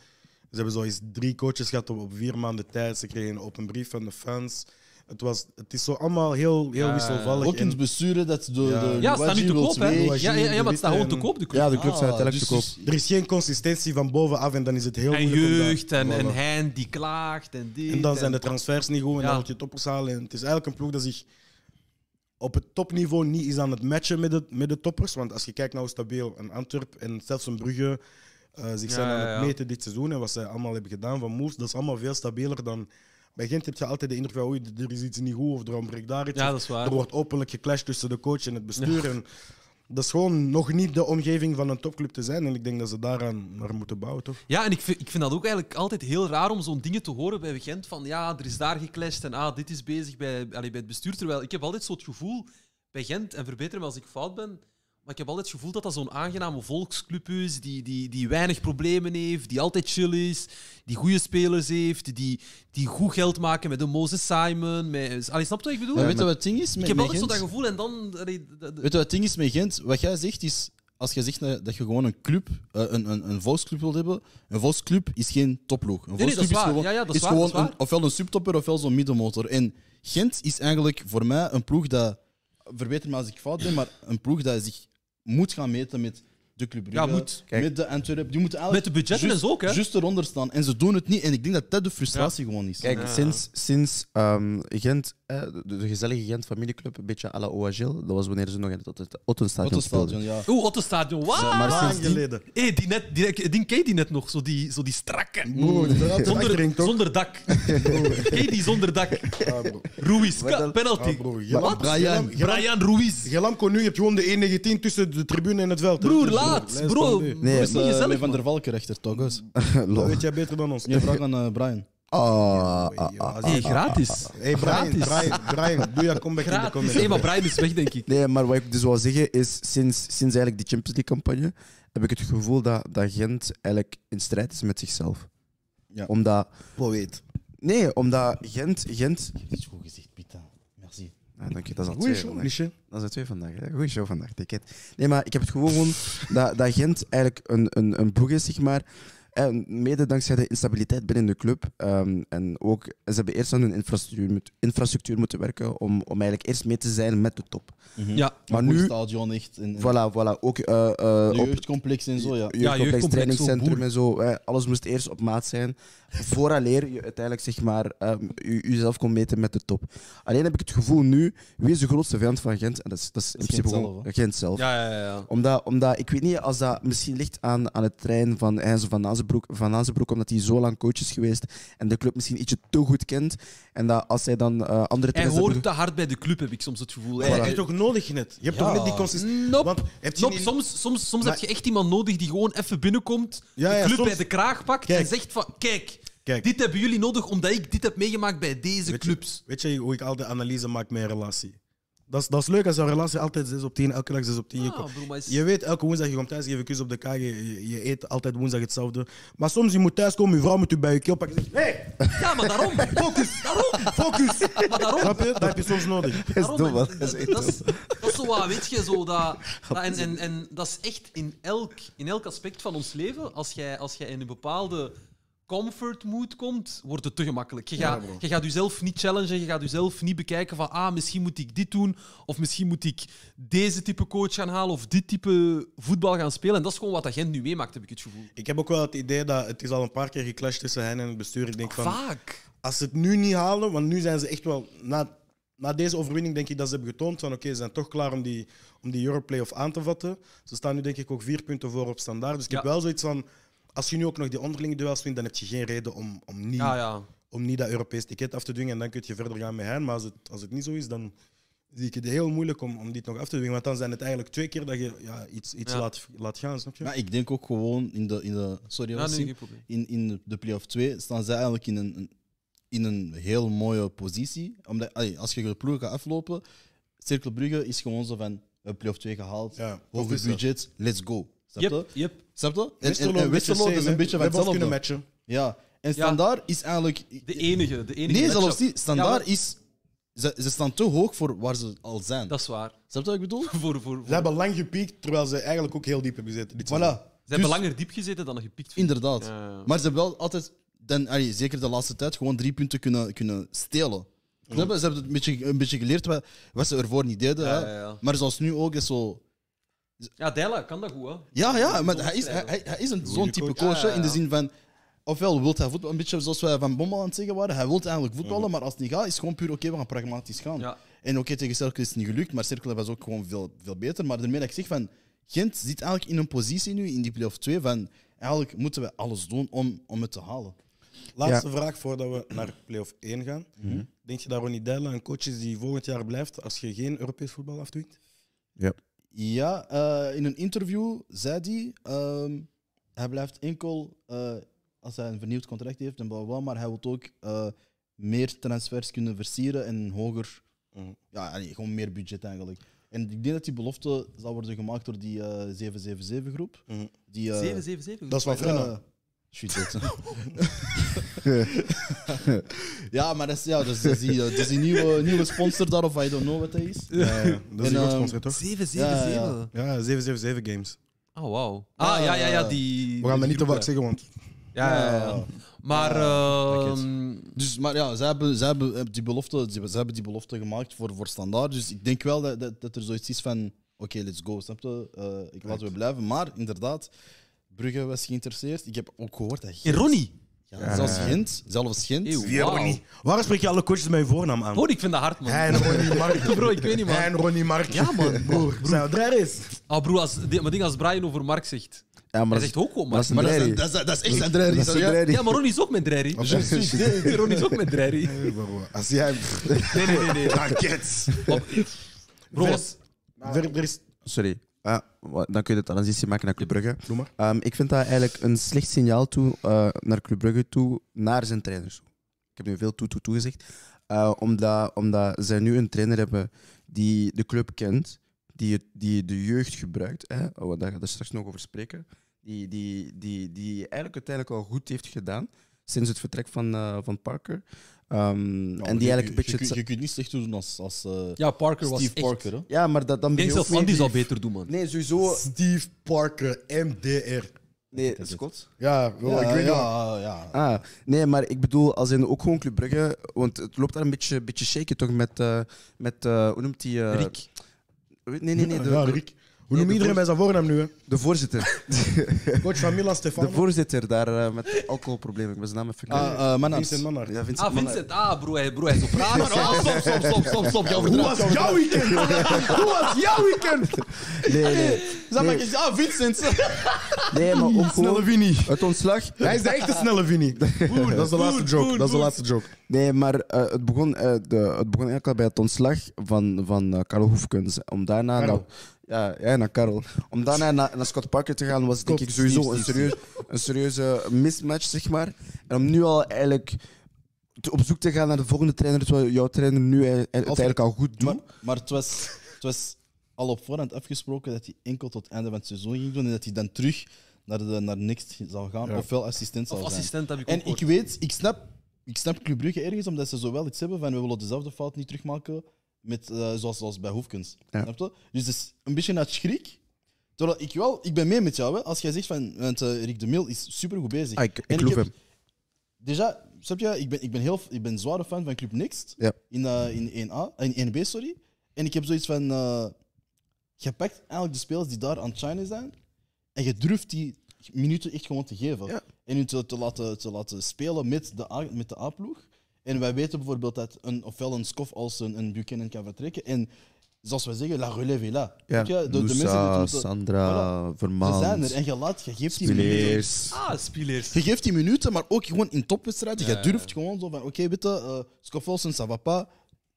Ze hebben zo eens drie coaches gehad op, op vier maanden tijd. Ze kregen een open brief van de fans. Het, was, het is zo allemaal heel, heel
Ja,
wisselvallig.
Ook in
En-
het besturen dat de,
Ja.
de
Ja, staan nu te
wil
koop, hè?
twee.
Louagie
Ja, ja, ja, maar het staat gewoon te
en-
koop, de club.
Ja, de club
Ah,
zijn uiteindelijk
dus-
te koop.
dus-
Er is geen consistentie van bovenaf en dan is het heel
En
moeilijk. om daar-
jeugd, en, en
Voilà.
Hein die klaagt, en dit.
En dan zijn de transfers niet goed en
Ja.
dan moet je toppers halen. En het is eigenlijk een ploeg dat zich op het topniveau niet is aan het matchen met de, met de toppers. Want als je kijkt naar hoe stabiel een Antwerp en zelfs een Brugge eh, zich
Ja,
zijn aan
ja,
het
ja.
meten dit seizoen en wat zij allemaal hebben gedaan van moves, dat is allemaal veel stabieler dan... Bij Gent heb je altijd de indruk van oei, er is iets niet goed of er ontbreekt daar iets.
Ja,
Of
dat is waar.
Er wordt openlijk geclashed tussen de coach en het bestuur. En dat is gewoon nog niet de omgeving van een topclub te zijn. En ik denk dat ze daaraan naar moeten bouwen, toch?
Ja, en ik vind, ik vind dat ook eigenlijk altijd heel raar om zo'n dingen te horen bij Gent. Van ja, er is daar geclashed en ah, dit is bezig bij, allee, bij het bestuur. Terwijl ik heb altijd zo het gevoel bij Gent, en verbeter me als ik fout ben, maar ik heb altijd het gevoel dat dat zo'n aangename volksclub is, die, die, die weinig problemen heeft, die altijd chill is, die goede spelers heeft, die, die goed geld maken met de Moses Simon. Met, allee, snap je wat ik bedoel?
Maar weet je wat het ding is met,
ik heb
met
altijd zo
Gent?
dat gevoel en dan... allee, dat- dat-
Weet je wat het ding is met Gent? Wat jij zegt is, als jij zegt dat dat je gewoon een club, eh, een, een, een volksclub wilt hebben, een volksclub is geen topploeg. Een
nee, dat is
volksclub is,
waar.
gewoon,
Ja, ja, dat is
is
waar,
gewoon
dat is waar.
een- ofwel een subtopper ofwel zo'n middenmotor. En Gent is eigenlijk voor mij een ploeg dat, verbeter me als ik fout ben, maar een ploeg dat zich moet gaan meten met de Club Brugge,
Ja, moet.
Kijk.
met de Antwerpen. Die moeten
Met
eigenlijk
de budgetten
juist-
is ook, hè?
juist eronder staan. En ze doen het niet. En ik denk dat dat de frustratie gewoon is.
Kijk,
Ja.
sinds, sinds ehm, Gent, eh, de, de gezellige Gent familieclub, een beetje à la Oagil, dat was wanneer ze nog in het Otten-
Wat
Ottenstadion
een
speelden.
stadion, ja.
Oeh, Ottenstadion, wauw!
Maar
sinds
lang
die-
geleden.
Hé, die net, die, die ken je die net nog, zo die, zo die strakke. Mm.
Broer, dat is
Zonder,
achtering, toch?
zonder dak. Ken je die zonder dak?
Ja, bro.
Ruiz, ka- penalty.
Ja, broer, Gelam-
Wat?
Gelam- Gelam-
Ah, Brian Ruiz.
Gelam Konu, je hebt gewoon de 1-19 tussen de tribune en het veld. hè.
Broer,
Dus,
laat.
lijst
Bro,
van B.
Nee,
nee,
Dus,
is niet
eh, met
gezellig.
Van
man.
der Valk erachter, toch? eens?
Dat
Lol.
weet jij beter dan ons.
Je vraagt aan eh, Brian.
Ah, ah, ah.
Ja,
Hey, gratis.
Hey, Brian,
Gratis.
Brian, Brian, doe je comeback in de
Gratis. Hé,
comments.
maar Brian is weg, denk ik.
Nee, maar wat ik dus wil zeggen is, sinds, sinds eigenlijk die Champions League-campagne heb ik het gevoel dat, dat Gent eigenlijk in strijd is met zichzelf.
Ja.
Omdat,
Poëet.
nee, omdat Gent... Gent
Je hebt iets goed gezegd, Pita. Merci.
ah, dank je, dat is al
Goeie
twee
show,
vandaag.
Michel.
Dat zijn twee vandaag. Hè? Goeie show vandaag, ticket. Nee, maar ik heb het gevoel gewoon dat, dat Gent eigenlijk een, een, een ploeg is, zeg maar. En mede dankzij de instabiliteit binnen de club. ehm, en ook, ze hebben eerst aan hun infrastructuur, moet- infrastructuur moeten werken om, om eigenlijk eerst mee te zijn met de top.
Ja.
Maar
Een goed
nu-
stadion echt. En, en
Voilà, voilà. Ook eh, eh,
de
op-
jeugdcomplex en zo, ja.
Ja,
jeugdcomplex,
jeugdcomplex, zo,
trainingscentrum
boer.
en zo. eh, alles moest eerst op maat zijn. Vooraleer je uiteindelijk zeg maar, ehm, je- jezelf kon meten met de top. Alleen heb ik het gevoel nu, wie is de grootste vijand van Gent? En dat is, dat is in
Dat is
principe
Gent
gewoon
zelf,
Gent zelf.
Ja, ja, ja, ja.
Omdat, omdat, ik weet niet, als dat misschien ligt aan, aan het trein van Heinz van Azenbroek, van Azenbroek, omdat hij zo lang coach is geweest en de club misschien ietsje te goed kent. En dat als hij dan eh, andere
Hij
trainers...
hoort te hard bij de club, heb ik soms het gevoel.
Dat heb je
Hij-
toch nodig net? Je hebt
Ja.
toch net die consistentie?
Nope.
Want heb je
Snap,
niet-
soms soms, soms
Maar-
heb je echt iemand nodig die gewoon even binnenkomt,
Ja, ja,
de club
soms-
bij de kraag pakt
Kijk.
en zegt van... Kijk,
Kijk.
dit hebben jullie nodig omdat ik dit heb meegemaakt bij deze
Weet je-
clubs.
Weet je hoe ik al de analyse maak met een relatie? Dat is, dat is leuk als jouw relatie altijd 6 op 10, elke dag 6 op 10. je
Ah,
komt-
broer, maar is-
Je weet, elke woensdag je komt thuis, je geeft een kus op de kaak, je, je- je eet altijd woensdag hetzelfde. Maar soms je moet thuiskomen, je vrouw moet je bij je keel pakken. en zeggen, hey,
Ja, maar daarom. Focus. Daarom.
focus!
Maar daarom.
Snap je? Dat heb je soms nodig.
Dat is dom,
Daarom,
man.
en
Dat is echt
dat, is, dat is zo wat, weet je, zo dat, dat en, en, en dat is echt in elk, in elk aspect van ons leven. Als jij, als jij in een bepaalde comfort mood komt, wordt het te gemakkelijk. Je
Ja,
gaat,
bro.
je gaat jezelf niet challengen, je gaat jezelf niet bekijken van ah, misschien moet ik dit doen, of misschien moet ik deze type coach gaan halen, of dit type voetbal gaan spelen. En dat is gewoon wat agent nu meemaakt, heb ik het gevoel.
Ik heb ook wel het idee dat het is al een paar keer geclashed tussen hen en het bestuur. Ik denk van,
Vaak.
als ze het nu niet halen, want nu zijn ze echt wel... Na, na deze overwinning denk ik dat ze hebben getoond van oké, ze zijn toch klaar om die, om die Europlayoff aan te vatten. Ze staan nu denk ik ook vier punten voor op standaard. Dus ik heb
Ja.
wel zoiets van, als je nu ook nog die onderlinge duels wint, dan heb je geen reden om, om, niet,
Ja, ja.
om niet dat Europees ticket af te dwingen. En dan kun je verder gaan met hen. Maar als het, als het niet zo is, dan zie ik het heel moeilijk om, om dit nog af te dwingen. Want dan zijn het eigenlijk twee keer dat je ja, iets, iets
Ja.
laat, laat gaan, snap je?
Maar ik denk ook gewoon in de. In de sorry,
Ja,
was
nee,
Sim?
geen probleem.
in, in de play-off 2 staan zij eigenlijk in een, een- in een heel mooie positie. Omdat, allee, als je de ploeg gaat aflopen, Cirkel Brugge is gewoon zo van een play-off 2 gehaald,
Ja, of
hoge
is dat?
budget, let's go. Snap je?
Yep, yep.
Snap je? En, en,
Westerlo
en Westerlo is een beetje van
kunnen
hetzelfde.
matchen.
Ja. En Standaard is eigenlijk...
De enige. De enige
Nee,
matchup.
zelfs niet.
Ja,
Standaard
maar-
is... Ze, ze staan te hoog voor waar ze al zijn.
Dat is waar.
Snap je wat ik bedoel?
Voor, voor, voor-
Ze hebben lang gepiekt, terwijl ze eigenlijk ook heel diep hebben gezeten. dit seizoen.
Voilà.
Ze hebben langer diep gezeten dan gepikt. werd.
Inderdaad.
Ja.
Maar ze hebben wel altijd, dan, allee, zeker de laatste tijd, gewoon drie punten kunnen, kunnen stelen. Snap je? Ze hebben het een beetje, een beetje geleerd wat, wat ze ervoor niet deden.
Ja,
hè.
ja, ja.
Maar zoals nu ook is zo.
Ja, Della kan dat goed, hè?
Ja, ja, maar hij is, hij, hij- hij is een, zo'n type
coach.
coach hè,
Ja, ja,
in de
ja.
zin van. Ofwel wil hij voetbal, een beetje zoals wij van Bommel aan het zeggen waren. Hij wil eigenlijk voetballen, maar als het niet gaat, is het gewoon puur oké, we gaan pragmatisch gaan.
Mhm. Ja.
En oké, tegen Cirkel is het niet gelukt, maar Cirkel was ook gewoon veel, veel beter. Maar daarmee dat ik zeg van, Gent zit eigenlijk in een positie nu in die play-off 2 van, eigenlijk moeten we alles doen om, om het te halen.
Laatste vraag voordat we naar play-off 1 gaan.
Mhm.
Denk je dat Ronnie Dijlen een coach is die volgend jaar blijft als je geen Europees voetbal afdwingt?
Ja, eh, in een interview zei hij, ehm, hij blijft enkel eh, als hij een vernieuwd contract heeft en bla bla, bla, maar hij wil ook eh, meer transfers kunnen versieren en hoger,
Mhm.
ja, allee, gewoon meer budget eigenlijk. En ik denk dat die belofte zal worden gemaakt door die eh 777-groep.
Mhm.
Die, eh,
777.
Dat is wat
eh,
Frenna.
shoot, dat- ja, maar dat is, ja, dat is, dat is die, eh, dat is die nieuwe, nieuwe sponsor daar, of I don't know wat dat is.
Ja, ja. Dat is een goed
En, ehm,
sponsor, toch?
777.
Ja, ja.
Ja, 777 games.
Oh, wauw. Ah, ja, ja, ja, die...
We gaan dat
die
niet te
groep,
vaak zeggen, want
hè. Ja, ja, ja. Maar... ehm,
Dus, maar ja, ze hebben, ze hebben eh, die belofte, ze hebben- ze hebben die belofte gemaakt voor, voor standaard. Dus ik denk wel dat, dat, dat er zoiets is van: oké, let's go. Snap je? Eh, ik laten we blijven. Maar inderdaad, Brugge was geïnteresseerd. Ik heb ook gehoord dat
en
Gent,
Ronnie.
ja, zelfs Gent, zelfs Gent.
Eeuw.
Wie,
Wauw.
Ronnie? Waarom spreek je alle coaches met je voornaam aan?
Oh, ik vind dat hard, man.
Hij en Ronnie Mark.
Bro, ik weet niet, man.
Hij en Ronnie Mark. Ja, man. Broer, zijn we er is?
Ah, broer, als, die- maar ding als Brian over Mark zegt.
Ja, maar
Hij
dat
zegt
is-
ook gewoon
dat is
Mark.
een
Maar dat
drerrie.
is, dat, is, dat is echt zijn drerrie.
Dat is
sorry,
een
hè?
drerrie.
Ja, maar Ronnie is ook met Drerry. Ronnie is ook met Drerry.
Ah,
Als jij...
Nee, nee, nee. nee.
Rankets.
Bro, was-
Er is...
Sorry. Ah, wa- dan kun je de transitie maken naar Club Brugge.
Doe maar.
Ehm, ik vind dat eigenlijk een slecht signaal toe, eh, naar Club Brugge toe, naar zijn trainers. toe. Ik heb nu veel toe, toe, toe gezegd. Eh, omdat, omdat zij nu een trainer hebben die de club kent, die, het- die de jeugd gebruikt. Hè, oh, daar gaan we straks nog over spreken. Die, die, die, die eigenlijk uiteindelijk al goed heeft gedaan sinds het vertrek van, eh, van Parker. Ehm,
Ja, maar
en
je-
die eigenlijk een
je-
beetje...
Je,
hetze-
je kunt niet slecht doen als, als eh,
ja, Parker was
Steve
echt...
Parker. Hè?
Ja, maar dat, dan ben
Ik denk
je ook
zelfs
weer
Andy
die-
zal beter doen, man.
Nee, sowieso...
Steve Parker, MDR.
Nee, Scott.
Ja, wel, ik weet niet.
ja, ja. Eh,
Ah, nee, maar ik bedoel, als in ook gewoon Club Brugge, want het loopt daar een beetje, beetje shaky toch met, eh, met eh, hoe noemt die? eh,
Rick.
Nee, nee, nee, de,
ja, Rick. Hoe
Nee,
noemt
de
iedereen bij zijn voornaam nu? Hè?
de voorzitter.
Coach van Milan
De
Stefano.
voorzitter daar eh, met alcoholproblemen, ik ben zijn naam even
Ah,
kwijt.
eh, mijn naam is-
Vincent Mannaert.
Ja, Vincent.
Ah, Vincent. Ah, broer, hij, broer, hij is op raar. Ah, stop, stop, stop, stop, stop. Jouw
Hoe
verdraad.
was jouw weekend? Hoe was jouw weekend?
Nee, nee,
Zeg maar, ja, Vincent.
nee, maar ook
Snelle
gewoon
Winnie.
het ontslag.
Hij is de echte snelle Winnie. Dat is de laatste joke. Dat is de laatste joke.
Nee, maar eh, het, begon, eh, de, het begon eigenlijk al bij het ontslag van, van eh, Karel Hoefkens. Om daarna
Karel.
Naar, ja, ja, naar Karel. Om daarna naar, naar Scott Parker te gaan, was denk ik sowieso een, serieus, een serieuze mismatch, zeg maar. En om nu al eigenlijk te- op zoek te gaan naar de volgende trainer, terwijl jouw trainer nu eh, eh, het eigenlijk al goed doet.
Maar, maar het, was, het was al op voorhand afgesproken dat hij enkel tot het einde van het seizoen ging doen en dat hij dan terug naar, de, naar Next zou gaan, ofwel assistent zou
Of
zijn.
assistent heb ik ook
En ik
gehoord.
weet, ik snap, ik snap Club Brugge ergens omdat ze zowel iets hebben van we willen dezelfde fout niet terugmaken met, eh, zoals, zoals bij Hoefkens.
Ja.
Snap je? Dus het is een beetje uit schrik. Terwijl ik wel, ik ben mee met jou. Hè. Als jij zegt van, want eh, Rick de Mil is supergoed bezig.
Ah, ik- ik
En
geloof
heb-
hem.
déjà, snap je, ik ben, ik ben, heel, ik ben zware fan van Club Next
Ja.
in, eh, in 1A, eh, in 1B, sorry. En ik heb zoiets van, eh je pakt eigenlijk de spelers die daar aan het shinen zijn en je durft die minuten echt gewoon te geven.
Ja.
En hun te, te, laten, te laten spelen met de, A, met de A-ploeg. En wij weten bijvoorbeeld dat een, ofwel een Skof als een, een Buchanan kan vertrekken. En zoals wij zeggen, la relève is là.
Ja.
Weet je, De, de mensen die het
Moussa,
moeten-
Sandra,
ze
Vermaans,
zijn er en je laat, je geeft die minuten.
Spileers.
Ah, spelers.
Je geeft die minuten, maar ook gewoon in topwedstrijden.
Ja,
Je
ja,
durft gewoon zo van, oké, weet je, eh Skof Olsen, ça va pas.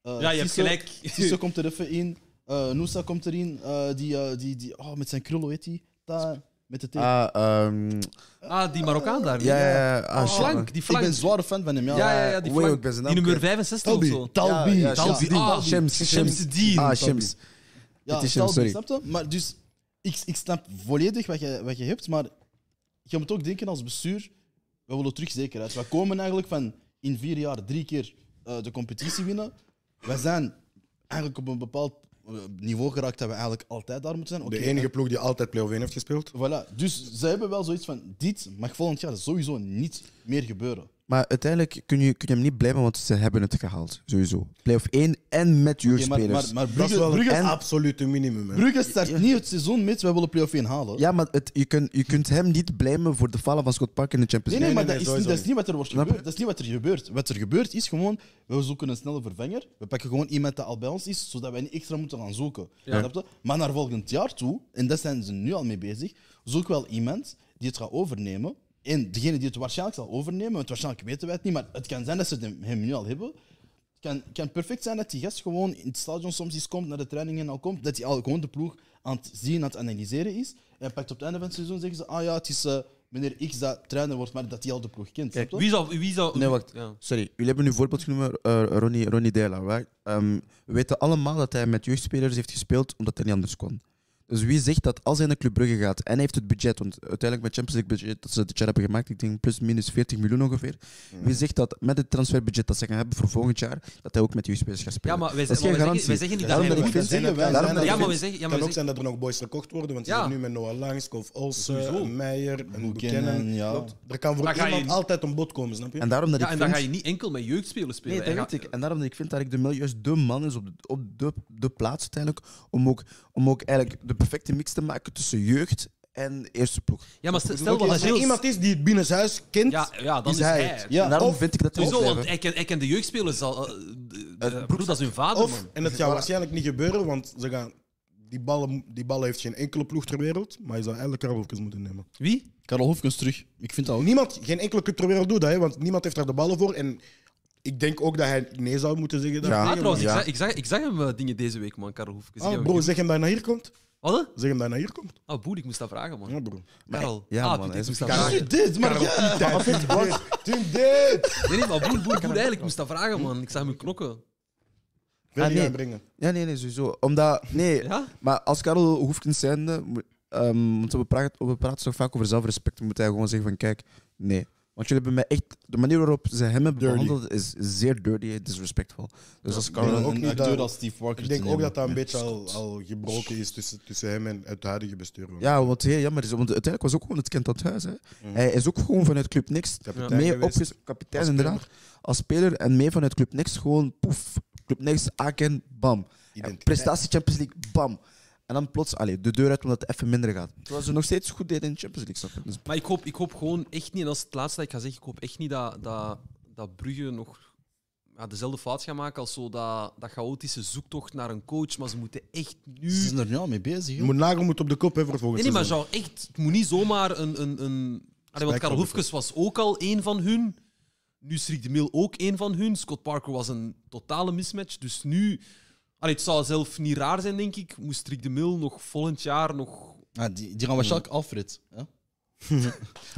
Eh,
Ja, je hebt
Tissot-
gelijk.
Tissot komt er even in. Eh Noosa komt erin. Eh, die, eh, die, die, oh, met zijn krullen, weet hij. Ta- Met de T.
Ah, ehm,
Ah, die Marokkaan daar.
ja, ja, ja.
Oh,
Ah, shit, man.
Flank, die
ik
flank.
ben een zware fan van hem, ja.
Ja, ja, ja, die
Hoe
flank.
ook bij zijn
die
naam,
nummer
oké.
65 of zo.
Talbi.
Ja, ja,
Talbi.
Shamsdien.
Ah,
Shams,
Shamsdien.
Ah, Shams.
Ja,
Het is hem, sorry.
Talbi, snap je? Maar dus, ik, ik snap volledig wat je, wat je hebt, maar je moet ook denken als bestuur, we willen terug zekerheid. We komen eigenlijk van in vier jaar drie keer eh, de competitie winnen. We zijn eigenlijk op een bepaald eh, niveau geraakt dat we eigenlijk altijd daar moeten zijn.
De
Oké,
enige ploeg die altijd play-off 1 heeft gespeeld.
eh, Voilà. Dus ze hebben wel zoiets van, dit mag volgend jaar sowieso niet meer gebeuren.
Maar uiteindelijk kun je, kun je hem niet blijven, want ze hebben het gehaald. Sowieso. Playoff 1 en met
Oké, maar,
jeugdspelers.
maar, maar
Dat is
Brugge,
wel
Brugge,
het
en-
absolute minimum. hè.
Brugge start niet het seizoen met, wij willen play-off 1 halen.
Ja, maar het, je, kunt, je kunt hem niet blamen voor de falen van Scott Parker in de Champions
Nee,
League.
nee,
Nee,
maar
nee,
dat,
nee, sowieso
is niet, dat is niet wat er wordt
Snap je?
gebeurd. Dat is niet wat er gebeurt. Wat er gebeurt is gewoon, we zoeken een snelle vervanger. We pakken gewoon iemand die al bij ons is, zodat wij niet extra moeten gaan zoeken. Snap je? Maar naar volgend jaar toe, en daar zijn ze nu al mee bezig, zoek wel iemand die het gaat overnemen. En degene die het waarschijnlijk zal overnemen, want waarschijnlijk weten wij het niet, maar het kan zijn dat ze hem- hem nu al hebben. Het kan, kan perfect zijn dat die gast gewoon in het stadion soms eens komt, naar de training en al komt, dat hij al gewoon de ploeg aan het zien, aan het analyseren is. En pakt op het einde van het seizoen zeggen ze, ah ja, het is eh, meneer X dat trainer wordt, maar dat hij al de ploeg kent. snap je?
Wie zou... Wie zou
Nee, wacht.
Ja.
Sorry, jullie hebben nu voorbeeld genoemd, eh, Ronnie, Ronnie Dela. Right? Ehm, we weten allemaal dat hij met jeugdspelers heeft gespeeld omdat hij niet anders kon. Dus wie zegt dat als hij naar Club Brugge gaat en hij heeft het budget, want uiteindelijk met Champions League budget dat ze dit jaar hebben gemaakt, ik denk plus minus 40 miljoen ongeveer.
Mhm.
Wie zegt dat met het transferbudget dat ze gaan hebben voor volgend jaar, dat hij ook met jeugdspelers gaat spelen?
Ja, maar wij,
dat is geen
zeggen- wij
garantie.
zeggen, wij zeggen niet dat
Daarom
hij
dat ik
goed
vind-
zijn er-
wij-
zijn
daarom
er-
dat
Ja,
ik
maar we
vind-
zeggen...
Het
Ja, maar
kan
we
ook zijn dat er nog boys verkocht worden, want ze
Ja.
zitten nu met Noah Langs, Kof Olsen,
Sowieso.
en Meijer, en
Buchanan,
Buchanan.
ja.
Klopt. Er kan voor
Dan ga je
iemand
niet-
altijd een bod komen, snap je?
En daarom dat
zeggen-
ik
Ja, en dan
vind-
ga je niet enkel met jeugdspelers spelen.
Nee, dat
Hij
weet ik.
gaat-
En daarom dat ik vind dat ik de Mil juist de man is op de, op de, de plaats uiteindelijk om ook, om ook eigenlijk de perfecte mix te maken tussen jeugd en eerste ploeg.
Ja, maar stel- stel
Oké,
dat
als er
Gilles-
iemand is die het binnenshuis kent,
Ja, ja, dan
is
is
hij het.
hij.
En daarom
of-
vind ik dat hij moet
Sowieso, want
blijven.
hij kent, hij kent de jeugdspelers al. eh, de- de-
broek-
broer, dat is hun vader,
of,
man.
en dat gaat waarschijnlijk niet gebeuren, want ze gaan, die, ballen, die ballen heeft geen enkele ploeg ter wereld, maar je zou eigenlijk Karlovkes moeten nemen.
Wie?
Karel Hofkens terug. Ik vind dat ook.
Niemand, geen enkele club ter wereld doet dat, hè, want niemand heeft daar de ballen voor. En ik denk ook dat hij nee zou moeten zeggen.
Ja.
daar
Ah,
tegen,
trouwens,
ja.
ik, zag, ik, zag, ik zag hem eh, dingen deze week, man, Karel Hoefkes.
maar- Ah, bro, zeg hem dat hij naar hier komt.
Wat?
Zeg hem dat hij naar hier komt.
Ah, boel, ik moest dat vragen, man.
Ja, bro.
Karel.
Ja,
ah,
man,
doet
hij
ik
is
moest
een
dat vragen.
Doe dit, maar ja.
Tim dit!
Nee, nee, maar boel, boel, boel, eigenlijk ik moest dat vragen, man. Ik zag hem knokken.
Wil
Ah,
je
nee.
aanbrengen?
Ja, nee, nee, sowieso. Omdat, nee,
Ja?
maar als Karel Hoefkens zijnde, moet- ehm, want we praten, we praten zo vaak over zelfrespect, moet hij gewoon zeggen van kijk, nee. Want jullie hebben mij echt, de manier waarop ze hem hebben
Dirty.
behandeld is zeer dirty en disrespectful. Dus als
Karel
Karel...
ook
een
niet
acteur
dat-
als Steve Walker.
Ik denk ook dat dat een beetje al, al gebroken is tussen, tussen hem en het huidige bestuur. hoor.
Ja, wat heel jammer is, want uiteindelijk was ook gewoon het kind aan het huis. Hè. Hij is ook gewoon vanuit Club Next
Kapitein
mee
geweest.
opges... Kapitein inderdaad, als speler en mee vanuit Club Next gewoon poef. Club Next, Aken, bam. En
Identiteit.
prestatie Champions League, bam. En dan plots allee, de deur uit omdat het even minder gaat. Terwijl ze nog steeds goed deden in de Champions League. snap je? Dus
Maar ik hoop, ik hoop gewoon echt niet, en dat is het laatste dat ik ga zeggen, ik hoop echt niet dat, dat, dat Brugge nog ja, dezelfde fout gaat maken als zo dat, dat chaotische zoektocht naar een coach. Maar ze moeten echt
Ze
nu...
zijn er nu al mee bezig.
Je
joh.
moet nagel moet op de kop hebben voor
Nee,
volgend
nee, maar
seizoen.
genre, echt, het moet niet zomaar een... een, een... Allee, want Karel Hoefkes was ook al één van hun. Nu Srik de Mil ook één van hun. Scott Parker was een totale mismatch. Dus nu... Allee, het zou zelf niet raar zijn, denk ik, moest Srik de Mil nog volgend jaar nog...
Ah, die, die gaan waarschijnlijk Alfred. hè?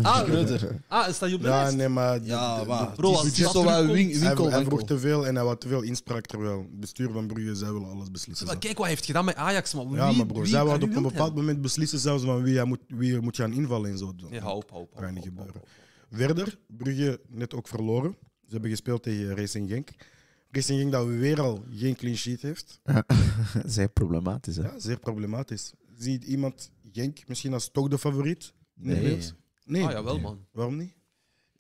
Ah,
Schreuder.
ah sta je op de
Ja,
lijst?
nee, maar...
Ja, waar.
bro, als
Het
die
is zo
dat
wel
terugkomt-
win-
Hij,
winkel.
hij vroeg
winkel.
te veel en hij had te veel inspraak terwijl het bestuur van Brugge, zij willen alles beslissen.
Maar
zelf.
Kijk wat hij heeft gedaan met Ajax, man. Wie,
Ja, maar bro,
wie
zij
kan
wilden
u
op een
wild
bepaald
hebben?
moment beslissen zelfs van wie, hij moet, wie er moet gaan invallen en zo.
Nee, hou op, hou op.
Dat
hou
gaat
op,
niet
hou op.
gebeuren. Verder, Brugge net ook verloren. Ze hebben gespeeld tegen Racing Genk. Racing Genk dat weer al geen clean sheet heeft.
dat is heel problematisch. Hè?
Ja, zeer problematisch. Ziet iemand Genk misschien als toch de favoriet? in de
Nee.
wereld? Nee.
Ah, jawel, man.
Waarom niet?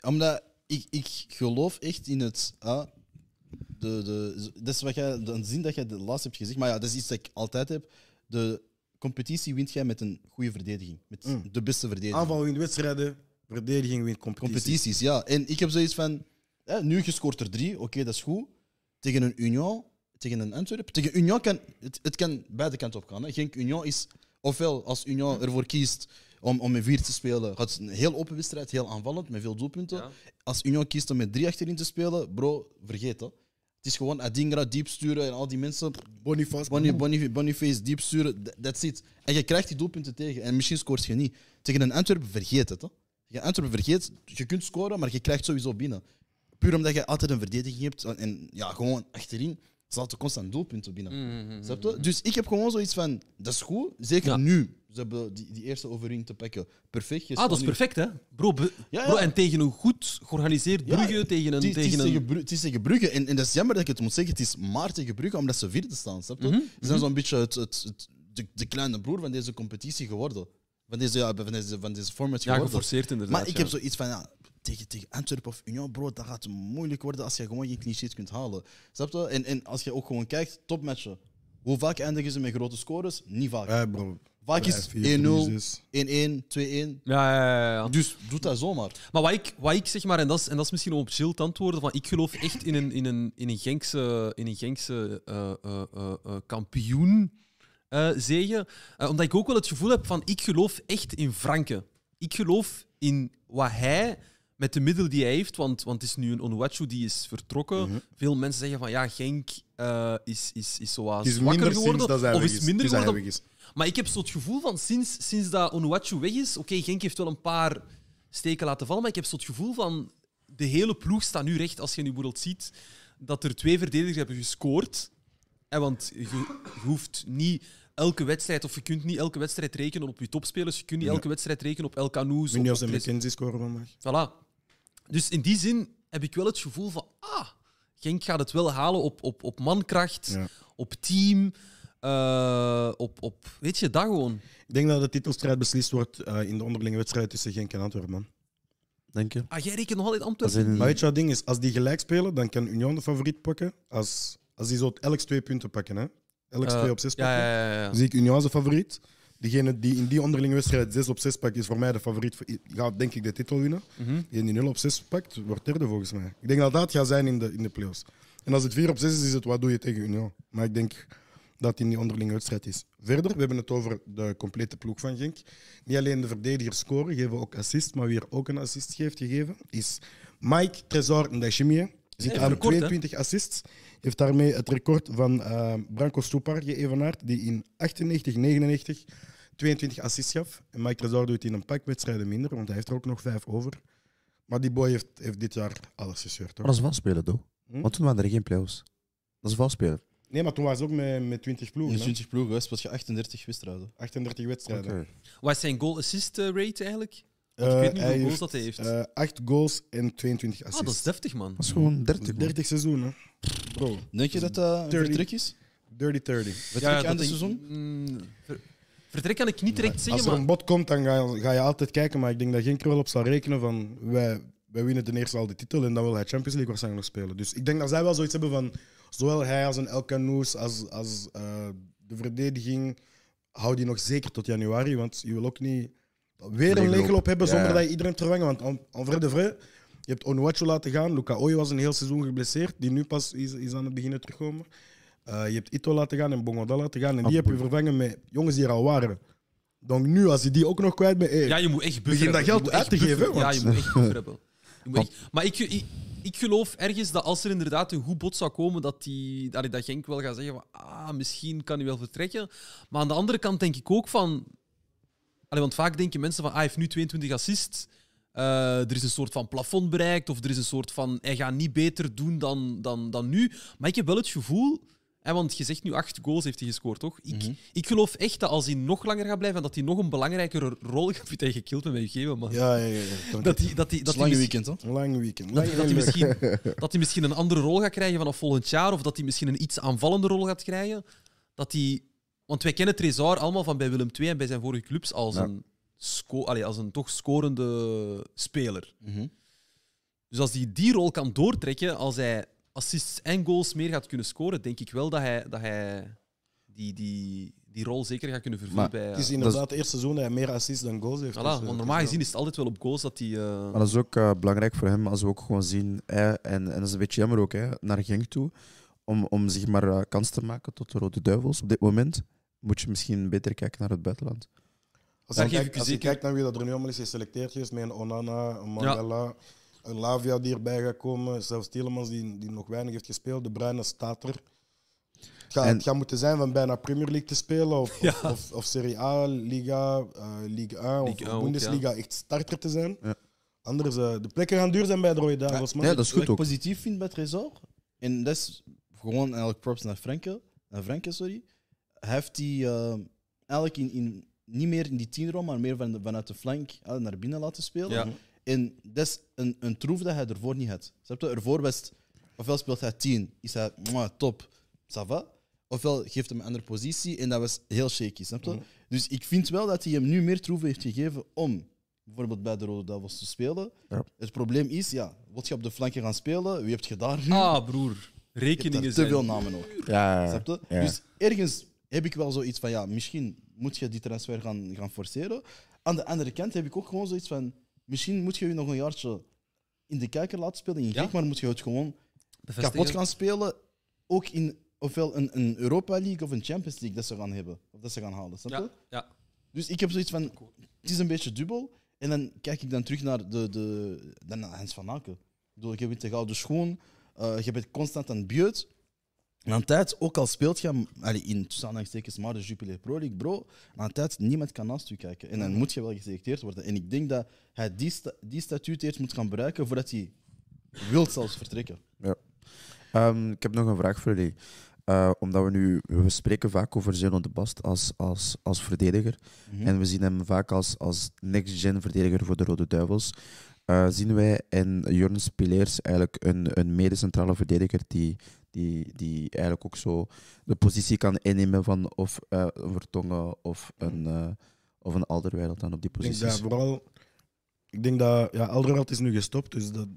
Omdat ik, ik geloof echt in het. ah, de, de, dat is wat jij, de zin dat jij de laatste hebt gezegd. Maar ja, dat is iets dat ik altijd heb. De competitie wint jij met een goede verdediging. Met
Mm.
de beste verdediging.
Aanval wint wedstrijden, verdediging wint competitie.
competities, ja. En ik heb zoiets van. Hè, nu gescoord er drie, oké, dat is goed. Tegen een Union, tegen een Antwerp. Tegen Union kan het, het kan beide kanten op gaan. Hè. Genk Union is. Ofwel, als Union ervoor kiest om, om met vier te spelen, gaat het een heel open wedstrijd, heel aanvallend, met veel doelpunten.
Ja.
Als Union kiest om met drie achterin te spelen, bro, vergeet dat. Het is gewoon Adingra diep sturen en al die mensen.
Boniface.
Bonnie, Bonnie, Boniface diep sturen, tha- that's it. En je krijgt die doelpunten tegen en misschien scoort je niet. Tegen een Antwerpen vergeet het. Hè? Je Antwerpen vergeet, je kunt scoren, maar je krijgt sowieso binnen. Puur omdat je altijd een verdediging hebt en- en ja, gewoon achterin zal er constant doelpunten binnen.
Mm,
Snap je? Dus ik heb gewoon zoiets van, dat is goed, zeker
Ja.
nu. Ze hebben die, die eerste overwinning te pakken. Perfect. je
Ah, dat
staat
is
nu-
perfect, hè? Bro, be-
Ja,
bro,
ja.
en tegen een goed georganiseerd
Ja,
Brugge, tegen een...
Het is- het is
tegen een...
tegen Bru- Het is tegen Brugge. En, en dat is jammer dat ik het moet zeggen. Het is maar tegen Brugge, omdat ze vierde staan. Snap je?
Mhm,
Ze zijn zo'n beetje het, het, het- de, de kleine broer van deze competitie geworden. Van deze, ja, van deze, van deze format
Ja,
geworden.
geforceerd inderdaad.
maar ik
ja.
heb zoiets van... Ja, tegen, tegen Antwerpen of Union, bro, dat gaat moeilijk worden als je gewoon geen clean sheet kunt halen. Snap je? En, en als je ook gewoon kijkt, topmatchen. Hoe vaak eindigen ze met grote scores? Niet vaak.
Ja, bro.
vaak is 1-0, 1-1, 2-1.
Ja, ja, ja, ja.
Dus doe dat zomaar.
Maar wat ik, wat ik zeg maar, en dat is, en dat is misschien om op Jill te antwoorden, van ik geloof echt in een, in een, in een Genkse, in een Genkse eh, eh, eh, eh, kampioen eh, zegen. Eh, omdat ik ook wel het gevoel heb van ik geloof echt in Franke. Ik geloof in wat hij met de middelen die hij heeft, want, want het is nu een Onuachu die is vertrokken.
Mhm.
Veel mensen zeggen van ja, Genk eh, is, is, is zo wat
Het is
zwakker
minder
geworden.
sinds dat hij
of
weg
is
is.
minder
Dus hij
geworden.
weg is.
Maar ik heb zo het gevoel van sinds, sinds dat Onuachu weg is. Oké, Genk heeft wel een paar steken laten vallen. Maar ik heb zo het gevoel van. De hele ploeg staat nu recht. Als je nu bijvoorbeeld ziet dat er twee verdedigers hebben gescoord. Hè, want je, je hoeft niet elke wedstrijd. of je kunt niet elke wedstrijd rekenen op je topspelers. Je kunt niet
Ja.
elke wedstrijd rekenen op El Canoes. op-
Munoz
op
en
Tres-
McKenzie scoren vandaag.
Voilà. Dus in die zin heb ik wel het gevoel van, ah, Genk gaat het wel halen op, op, op mankracht,
Ja.
op team, eh, op, op, weet je, dat gewoon.
Ik denk dat de titelstrijd beslist wordt eh, in de onderlinge wedstrijd tussen Genk en Antwerpen. man.
Denk je?
Ah, jij rekent nog altijd
Als in
Antwerpen.
een-
Maar weet je wat het ding is? Als die gelijk spelen, dan kan Union de favoriet pakken. Als, als die zo elks twee punten pakken, hè? Elks
Eh,
twee op zes Dus-
Ja,
pakken.
ja, ja, ja.
Dan zie ik Union als de favoriet. Degene die in die onderlinge wedstrijd 6 op 6 pakt, is voor mij de favoriet. voor- Gaat denk ik de titel winnen.
Mhm.
Die die 0 op 6 pakt, wordt derde volgens mij. Ik denk dat dat gaat zijn in de, in de playoffs. En als het 4 op 6 is, is het wat doe je tegen Union. Maar ik denk dat het in die onderlinge wedstrijd is. Verder, we hebben het over de complete ploeg van Genk. Niet alleen de verdedigers scoren, geven ook assist. Maar wie er ook een assist heeft gegeven, is Mike Trezor Ndashimie. Zit
Nee,
aan
record, hè?
22 Eh, assists. Heeft daarmee het record van eh, Branko Stupar geëvenaard, die in 98, 99 22 assists gaf. En Mike Trezor doet in een pak wedstrijden minder, want hij heeft er ook nog vijf over. Maar die boy heeft, heeft dit jaar alles gescheurd,
Maar
hoor.
dat is vals spelen, toch?
Hm?
Want toen waren er geen play-offs. Dat is vals spelen.
Nee, maar toen was het ook met, met 20
In
ploegen. hè.
20 ploegen hè, speelt je 38 wedstrijden.
38 wedstrijden.
Oké.
Wat is zijn goal-assist eh, rate eigenlijk?
Eh,
Want ik weet niet
hij
hoeveel goals
heeft,
dat hij heeft.
eh, acht goals en 22
ah, dat is
assists.
deftig, man.
Dat is gewoon 30. man.
30 seizoenen. Bro,
Denk je dat dat een
30.
vertrek is?
dirty 30.
Vertrek aan
dat
de
denk-
seizoen?
Mm, ver- vertrek kan ik niet direct
Als
zeggen,
er
maar...
een bod komt, dan ga je, ga je altijd kijken. Maar ik denk dat geen wel op zal rekenen van... Wij, wij winnen ten eerste al de titel en dan wil hij Champions League waarschijnlijk nog spelen. Dus ik denk dat zij wel zoiets hebben van... Zowel hij als een El Canoes, als, als eh, de verdediging... Hou die nog zeker tot januari, want je wil ook niet weer een
Leegloop.
leegloop hebben zonder
Ja.
dat je iedereen vervangen. Want en- en vrai de vrai, je hebt Onuachu laten gaan. Luca Ooi was een heel seizoen geblesseerd, die nu pas is, is aan het beginnen terugkomen. Eh, je hebt Ito laten gaan en Bongoda laten gaan. En die heb je vervangen met jongens die er al waren. Donc nu, als je die ook nog kwijt bent... eh. hey,
Ja, je moet echt
Begin
buffer
dat
hebben.
geld
Je moet
uit
echt
te
buffer-
geven,
Ja,
want-
je moet echt buffer hebben. Je moet echt- Maar ik, ik, ik geloof ergens dat als er inderdaad een goed bod zou komen, dat, die, dat, dat Genk wel gaat zeggen van ah, misschien kan hij wel vertrekken. Maar aan de andere kant denk ik ook van... Allee, want vaak denken mensen van ah, hij heeft nu 22 assists. eh, er is een soort van plafond bereikt. Of er is een soort van hij gaat niet beter doen dan, dan, dan nu. Maar ik heb wel het gevoel... Hè, want je zegt nu acht goals heeft hij gescoord, toch? Ik, ik geloof echt dat als hij nog langer gaat blijven en dat hij nog een belangrijkere rol gaat... Ik vind dat je gekild met mij gegeven, man.
ja, ja, ja, ja. Dank
Dat hij, dat hij, dus-
Het is
dat
een
hij
lange
misschien-
weekend, hè?
Een lang weekend.
dat hij, dat, hij
Lang weekend.
misschien, dat hij misschien een andere rol gaat krijgen vanaf volgend jaar, of dat hij misschien een iets aanvallende rol gaat krijgen. Dat hij, want wij kennen Trezor allemaal van bij Willem II en bij zijn vorige clubs als,
Ja.
een, sco, allee, als een toch scorende speler. Dus als hij die rol kan doortrekken, als hij assists en goals meer gaat kunnen scoren, denk ik wel dat hij, dat hij die, die, die rol zeker gaat kunnen vervullen
Maar
bij...
Het is inderdaad het eerste seizoen dat hij meer assists dan goals heeft.
voilà,
Dus, eh,
want
het is
normaal
wel-
gezien is het altijd wel op goals dat hij... eh,
Maar dat is ook eh, belangrijk voor hem als we ook gewoon zien, hè, en, en dat is een beetje jammer ook, hè, naar Genk toe, om, om zeg maar eh, kans te maken tot de Rode Duivels op dit moment, moet je misschien beter kijken naar het buitenland.
Als
Daar
je,
geef
kijkt,
ik u
als je
zeker-
kijkt naar wie dat er nu allemaal is geselecteerd geweest, met een Onana, een Mandela, een Lavia die erbij gaat komen, zelfs Tielemans die, die nog weinig heeft gespeeld, De Bruyne staat er. Het gaat,
En-
het gaat moeten zijn van bijna Premier League te spelen of, of, of, of Serie A, Liga, eh Ligue 1 of
Ligue 1 ook,
Bundesliga echt starter te zijn.
Ja.
Anders, eh, de plekken gaan duur zijn bij de Rode Duivels, man.
Nee, dat is
wat
goed
ik
ook.
positief vind bij Trezor, en dat is gewoon eigenlijk props naar Franke, naar Franke sorry, hij heeft die eh, eigenlijk in, in, niet meer in die tienrol, maar meer van de- vanuit de flank eh, naar binnen laten spelen.
Ja.
En dat is een, een troef dat hij ervoor niet had. Snap je? Ervoor was het, ofwel speelt hij tien, is hij mwah, top, ça va. Ofwel geeft hem een andere positie en dat was heel shaky, snap je? Dus ik vind wel dat hij hem nu meer troeven heeft gegeven om bijvoorbeeld bij de Rode Duivels te spelen.
Ja.
Het probleem is, ja, wat je op de flanken gaan spelen, wie heb je daar nu?
Ah, broer.
Je hebt daar
Rekeningen
te
zijn...
veel namen ook.
Ja,
Snap je?
ja.
Dus ergens heb ik wel zoiets van, ja, misschien moet je die transfer gaan, gaan forceren. Aan de andere kant heb ik ook gewoon zoiets van, misschien moet je je nog een jaartje in de kijker laten spelen in
Ja.
Genk, maar moet je het gewoon
bevestigen.
kapot gaan spelen, ook in ofwel een, een Europa League of een Champions League dat ze gaan hebben, of dat ze gaan halen, snap je?
Ja, ja.
Dus ik heb zoiets van, het is een beetje dubbel. En dan kijk ik dan terug naar de, de, dan naar Hans van Aken. Ik bedoel, je bent de gouden schoen, eh, je bent constant aan het beurt. En aan tijd, ook al speelt je m- allee, in tussen aanhalingstekens maar de Jupiler Pro League, bro, aan tijd, niemand kan naast u kijken. En
Mhm.
dan moet je wel geselecteerd worden. En ik denk dat hij die, sta- die statuut eerst moet gaan bereiken voordat hij wilt zelfs vertrekken.
Ehm, ik heb nog een vraag voor jullie. Eh, omdat we nu, we spreken vaak over Zeno de Bast als, als, als verdediger.
Mhm.
En we zien hem vaak als, als next-gen verdediger voor de Rode Duivels. Eh, zien wij in Jorn Spileers eigenlijk een, een mede-centrale verdediger die, die, die eigenlijk ook zo de positie kan innemen van of eh, een Vertongen of een, eh of een Alderweireld dan op die
Ik denk dat
posities?
vooral. Ik denk dat. Ja, Alderweireld is nu gestopt, dus dat,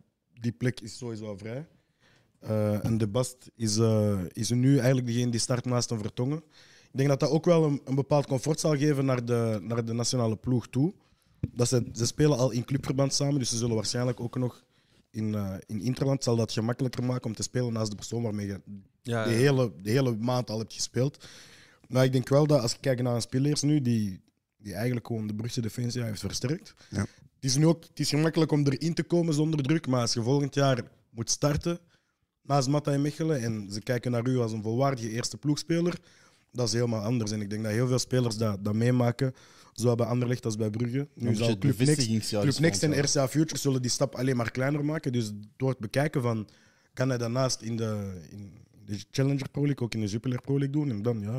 die plek is sowieso al vrij. Eh, en De Bast is, eh, is nu eigenlijk degene die start naast een Vertongen. Ik denk dat dat ook wel een, een bepaald comfort zal geven naar de, naar de nationale ploeg toe. Dat ze, ze spelen al in clubverband samen, dus ze zullen waarschijnlijk ook nog in, eh, in Interland zal dat gemakkelijker maken om te spelen naast de persoon waarmee je
Ja,
de
ja.
hele, de hele maand al hebt gespeeld. Maar ik denk wel dat als ik kijk naar een spelers nu die, die eigenlijk gewoon de Brugse defensie heeft versterkt.
Ja.
Het is nu ook het is gemakkelijk om erin te komen zonder druk, maar als je volgend jaar moet starten naast Matta en Mechelen en ze kijken naar u als een volwaardige eerste ploegspeler, dat is helemaal anders. En ik denk dat heel veel spelers dat, dat meemaken, zowel bij Anderlecht als bij Brugge. Nu
Omdat je
zal
het
Club Next
bevestigingsjaar
Club
is
Next en
volgend
RCA Futures zullen die stap alleen maar kleiner maken. Dus door het bekijken van, kan hij daarnaast in de, in de Challenger Pro League ook in de Jupiler Pro League doen? En dan, ja.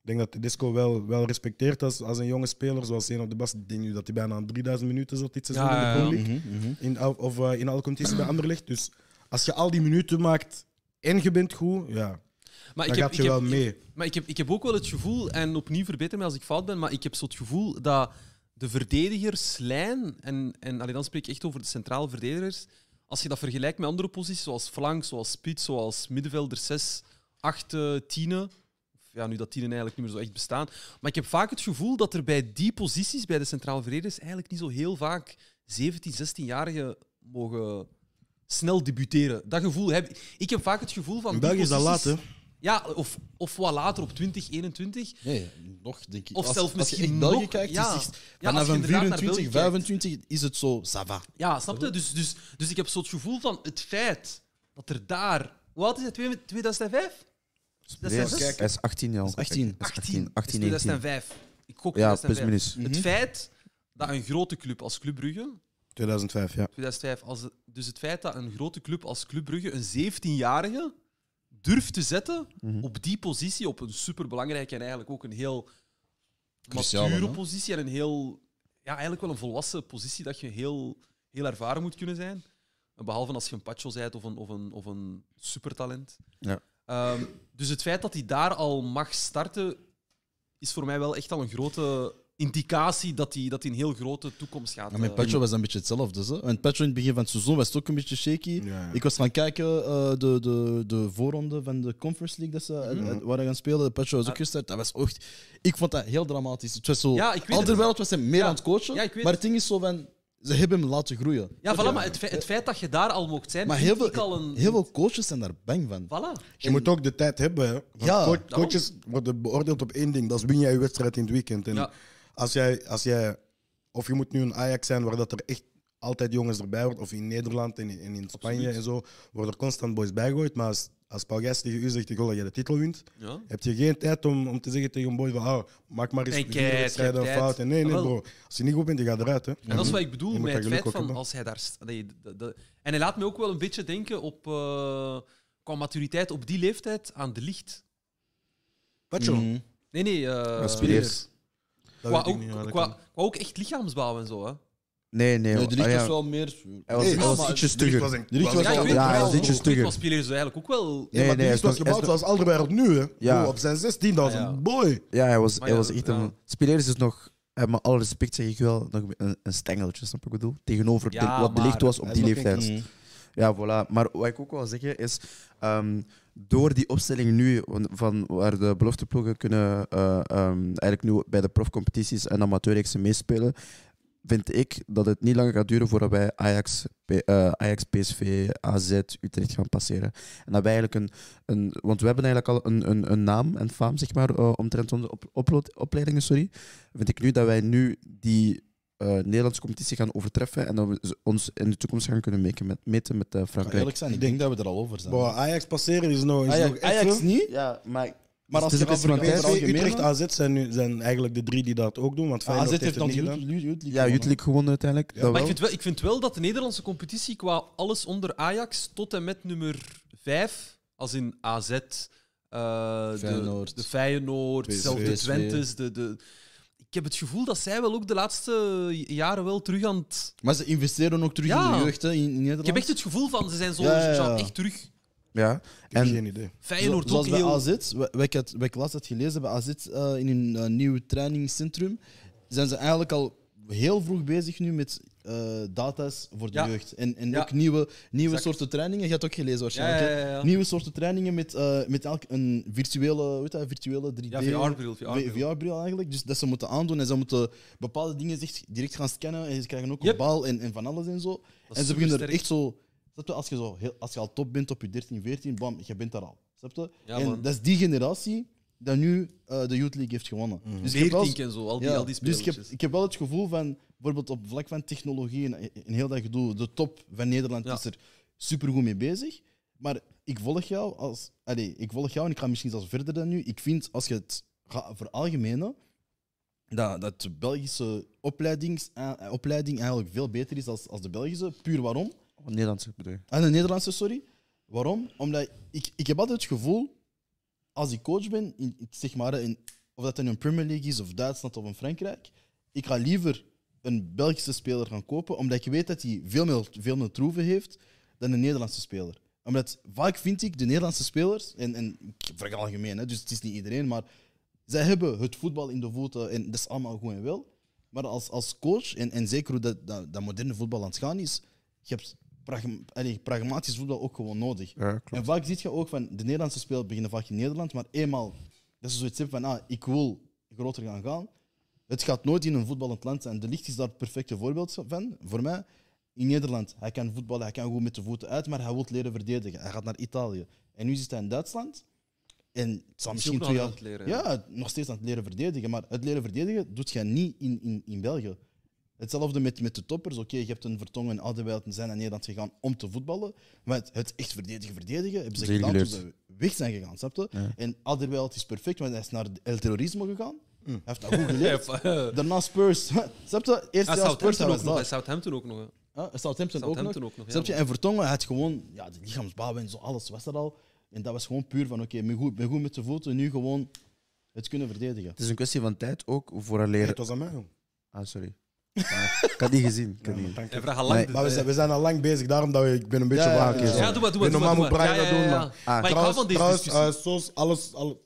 Ik denk dat de Disco wel, wel respecteert als, als een jonge speler, zoals Zeno de Bas. Ik denk nu dat hij bijna aan 3000 minuten zat dit seizoen
Ja,
in
ja,
de Pro
ja.
League. in, al- of eh, in alle competities bij Anderlecht. Dus als je al die minuten maakt en je bent goed, ja,
Maar
dan
ik heb,
gaat je
ik
wel
heb,
mee.
Maar ik heb, ik heb ook wel het gevoel, en opnieuw verbeter mij als ik fout ben, maar ik heb zo het gevoel dat de verdedigerslijn, en, en allee, dan spreek ik echt over de centrale verdedigers, als je dat vergelijkt met andere posities, zoals flank, zoals spits, zoals middenvelder 6, 8, 10, ja, nu dat tienen eigenlijk niet meer zo echt bestaan, maar ik heb vaak het gevoel dat er bij die posities, bij de centrale verdedigers, eigenlijk niet zo heel vaak 17, 16-jarigen mogen snel debuteren. Dat gevoel heb ik. Ik heb vaak het gevoel van...
In
die
België is dat laat,
posities-
hè?
ja, of, of wat later op 2021.
Nee, nog denk ik.
Of
Als-
zelf
als je
misschien
echt België
nog,
kijkt,
ja.
is het,
Ja,
vanaf
als je
een
inderdaad naar
24,
België kijkt.
25 is het zo, ça va.
Ja, snap je? Dus, dus, dus ik heb zo het gevoel van het feit dat er daar. Hoe oud is het? Twee- 2005?
Nee,
2006?
Hij is 18 jaar.
18.
18.
18, 19.
2005. Ik gok
Ja,
2005.
plus minus. Mhm.
Het feit dat een grote club als Club Brugge
2005, ja.
2005. Als, het- dus het feit dat een grote club als Club Brugge een 17-jarige durft te zetten
Mhm.
op die positie, op een superbelangrijke en eigenlijk ook een heel
Cruciale,
mature
hè?
positie en een heel, ja, eigenlijk wel een volwassen positie dat je heel, heel ervaren moet kunnen zijn. En Behalve als je een Pacho bent of een, of een, of een supertalent.
Ja.
Ehm, dus het feit dat hij daar al mag starten, is voor mij wel echt al een grote indicatie dat hij dat die een heel grote toekomst gaat
Ja, mijn
eh,
Petro was een beetje hetzelfde. Zo. En Petro in het begin van het seizoen was het ook een beetje shaky.
Ja.
Ik was gaan kijken eh, de, de, de voorronde van de Conference League dat ze,
Mhm.
eh, eh, waren gaan spelen. Petro was ook gestart. Dat was echt... Ik vond dat heel dramatisch. Het was zo...
Ah. Ja, ik weet het.
Alderweireld was hem meer
Ja.
aan het coachen.
Ja, ik weet
maar
het.
het ding is zo van... Ze hebben hem laten groeien.
Ja, voilà, maar het, fe- het feit dat je daar al mocht zijn,
Maar
vind
heel
ik al
veel,
een...
heel veel coaches zijn daar bang van.
Voilà.
Je moet ook de tijd hebben. hè. Want
Ja,
co- coaches worden beoordeeld op één ding. Dat is win jij je wedstrijd in het weekend. En
Ja.
als, jij, als jij... Of je moet nu een Ajax zijn waar dat er echt altijd jongens erbij wordt. Of in Nederland en in, en in Spanje en zo. Worden er constant boys bijgegooid. Maar als, als Paul Gijs tegen u zegt ik wil dat je de titel wint.
Ja.
Heb je geen tijd om, om te zeggen tegen een boy van ah, maak maar eens
Hey,
vier
kijk, je
wedstrijden
hebt
een
tijd.
fout. En nee, nee
Jawel.
bro. Als je niet goed bent, je gaat eruit. Hè.
En dat is wat ik bedoel
Je moet
met
dat
het feit
geluk ook
van
hebben.
als hij daar. st- dat je- dat- dat- en hij laat me ook wel een beetje denken op. eh, qua maturiteit op die leeftijd aan de licht.
Pacho.
Mhm.
Nee, nee. eh
Dat
Spiers.
Mm. Dat
qua,
weet ik
ook,
niet, ja,
qua,
dat
qua,
kan.
ook echt lichaamsbouw en zo. Hè.
Nee, nee.
Nee,
hoor.
de Richt
Ah, ja.
was wel meer...
Hij was,
Nee,
hij
ja,
was
maar
ietsje
de Richt
stugger.
was een-
De Richt was
Ja,
wel-
ik weet
ja,
het wel.
dat is ietsje stugger.
Ritmos Pillers is eigenlijk ook wel.
Nee, maar
Nee, nee,
die
hij
is was
is nog-
gebouwd
hij is
zoals Alderweireld nu, hè?
Ja.
Bro, op zijn 16.000.
Ja.
Boy!
Ja, hij was,
Maar
hij
ja,
was echt
ja.
een... Spileers is nog... eh, Met alle respect zeg ik wel, nog een, een stengeltje, snap je wat ik bedoel? Tegenover
Ja,
de- wat de
maar-
licht was op
Hij
die
is nog geen
leeftijd.
Mhm.
Ja, voilà. Maar wat ik ook wil zeggen is, ehm, door die opstelling nu, van- van waar de belofteploegen kunnen eh, ehm, eigenlijk nu bij de profcompetities en amateurreeksen meespelen, vind ik dat het niet lang gaat duren voordat wij Ajax, P- eh, Ajax PSV, AZ, Utrecht gaan passeren. En dat wij eigenlijk een, een want we hebben eigenlijk al een, een, een naam en faam, zeg maar, eh, omtrent onze op, oplo- opleidingen, sorry. Vind ik nu dat wij nu die eh, Nederlandse competitie gaan overtreffen en dat we z- ons in de toekomst gaan kunnen meken met, meten met eh,
Ik ga
Frankrijk.
eerlijk zijn, ik denk dat we er al over zijn.
Bro, Ajax passeren is nog. Is nog
Ajax,
echt
Ajax
zo.
niet,
Ja, maar...
maar als
Dus
je
het is
gaat
van
PSV,
vergelijken met het
Utrecht,
algemene-
AZ zijn, nu, zijn eigenlijk de drie die dat ook doen. Want
Ah,
Feyenoord
AZ
heeft
heeft
het
ons
niet gedaan.
Ja, Youth League gewonnen uiteindelijk. dat
Maar
wel.
ik vind, wel, ik vind wel dat de Nederlandse competitie qua alles onder Ajax tot en met nummer 5, als in AZ, eh, de,
Feyenoord.
de Feyenoord,
PSV.
zelfs de
PSV.
Twentes. De, de, ik heb het gevoel dat zij wel ook de laatste jaren wel terug aan het...
Maar ze investeren ook terug in
Ja.
de jeugd hè, in, in Nederland.
Ik heb echt het gevoel van, ze zijn zo,
Ja, ja, ja.
ze zijn echt terug.
Ja.
Ik heb
En,
geen idee.
Zo-
Feyenoord ook
Zoals bij
heel...
AZ, wa- wat ik, had, wat ik laatst had gelezen bij AZ eh, in hun eh, nieuw trainingscentrum, zijn ze eigenlijk al heel vroeg bezig nu met eh, data's voor de
Ja.
jeugd. En, en
Ja.
ook nieuwe, nieuwe
Exact.
soorten trainingen. Je hebt het ook gelezen
Ja,
waarschijnlijk.
ja,
hè?
ja, ja.
Nieuwe soorten trainingen met, eh, met elk een virtuele, weet je, dat, virtuele 3D.
Ja, VR-bril. VR-bril.
VR-bril eigenlijk. Dus dat ze moeten aandoen en ze moeten bepaalde dingen echt direct gaan scannen. En ze krijgen ook
Yep.
een bal en, en van alles en zo.
is
En ze beginnen er
supersterk.
echt zo. Snap je, als je, zo heel, als je al top bent op je 13, 14, bam, je bent daar al. Snap je?
Ja,
en
man.
dat is die generatie dat nu eh, de Youth League heeft gewonnen. Dus ik heb wel-
14 en zo, Mhm. al die,
ja,
al die
dus
spelers.
ik heb, ik heb wel het gevoel van, bijvoorbeeld op vlak van technologie en, en heel dat gedoe, de top van Nederland
Ja.
is er supergoed mee bezig. Maar ik volg jou als, allee, ik volg jou en ik ga misschien zelfs verder dan nu. Ik vind als je het gaat veralgemenen, dat, dat de Belgische opleidings, eh, opleiding eigenlijk veel beter is als, als de Belgische. Puur waarom?
Nederlandse bedoel je?
Ah, de Nederlandse, sorry. Waarom? Omdat ik, ik heb altijd het gevoel, als ik coach ben, in, in- zeg maar, in, of dat in een Premier League is, of Duitsland of in Frankrijk, ik ga liever een Belgische speler gaan kopen, omdat ik weet dat hij veel meer, veel meer troeven heeft dan een Nederlandse speler. Omdat vaak vind ik de Nederlandse spelers, en, en ik vergeet algemeen, hè, dus het is niet iedereen, maar zij hebben het voetbal in de voeten en dat is allemaal goed en wel. Maar als, als coach, en, en zeker hoe dat, dat, dat moderne voetbal aan het gaan is, je hebt pragma- allee, pragmatisch voetbal ook gewoon nodig.
Ja, klopt.
En vaak zie je ook van de Nederlandse spelers beginnen vaak in Nederland, maar eenmaal dat ze zoiets hebben van ah, ik wil groter gaan gaan. Het gaat nooit in een voetballend land zijn. De Licht is daar het perfecte voorbeeld van, voor mij. In Nederland, hij kan voetballen, hij kan goed met de voeten uit, maar hij wil leren verdedigen. Hij gaat naar Italië. En nu zit hij in Duitsland. En het zal
ook
misschien
nog
twee
aan
jaar...
het leren,
ja, nog steeds aan het leren verdedigen. Maar het leren verdedigen doet je niet in, in, in België. Hetzelfde met, met de toppers. Oké, je hebt een Vertongen en Alderweireld en zijn naar Nederland gegaan om te voetballen. Maar het, het echt verdedigen, verdedigen, hebben ze
Zeer
gedaan toen
geleerd.
ze weg zijn gegaan, snap je? En Alderweireld is perfect, want hij is naar El Terrorismo gegaan.
Mm.
Hij heeft dat goed geleerd. Daarna Spurs. snap je? Eerst jaar Spurs, hij
Southampton ook
was
nog. hè,
daar.
Southampton ook nog. hè.
Huh? Southampton,
Southampton
ook
ook
nog.
nog,
Snap je?
ja.
En Vertongen hij had gewoon, ja, de lichaamsbouw en zo, alles was er al. En dat was gewoon puur van, oké, ben, goed, ben goed met de voeten, nu gewoon het kunnen verdedigen.
Het is een kwestie van tijd ook voor een
Nee,
leren.
het was aan mij. joh.
Ah, sorry. Ah, ik had die gezien. Ik had die
Ja,
gezien.
dank je.
En vraag al lang.
Nee,
de-
Maar we zijn, we zijn al lang bezig, daarom dat we, ik ben een beetje
Ja, ja,
ja,
ja.
ja,
Ja, doe maar, doe maar.
normaal
doe
moet
maar.
Brian
Ja,
Ah,
dat
ja,
doen,
ja.
maar-
Maar ik hou van deze
trouwens,
discussie.
eh, zoals alles, alles,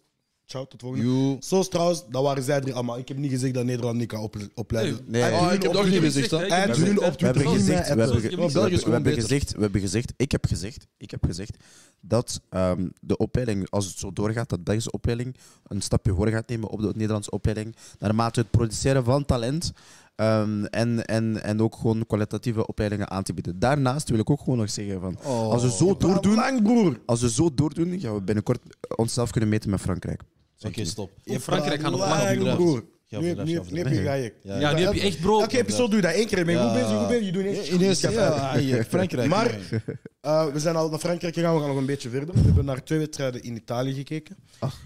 Ciao, tot volgende
You.
Zoals trouwens, dat waren zij drie allemaal. Ik heb niet gezegd dat Nederland niet kan ople- opleiden. Ah,
Nee.
En
Oh,
hun
ik heb
op
nog
Twitter-
niet gezegd, hè.
Ik
En
heb
hun
gezegd,
op
We hebben
Twitter-
gezegd, we hebben,
België
ge-
is
we hebben- we
gewoon
hebben
beter.
gezegd, we hebben gezegd, ik heb gezegd, ik heb gezegd dat ehm, de opleiding, als het zo doorgaat, dat de Belgische opleiding een stapje voor gaat nemen op de Nederlandse opleiding, naarmate het produceren van talent ehm, en, en, en ook gewoon kwalitatieve opleidingen aan te bieden. Daarnaast wil ik ook gewoon nog zeggen van, als we
Oh.
zo doordoen,
Lang, broer.
als we zo doordoen, gaan we binnenkort onszelf kunnen meten met Frankrijk.
Oké, stop.
In Frankrijk gaan nog
Lang,
lang
overdrijven.
broer.
Ja,
Nu heb- nu heb
overdrijven,
nu heb je gaaien.
Ja,
Ja, nu heb je echt brood.
Elke episode doe je dat één keer. Ben je goed bezig? Goed bezig? Je doet
Ja,
ineens...
Ineens,
Schat,
ja, ja, Frankrijk.
Maar-
ja.
Eh, we zijn al naar Frankrijk gegaan, we gaan nog een beetje verder. We hebben naar twee wedstrijden in Italië gekeken.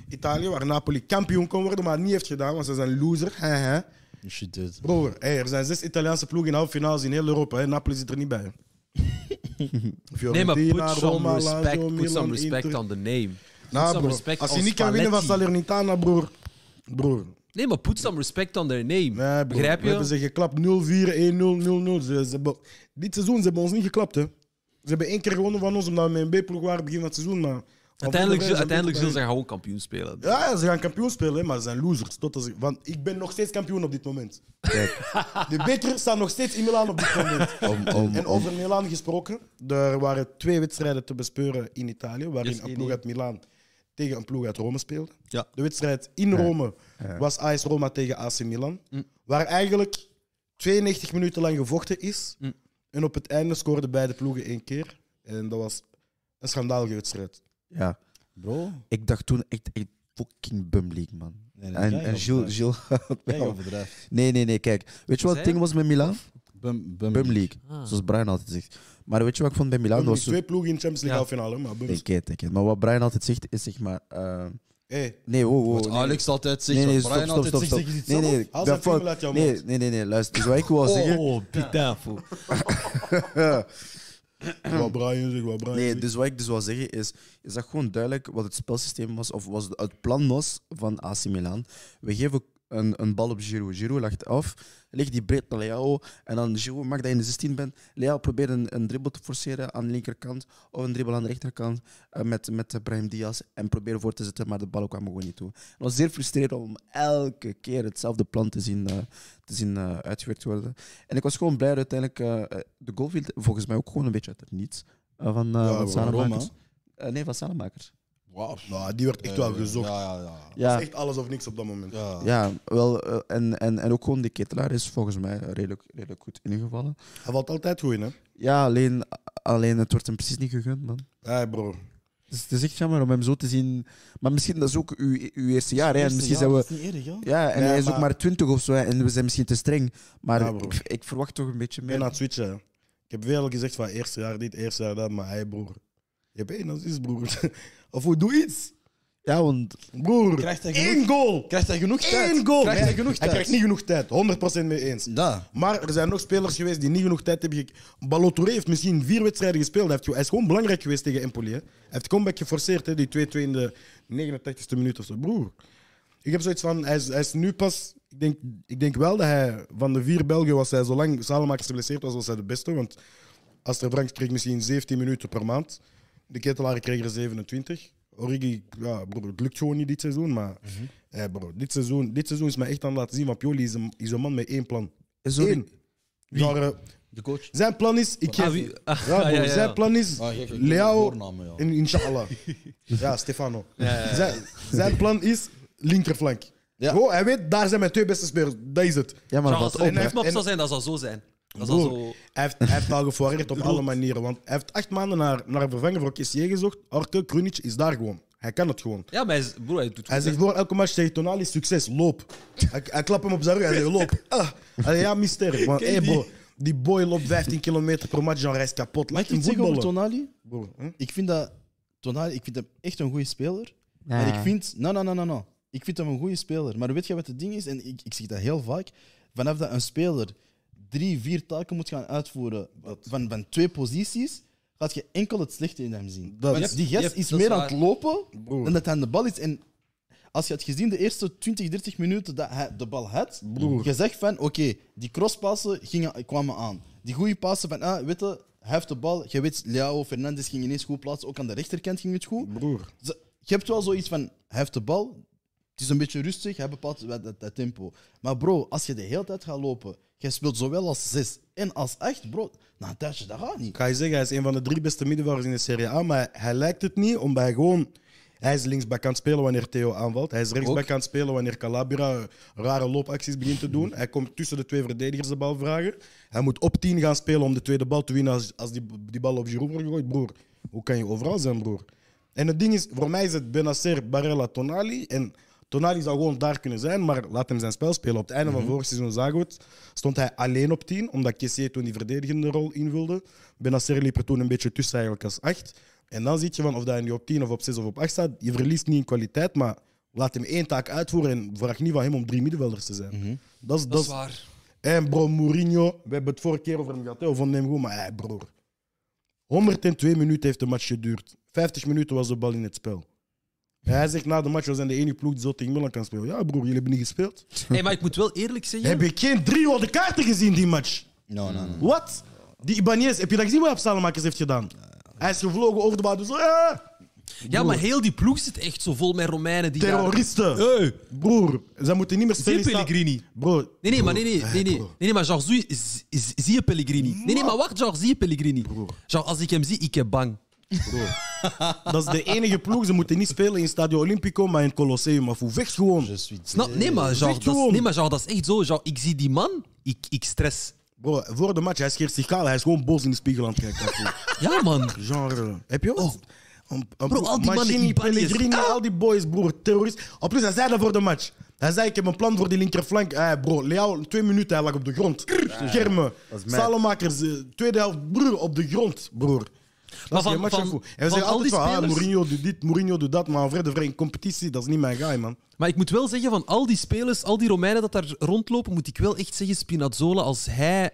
Italië, waar Napoli kampioen kon worden, maar het niet heeft gedaan, want ze zijn loser. Hè, hè.
Shit, dude.
Broer, hey, er zijn zes Italiaanse ploegen in halve finales in heel Europa. Hè. Napoli zit er niet bij. hè.
Nee,
Fiorentina,
maar put some
Roma, Lazio,
respect, put
Milan,
some respect
Inter.
on the name.
Nou,
Put some
broer,
respect
als je
on
niet kan winnen van
Spalletti.
Salernitana, broer. Broer,
Nee, maar put some respect on their name.
nee, broer.
Begrijp
We hebben
je?
ze geklapt 0-4, 1-0, 0-0. Ze, ze hebben- dit seizoen ze hebben ons niet geklapt. Hè. Ze hebben één keer gewonnen van ons, omdat we met een B-ploeg waren begin van het seizoen. Maar
Uiteindelijk,
Ze-
uiteindelijk zullen ze gewoon kampioen spelen.
Ja, ja, ze gaan kampioen spelen, hè, maar ze zijn losers. Tot als ik, want ik ben nog steeds kampioen op dit moment. De beker staat nog steeds in Milaan op dit moment.
Om, om,
En over Milaan gesproken, er waren twee wedstrijden te bespeuren in Italië, waarin
Yes,
een
nee,
ploeg
nee.
uit Milaan tegen een ploeg uit Rome speelde.
Ja.
De wedstrijd in Rome was AS Roma tegen AC Milan,
Mm.
waar eigenlijk 92 minuten lang gevochten is.
Mm.
En op het einde scoorden beide ploegen één keer. En dat was een schandalige wedstrijd.
ja.
Bro.
Ik dacht toen echt, echt fucking bum league, man.
Nee, nee,
En,
jij
en Gilles,
overdrijft.
Gilles had mij
Jij
al-
overdrijft.
Nee, nee, nee, kijk. Weet je wat het
zei
ding was met Milan?
Bum,
Bum League, zoals Brian altijd zegt. Maar weet je wat ik vond bij Milan?
Bum,
Was zo...
twee ploegen in de Champions League
Ja.
halve finale, maar Bum-
Ik weet, ik weet. Maar wat Brian altijd zegt is zeg maar... eh,
Hey,
Nee, wow, wow.
Wat
nee.
Alex altijd zegt,
Nee, nee,
wat
stop,
Brian
stop,
altijd
stop.
zegt,
stop.
zeg je dit
Nee,
zelf?
nee,
Haal zijn
dat valt-
vinger uit jouw
nee,
mond.
nee, nee, nee, luister. Dus wat ik wil zeggen...
Oh, pitafo.
wat Brian zegt, wat Brian
Nee,
zegt.
dus wat ik dus wil zeggen is, is dat gewoon duidelijk wat het spelsysteem was of was het plan was van AC Milan. We geven een, een bal op Giroud. Giroud lacht af, legt die breed naar Leao en dan Giroud mag dat je in de 16 bent. Leao probeert een, een dribbel te forceren aan de linkerkant of een dribbel aan de rechterkant eh, met, met Brahim Diaz en probeert voor te zetten, maar de ballen kwamen gewoon niet toe. Het was zeer frustrerend om elke keer hetzelfde plan te zien, eh, te zien eh, uitgewerkt worden. En ik was gewoon blij dat uiteindelijk eh, eh, de goal viel volgens mij ook gewoon een beetje uit het niets. eh, van, eh van
van
Salamakers.
Roma.
Eh, nee, van Salamakers.
Wauw.
Nou, die werd echt wel
Eh,
gezocht.
Ja, ja, ja.
Dat
Ja,
is echt alles of niks op dat moment.
ja.
ja wel, eh, en, en, en ook gewoon de ketelaar is volgens mij redelijk, redelijk goed ingevallen.
Hij valt altijd goed in, hè?
Ja, alleen, alleen het wordt hem precies niet gegund, man.
Hey, bro.
Dus het is echt jammer om hem zo te zien. Maar misschien dat is ook uw, uw eerste jaar. Hè? En misschien zijn we.
Dat is niet eerlijk, ja.
Ja, en
Nee,
hij is ook
maar-
maar 20 of zo. hè, En we zijn misschien te streng. Maar
Ja, bro.
ik, ik verwacht toch een beetje
Ik ben aan
meer.
het switchen. hè. Ik heb veel gezegd van eerste jaar dit, eerste jaar dat, maar hey, broer. Je hebt één assist, broer. Of hoe, doe iets.
Ja, want
Broer,
Krijgt hij genoeg-
één goal.
Krijgt hij genoeg tijd?
Eén goal.
Krijgt
Nee,
hij genoeg tijd?
krijgt niet genoeg tijd, 100% mee eens.
Ja.
Maar er zijn nog spelers geweest die niet genoeg tijd hebben. gek- Balotelli heeft misschien vier wedstrijden gespeeld. Hij, heeft, hij is gewoon belangrijk geweest tegen Empoli. Hè. Hij heeft comeback geforceerd, hè, die 2-2 in de 89ste minuut of zo. Broer, ik heb zoiets van, hij is, hij is nu pas... Ik denk, ik denk wel dat hij van de vier Belgen was, hij, zolang Salamakers geblesseerd was, was hij de beste. Want Aster Franks kreeg misschien 17 minuten per maand. De ketelaren kregen er 27. Origi, ja, broer, het lukt gewoon niet dit seizoen. Maar
Mhm.
eh, bro, dit, seizoen, dit seizoen is mij echt aan het laten zien van Pioli is een, is een man met één plan.
is er-
Eén. Genre,
De coach.
zijn plan is. Ik
Ah,
geef,
wie-
ja,
Ah, ja,
broer,
ja, ja.
Zijn plan is.
Ah, gek, ik wil de
Leao.
voornamen, ja.
En inshallah. ja, Stefano. Zijn, zijn plan is linkerflank.
Ja.
Gewoon, hij weet, daar zijn mijn twee beste spelers. Dat is het.
Ja, maar
Als
wat
het
op.
een
hè.
F-map zou zijn, dat zou zo zijn. Dat zou
Broer,
zo...
hij, heeft, hij heeft al gefoireerd op alle manieren. Want hij heeft acht maanden naar, naar een vervanger voor Kessier gezocht. Arke Krunic is daar gewoon. Hij kan het gewoon.
Ja, maar hij, is- broer, hij doet goed,
Hij
hè.
zegt voor elke match tegen Tonali, succes, loop. Hij, hij klapt hem op zijn rug, hij zegt loop. Ah. Hij zegt, ja, mister. Want, hey, bro, die boy loopt 15 kilometer per match, genre, hij is kapot.
Mag
Laat
ik
hem
iets zeggen over
voetballen.
Tonali?
Bro, hè?
Ik vind dat... Tonali, ik vind hem echt een goede speler.
Ja.
Maar ik vind... Nou, nou, nou, nou, nou. Ik vind hem een goede speler. Maar weet je wat het ding is? En ik, ik zeg dat heel vaak. Vanaf dat een speler drie, vier taken moet gaan uitvoeren van, van twee posities, gaat je enkel het slechte in hem zien.
Dat-
Want die gast
Yep,
is
dat is
meer aan het
waar.
lopen
Broer.
dan dat hij aan de bal is. En als je had gezien de eerste 20, 30 minuten dat hij de bal had,
Broer.
je zegt van oké, die crosspassen gingen, kwamen aan. Die goede passen van, ah, weet je, hij heeft de bal. Je weet, Leao Fernandes ging ineens goed plaatsen. Ook aan de rechterkant ging het goed.
broer.
Ze- Je hebt wel zoiets van, hij heeft de bal. Het is een beetje rustig, hij bepaalt wel dat, dat tempo. Maar bro, als je de hele tijd gaat lopen, jij speelt zowel als 6 en als 8, bro, na een tijdje, dat gaat niet.
Ik ga je zeggen, hij is een van de drie beste middenvelders in de Serie A, maar hij lijkt het niet, omdat hij gewoon... Hij is linksback aan het spelen wanneer Theo aanvalt. Hij is rechtsback aan het spelen wanneer Calabria rare loopacties begint te doen. Hij komt tussen de twee verdedigers de bal vragen. Hij moet op 10 gaan spelen om de tweede bal te winnen als, als die, die bal op Giroud wordt gegooid. Broer, hoe kan je overal zijn, broer? En het ding is, voor mij is het Benacer, Barella, Tonali. En Tonali zou gewoon daar kunnen zijn, maar laat hem zijn spel spelen. Op het einde van vorig seizoen zagen we het, stond hij alleen op 10, omdat Kessier toen die verdedigende rol invulde. Benacer liep er toen een beetje tussen eigenlijk als 8. En dan zie je van of dat hij nu op 10 of op 6 of op 8 staat, je verliest niet in kwaliteit, maar laat hem één taak uitvoeren en vraag niet van hem om drie middenvelders te zijn. Mhm. Dat is,
Dat is waar.
en bro, Mourinho, we hebben het vorige keer over hem gehad, hè, we vonden hem goed, maar hey, broer. 102 minuten heeft de match geduurd. 50 minuten was de bal in het spel. En hij zegt na de match, we zijn de enige ploeg die zo tegen Milan kan spelen. Ja, broer, jullie hebben niet gespeeld.
Hey, maar ik moet wel eerlijk zeggen.
Heb je geen drie rode kaarten gezien die match?
No, no, no.
Wat? Die Ibanez, heb je dat gezien wat Salamakers heeft gedaan? Hij is gevlogen over de bal, dus eh,
ja, maar heel die ploeg zit echt zo vol met Romeinen die.
terroristen. Eh.
Hey,
Broer, ze moeten niet meer
zie
spelen.
je
in sta-
Pellegrini?
Bro,
Nee, nee, maar nee, nee, nee, nee, nee, nee maar Georges, zie- zie- zie je Pellegrini? Nee, nee, maar wacht, Georges, zie je Pellegrini? Georges, als ik hem zie, ik heb bang.
dat is de enige ploeg. Ze moeten niet spelen in Stadio Olimpico, maar in het Colosseum. Of hoe vecht gewoon.
Je suis
Snap? Nee, maar
zeg
Georges, dat, is-
gewoon.
nee, maar Georges, dat is echt zo. Georges, ik zie die man, ik, ik stress.
Bro, voor de match, hij scheert zich kaal. Hij is gewoon boos in de spiegel aan het kijken.
Ja, man.
Genre. Heb je wat? Een, een
Oh. Bro, al die Ah.
Mancini,
mannen, Ibanez.
Pellegrini, al die boys, broer. Terrorist. En plus, hij zei dat voor de match. Hij zei, ik heb een plan voor die linkerflank. Eh, bro, Leao, twee minuten, hij lag op de grond. Germen, Salomakers, eh, tweede helft, broer, op de grond, broer.
Maar
Dat is
van-
geen match
van-
van, En we
van
zeggen
al die
altijd van, ah,
spelers-
Mourinho doet dit, Mourinho doet dat. Maar aan vrede vrij in competitie, dat is niet mijn guy, man.
Maar ik moet wel zeggen, van al die spelers, al die Romeinen dat daar rondlopen, moet ik wel echt zeggen, Spinazzola, als hij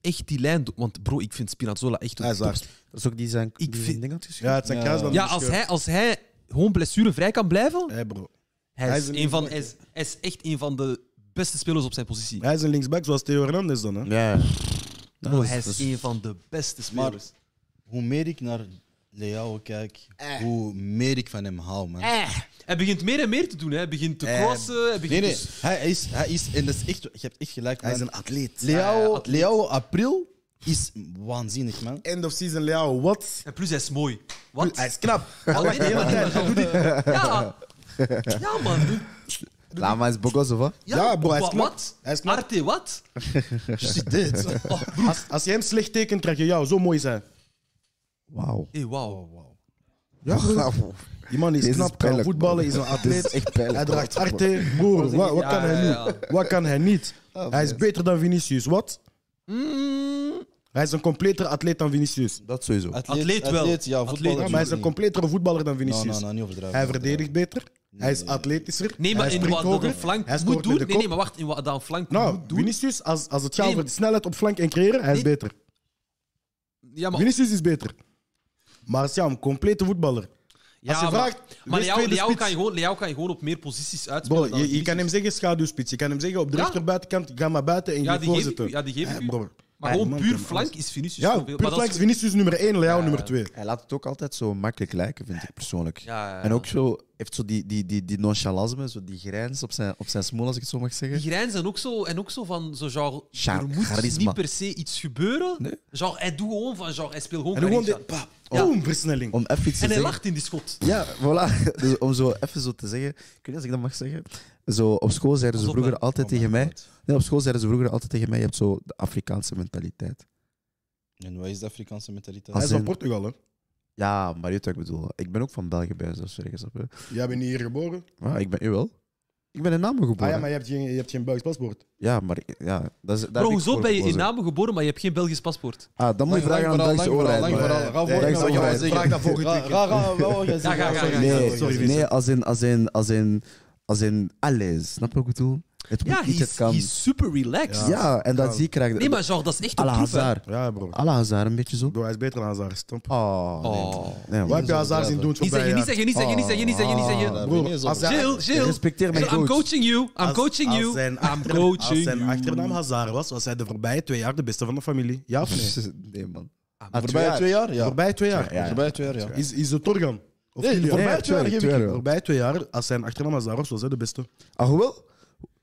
echt die lijn doet... Want bro, ik vind Spinazzola echt... een
Hij is
top-
daar.
Dat is ook die zijn,
Ik
die
vind-
zijn ding had
Ja,
geschreven.
het zijn kruisbanden.
Ja, als hij, als hij gewoon blessurevrij kan blijven,
Hey, bro.
hij
Hij
is,
is een
een van, hij,
linksback,
is, hij is echt een van de beste spelers op zijn positie.
Hij is een linksback zoals Theo Hernandez dan. Hè?
Ja.
Bro, hij is een van de beste spelers.
Hoe meer ik naar Leao kijk, hoe meer ik van hem hou, man.
Eh, hij begint meer en meer te doen. Hè. Hij begint te
Eh,
crossen. Hij begint
Nee, nee,
dus-
hij is, hij is, en dat is echt, je hebt echt gelijk, man.
Hij is een atleet.
Leao,
Ah, atleet.
Leao April is waanzinnig, man.
End of season Leao, wat?
En plus, hij is mooi. Wat?
Hij is knap. Hij
Wat?
lacht de
Nee,
hele
maar-
tijd. Hij doet dit.
Ja. ja, man.
Laat maar eens Bogos of wat?
Ja,
Ja, bro, hij is
wa-
knap.
Wat?
Hij is knap.
Arte, wat? Oh, broer.
Als, als je hem slecht tekent, trek je jou. Zo mooi zijn.
Wauw.
Hey, wauw.
Wauw.
Die man
Dit
is
is
knap, kan
pijnlijk,
voetballen,
bro.
is een
Dit is
atleet.
echt pijnlijk.
Hij draagt arte. Broer, wat, wat
Ja,
kan hij
ja,
nu?
ja.
Wat kan hij niet? Hij is beter dan Vinicius. Wat?
Mm, Ah,
Hij is een completere atleet dan Vinicius.
Dat sowieso.
Atleet wel.
Atleet, ja,
Atleet,
voetballer.
Ja, maar hij is een completere voetballer dan
No, no,
Vinicius.
no, niet overdrijven.
Hij verdedigt beter. Hij is atletischer.
Nee, maar
hij
in
springt
wat dat
hoger,
een flank
hij scoort met
moet doen.
de
Nee,
kop.
nee, maar wacht. In wat dat een flank
Nou,
moet doen.
Vinicius, als, als het gaat
Nee,
over
maar-
snelheid op flank en creëren, hij is
Nee.
beter.
Ja, maar,
Vinicius is beter. Maar het is ja, een complete voetballer.
ja,
als je
maar-
vraagt,
Maar
wees
Leao,
tweede
Leao,
spits.
kan je gewoon, Leao kan je gewoon op meer posities
Bro,
uitspelen. dan
je, je kan
Vinicius.
hem zeggen schaduwspits. Je kan hem zeggen op de
Ja.
rechterbuitenkant, ga maar buiten en
Ja,
je
die geef ik
voorzetten.
u. Ja, die geef ik
Eh,
u.
bro.
Maar
Ja,
gewoon
man
puur
kan
flank
alles.
is Vinicius
Ja,
zoveel-
puur
maar dat
flank is Vinicius nummer 1, Leao nummer 2.
Hij laat het ook altijd zo makkelijk lijken, vind ik persoonlijk.
Ja, ja, ja.
En ook zo, heeft zo die, die, die, die nonchalasme, zo die grijns op zijn, op zijn smoel, als ik het zo mag zeggen.
Die grijns en ook zo, en ook zo van zo genre,
Char-
er moet
charisma.
niet per se iets gebeuren.
Nee.
Genre, hij doet gewoon van genre, hij speelt gewoon
En dan gewoon
charisma.
dit, pa, boom, versnelling.
Om even iets te
En hij
zeggen.
lacht in die schot.
Ja, voilà. Dus om zo even zo te zeggen, ik weet niet als ik dat mag zeggen. Zo, op school zeiden ze
Pas op,
vroeger
hè.
altijd tegen mij. Nee, op school zeiden ze vroeger altijd tegen mij: je hebt zo de Afrikaanse mentaliteit.
En wat is de Afrikaanse mentaliteit?
Hij is
als
van
in-
Portugal, hè?
Ja, maar je weet wat ik bedoel. Ik ben ook van België bij, dus zo zeggen ze.
Jij bent niet hier geboren.
Maar ik ben u wel. Ik ben in Namen geboren.
Ah ja, maar je hebt geen, je hebt geen Belgisch paspoort.
Ja, maar ik- ja, dat is, daar
Bro,
heb ik
hoezo
voor
ben je in
gekozen.
namen geboren, maar je hebt geen Belgisch paspoort?
Ah, dan moet je
Lang
vragen aan de
verhaal,
Belgische
lang verhaal,
overheid. maar-
lang verhaal. Ga voor,
Dankzij
ga
overheid.
voor.
Vraag dat volgende
Ga-
keer.
ga- ga- ga- ga- ga-
Ja, ga- ga- ga-
Nee,
Ah, Sorry, Vincent.
nee als, in, als, in, als, in, als in alles. Snap je wat ik bedoel? Het moet
Ja, hij
iets, het
is,
kan.
hij is super relaxed.
ja, en dat zie ik graag.
Nee, maar genre, dat is echt een
Al
proef. hè.
Hazard.
Ja, bro.
Al Hazard, een beetje zo.
Ah, Bro, hij is beter dan Hazard. Stomp.
Oh, nee.
Oh.
Nee, man.
Wat heb je Hazard zien doen het
Niet
voorbije
zeggen,
jaar?
niet zeggen, niet zeggen, niet zeggen, niet zeggen, niet zeggen.
Ah,
Broer,
Niet zo.
als hij-
Jill, Jill.
Respecteer mijn
Jill, I'm
coach.
coaching you. I'm
Als-
coaching
als
you.
zijn
I'm
achter- Als
coaching
zijn
you.
achternaam Hazard was, was hij de voorbije twee jaar de beste van de familie. Ja of nee?
Nee, man.
Ah,
Voorbij twee jaar? Ja.
Voorbije twee jaar.
Ja, ja.
Voorbij twee jaar, ja.
Is, is het Torgan? Of
Nee,
jullie-
voorbij twee jaar,
twee
geef ik
jaar.
je.
Voorbij twee jaar, als zijn achternaam Azaros was, hij de beste.
Alhoewel,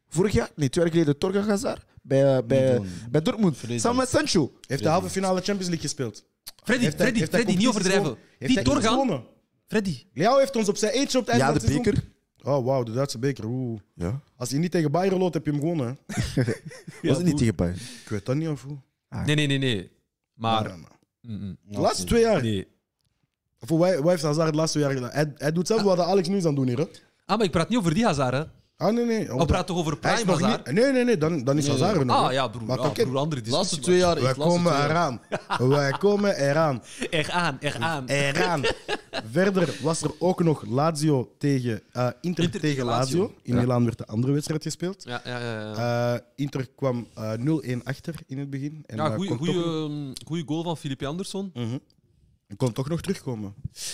vorig jaar, nee, twee jaar geleden, Torgan Hazard bij, eh, bij, bij Dortmund.
Verleden.
Samen met Sancho.
Heeft de halve finale Champions League gespeeld.
Freddy,
Heeft hij-
Freddy,
heeft hij
Freddy, niet
competities
overdrijven.
gewonnen? Heeft
Die
hij iets
doorgaan.
gewonnen?
Freddy.
Leao heeft ons op zijn eentje op het einde
Ja,
van
de
het seizoen-
beker.
Oh, wauw, de Duitse beker. Oeh.
Ja.
Als hij niet tegen Bayern loopt, heb je hem gewonnen. hè.
Was het niet tegen Bayern?
Ik weet dat niet of hoe.
Ah.
Nee, nee, nee, nee. Maar.
Ja, man.
Mm-mm.
De laatste twee jaar.
Nee.
Voor wij, wij heeft Hazard de laatste twee jaar gedaan. Hij, hij doet zelf wat Alex nu is aan het doen hier. Hè?
Ah, maar ik praat niet over die Hazard, hè?
Ah, nee, nee.
We praten toch Oh, over
hij is
Prime
nog niet...
Hazard?
Nee, nee, nee, dan, dan is
Nee.
Hazard er nog.
Ah,
hè.
ja, broer.
Maar
Ja,
kijk,
broer, ah, andere discussie.
laatste twee jaar.
Wij
echt, laatste
komen
twee jaar.
eraan. Wij komen eraan.
Eraan, eraan.
Eraan. Eh, Verder was er ook nog Lazio tegen eh, Inter,
Inter
tegen
tegen
Lazio.
Lazio.
In Milaan werd de andere wedstrijd gespeeld.
Ja, ja, ja. ja.
Eh, Inter kwam eh, 0-1 achter in het begin. En
Ja,
eh,
goeie,
kon,
goeie,
toch, Mhm.
ehm, goeie goal van Filipe Andersson.
kon toch nog terugkomen.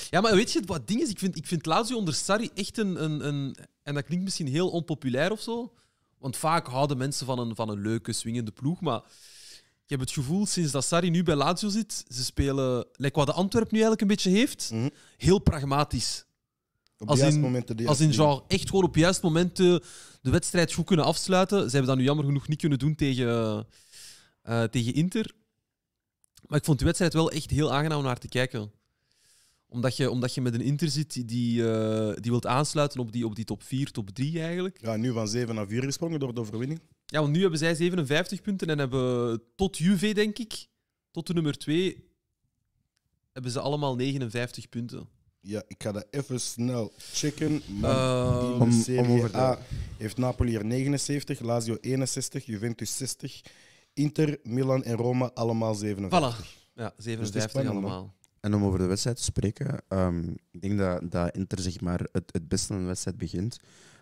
Ja, maar weet je wat het ding is? Ik vind, ik vind Lazio onder Sarri echt een, een, een... En dat klinkt misschien heel onpopulair of zo. Want vaak houden mensen van een, van een leuke, swingende ploeg. Maar ik heb het gevoel, sinds dat Sarri nu bij Lazio zit, ze spelen, like wat de Antwerp nu eigenlijk een beetje heeft,
Mhm.
heel pragmatisch.
Op de
Als
juiste
in-
momenten. de
Als
juiste
in
dingen.
genre echt gewoon op het juiste moment de, de wedstrijd goed kunnen afsluiten. Ze hebben dat nu jammer genoeg niet kunnen doen tegen, eh, tegen Inter. Maar ik vond die wedstrijd wel echt heel aangenaam om naar te kijken. Omdat je, omdat je met een Inter zit die, eh, die wilt aansluiten op die, op die top 4, top 3 eigenlijk.
Ja, nu van 7 naar 4 gesprongen door de overwinning.
Ja, want nu hebben zij 57 punten en hebben tot Juve, denk ik, tot de nummer 2, hebben ze allemaal 59 punten.
Ja, ik ga dat even snel checken. Maar
Eh,
in
om-
de
om
Serie
over te-
A heeft Napoli er 79, Lazio 61, Juventus 60, Inter, Milan en Roma allemaal 57.
voilà. Ja, 57
spannend, man.
allemaal.
En om over de wedstrijd te spreken, ehm, ik denk dat, dat Inter zeg maar, het, het beste aan de wedstrijd begint.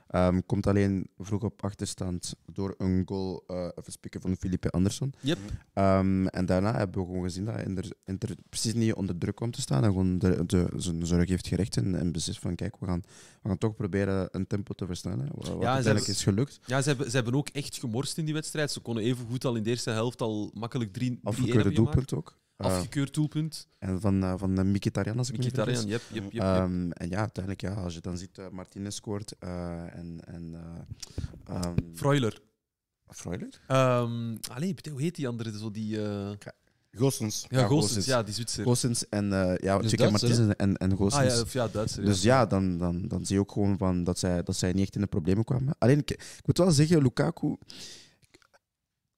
Ehm, komt alleen vroeg op achterstand door een goal, eh even spikken van Felipe Anderson.
Yep.
Ehm, en daarna hebben we gewoon gezien dat Inter, Inter precies niet onder druk komt te staan. En gewoon de, de, zijn zorg heeft gerecht en, en beslist van kijk, we gaan, we gaan toch proberen een tempo te versnellen. Wat wat
ze
uiteindelijk
hebben-
is gelukt.
Ja, ze hebben, ze hebben ook echt gemorst in die wedstrijd. Ze konden even goed al in de eerste helft al makkelijk 3 3-1
Afgekeurde
hebben gemaakt.
doelpunt ook. Eh,
Afgekeurd doelpunt.
en van, eh, van eh, Mkhitaryan, als ik me niet vergis.
Mkhitaryan, yep, yep, yep, yep.
Ehm, en ja, uiteindelijk, ja, als je dan ziet, eh, Martinez scoort eh, en. en eh, ehm,
Freuler.
Freuler?
Ehm, allee, bedoel, hoe heet die andere? Zo die, eh,
Goossens.
ja,
Ja,
Goossens,
Goossens.
ja, die Zwitser.
Goossens en. eh, ja,
Dus
dus
Duits, hè?
Martinez en, en
Ah
Goossens.
ja, of ja, Duitser. ja.
Dus ja, dan, dan, dan zie je ook gewoon van dat, zij, dat zij niet echt in de problemen kwamen. Alleen, ik, ik moet wel zeggen, Lukaku.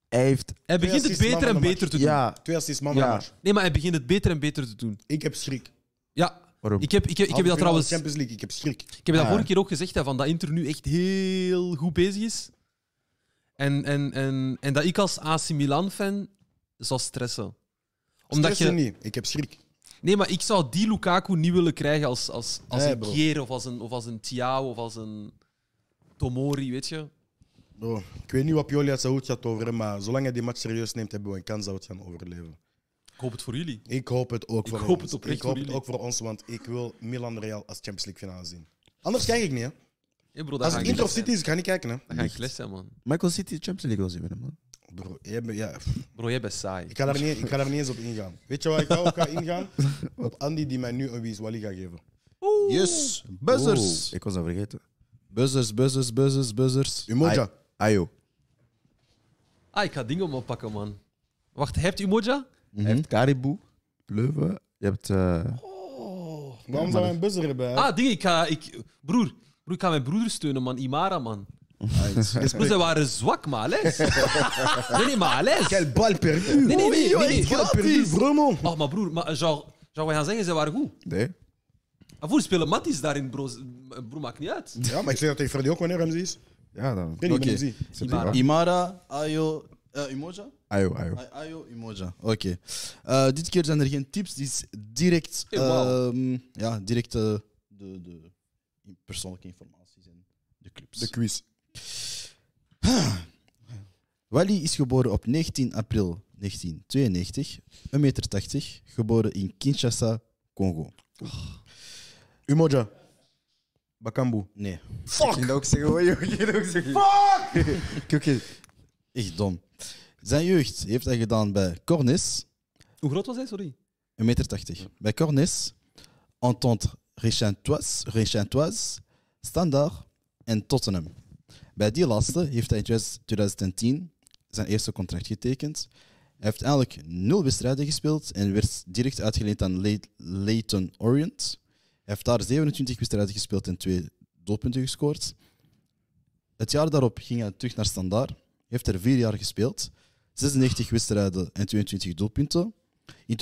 Hij heeft.
Hij begint het
assists,
beter
man
en
van de
beter te doen.
Ja,
Twee assists, man.
Ja.
maar
Nee, maar hij begint het beter en beter te doen.
Ik heb schrik.
Ja,
waarom?
ik heb, ik heb, ik heb
Halve
dat
finale
trouwens...
Champions League, ik heb schrik.
Ik heb dat
Ah.
vorige keer ook gezegd, hè, van dat Inter nu echt heel goed bezig is. En, en, en, en dat ik als AC Milan-fan zou stressen. Omdat
Stress
je...
je niet. Ik heb schrik.
Nee, maar ik zou die Lukaku niet willen krijgen als, als, als
Nee,
een
bro.
Kier of als een, of als een Thiago of als een Tomori, weet je.
Bro, ik weet niet wat Pioli uit zijn hoed gaat over, maar zolang hij die match serieus neemt, hebben we een kans dat we het gaan overleven.
Ik hoop het voor jullie.
Ik hoop het ook
Ik
voor
hoop
ons.
het oprecht
ik hoop
voor
het ook
jullie.
voor ons, want ik wil Milan Real als Champions League finale zien. Anders kijk ik niet, hè.
Hey bro,
Als het Inter of City is, ik ga niet kijken, hè.
Dan ga ik les zijn, man.
Michael City Champions League wil zien winnen, man.
Bro, jij bent- ja, pff,
Bro, jij bent saai.
ik, ga daar niet, ik ga daar niet eens op ingaan. Weet je waar ik wel op ga ingaan? Op Andy die mij nu een Wies Wally gaat geven.
Yes, buzzers.
Oeh, ik was dat vergeten.
Buzzers, buzzers, buzzers, buzzers.
Umoja.
Ayo.
Ah, ik ga dingen oppakken, man. Wacht, hebt u Moja?
Hij heeft Caribou, Leuven. Je hebt. eh,
Waarom zou hij een buzzer hebben? hè?
Ah, dingen, ik ga... Ik, broer, broer, ik ga mijn broeder steunen, man. Imara, man. Bro,
Respect.
zij waren zwak, maar les. Nee, nee, maar les.
Quel bal perdu.
nee, nee, nee, nee, nee.
Bal perdu, vraiment.
Oh, maar broer, maar, eh, zou, zou wij gaan zeggen, ze waren goed.
nee.
En voor spelen Matties daarin, bro, bro, maakt niet uit.
Ja, maar ik zeg dat tegen Freddy ook wanneer hem ze is. Ik
Ja, dan. Ah,
weet niet
Oké.
wanneer hem ze is.
Imara.
Imara, Ayo, eh, Umoja?
Ayo, ayo.
Ay- Ayo, Umoja. Oké. Eh, dit keer zijn er geen tips, dit is direct,
Hey, wauw.
ehm, ja, direct eh, de, de persoonlijke informatie en de clubs.
De quiz.
Wally is geboren op 19 april 1992, 1,80 meter, geboren in Kinshasa, Congo.
Umoja. Bakambu.
Nee,
Fuck! Ik kan ook zeggen, hoor. Ik kan ook zeggen. Fuck! Oké.
echt dom. Zijn jeugd heeft hij gedaan bij Cornis,
Hoe groot was hij, sorry?
1,80 meter. Bij Cornis, Entente Rechantoise, Rechantoise, Standard en Tottenham. Bij die laatste heeft hij in 2010 zijn eerste contract getekend. Hij heeft eigenlijk nul wedstrijden gespeeld en werd direct uitgeleend aan Le- Leyton Orient. Hij heeft daar 27 wedstrijden gespeeld en twee doelpunten gescoord. Het jaar daarop ging hij terug naar Standard. Heeft er vier jaar gespeeld. 96 wedstrijden en 22 doelpunten. In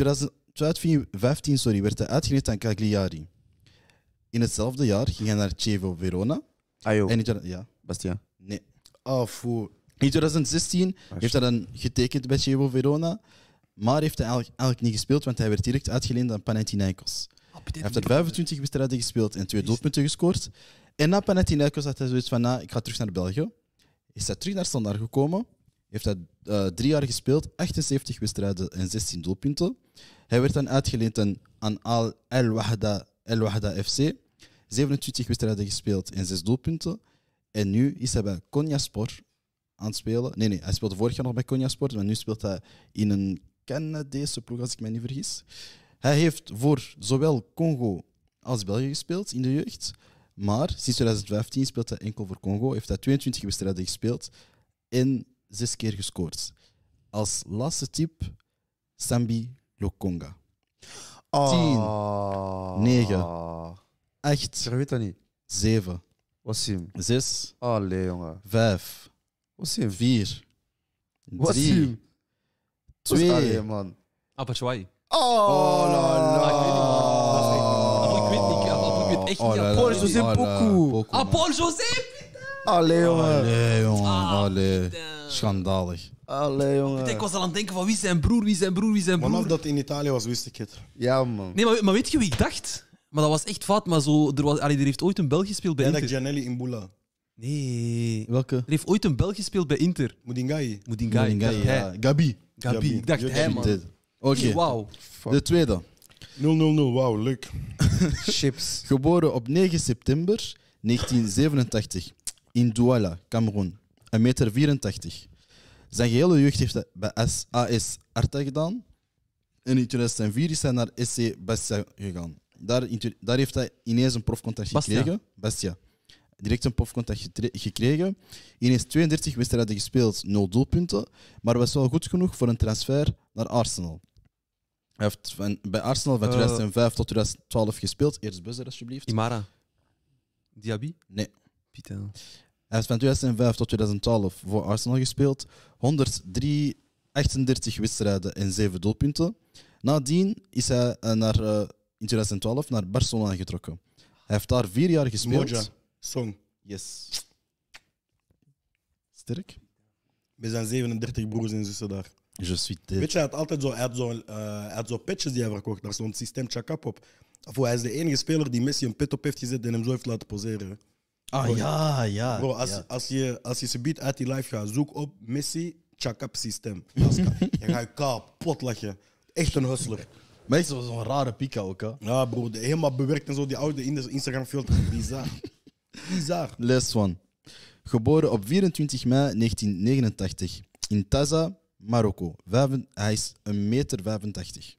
2015 sorry, werd hij uitgeleend aan Cagliari. In hetzelfde jaar ging hij naar Chievo Verona.
Ajo,
En in, 2000 ja,
Bastiaan.
nee.
Ah, foe.
in 2016 heeft hij dan getekend bij Chievo Verona. Maar heeft hij eigenlijk, eigenlijk niet gespeeld, want hij werd direct uitgeleend aan Panathinaikos. Hij heeft er 25 wedstrijden gespeeld en twee doelpunten gescoord. En na Panathinaikos had hij zoiets van, nou, ik ga terug naar België. Is hij terug naar Standaard gekomen. Heeft hij eh, drie jaar gespeeld, 78 wedstrijden en 16 doelpunten. Hij werd dan uitgeleend aan- aan Al El Wahda, El Wahda FC. 27 wedstrijden gespeeld en 6 doelpunten. En nu is hij bij Konyaspor aan het spelen. Nee, nee, hij speelde vorig jaar nog bij Konyaspor, maar nu speelt hij in een Canadese ploeg, als ik me niet vergis. Hij heeft voor zowel Congo als België gespeeld in de jeugd. Maar sinds 2015 speelt hij enkel voor Congo. Heeft hij 22 wedstrijden gespeeld en 6 keer gescoord. Als laatste tip, Sambi Lokonga.
Ah.
10, 9.
Zeg,
8,
weet dat niet.
7,
Wassim.
6,
Allee, jongen.
5,
Wassim.
4, 3,
Wassim.
2,
Allee, man.
Abachwai.
Oh, la,
Ah, ik weet niet, man.
la.
Dat is echt- Ik weet niet, ik- ik weet echt
Oh,
niet.
la, la,
Paul
la,
José
la, la,
Poku.
Poku,
Ah,
man.
Paul José!
Allee, jongen.
Allee, jongen.
Ah,
Allee.
damn.
Schandalig.
Allee,
Ik
jongen.
was al aan het denken van wie is zijn broer, wie is zijn broer, wie is zijn broer.
Vanaf dat in Italië was, wist ik het.
Ja, man.
Nee, maar, maar weet je wie ik dacht? Maar dat was echt fout. Maar zo, er, was, allee, er heeft ooit een Belg gespeeld bij
En dat
Inter.
Gianelli in Bula.
Nee.
Welke?
Er heeft ooit een Belg gespeeld bij Inter.
Mudingai.
Moedingai.
Moedingai,
Ik dacht hij.
ja. Gabi.
Gabi. Ik dacht
Gabi.
hij, man.
Dit. Oké,
Wauw.
de tweede.
000, wauw, leuk.
Chips.
Geboren op 9 september 1987 in Douala, Cameroen. 1,84 meter. 84. Zijn gehele jeugd heeft hij bij AS AS Arta gedaan. En in 2004 is hij naar SC Bastia gegaan. Daar, in tu- daar heeft hij ineens een profcontract
Bastia.
gekregen. Bastia. Direct een profcontract getre- gekregen. Ineens 32 wedstrijden gespeeld, 0 doelpunten. Maar was wel goed genoeg voor een transfer naar Arsenal. Hij heeft van, bij Arsenal van
Eh.
2005 tot 2012 gespeeld. Eerst buzzer, alsjeblieft.
Imara. Diaby?
Nee.
Pieter.
Hij heeft van 2005 tot 2012 voor Arsenal gespeeld. 103, 38 wedstrijden en 7 doelpunten. Nadien is hij eh, naar, eh, in 2012 naar Barcelona getrokken. Hij heeft daar vier jaar gespeeld.
Moja, Song.
Yes. Sterk.
We zijn 37 broers en zussen daar.
Je suis
Weet je, hij had altijd zo, hij had zo, eh, hij had zo petjes die hij verkocht. Daar stond systeem Chakap op. Of hij is de enige speler die Messi een pet op heeft gezet en hem zo heeft laten poseren.
Ah ja, ja.
Bro, als,
ja.
als je, als je ze biedt uit die live gaat, zoek op Messi Chakap systeem. Dat is ka- Je gaat je kapot lachen. Echt een hustler.
Maar echt zo- zo'n rare pika ook. Hè.
Ja, bro, de, helemaal bewerkt en zo. Die oude in de Instagram-filter. Bizar. Bizar.
Last one. Geboren op 24 mei 1989 in Taza, Marokko. Vijfen- hij is 1,85 meter. 85.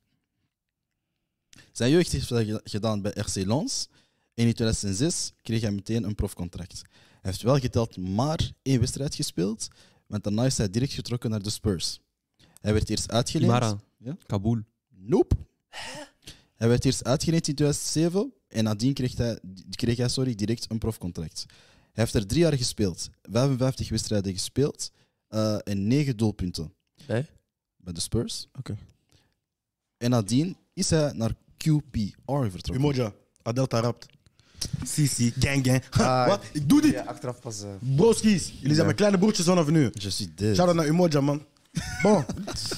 Zijn jeugd heeft hij ge- gedaan bij RC Lens. En in 2006 kreeg hij meteen een profcontract. Hij heeft wel geteld maar één wedstrijd gespeeld, want daarna is hij direct getrokken naar de Spurs. Hij werd eerst uitgeleend.
Imara.
Ja?
Kabul.
Nope. Hij werd eerst uitgeleend in 2007 en nadien kreeg hij, kreeg hij sorry, direct een profcontract. Hij heeft er drie jaar gespeeld, 55 wedstrijden gespeeld eh, en negen doelpunten.
Bij?
Bij de Spurs.
Oké.
En nadien is hij naar QPR vertrokken.
Umoja, Adelta rapt. Sisi, gang, gang.
Ah,
Ha, Wat? Ik doe dit.
Ja, achteraf pas. eh.
Broskies, jullie zijn mijn kleine broertjes vanaf nu.
Je suis dead.
Shout out naar Umoja, man. Bon,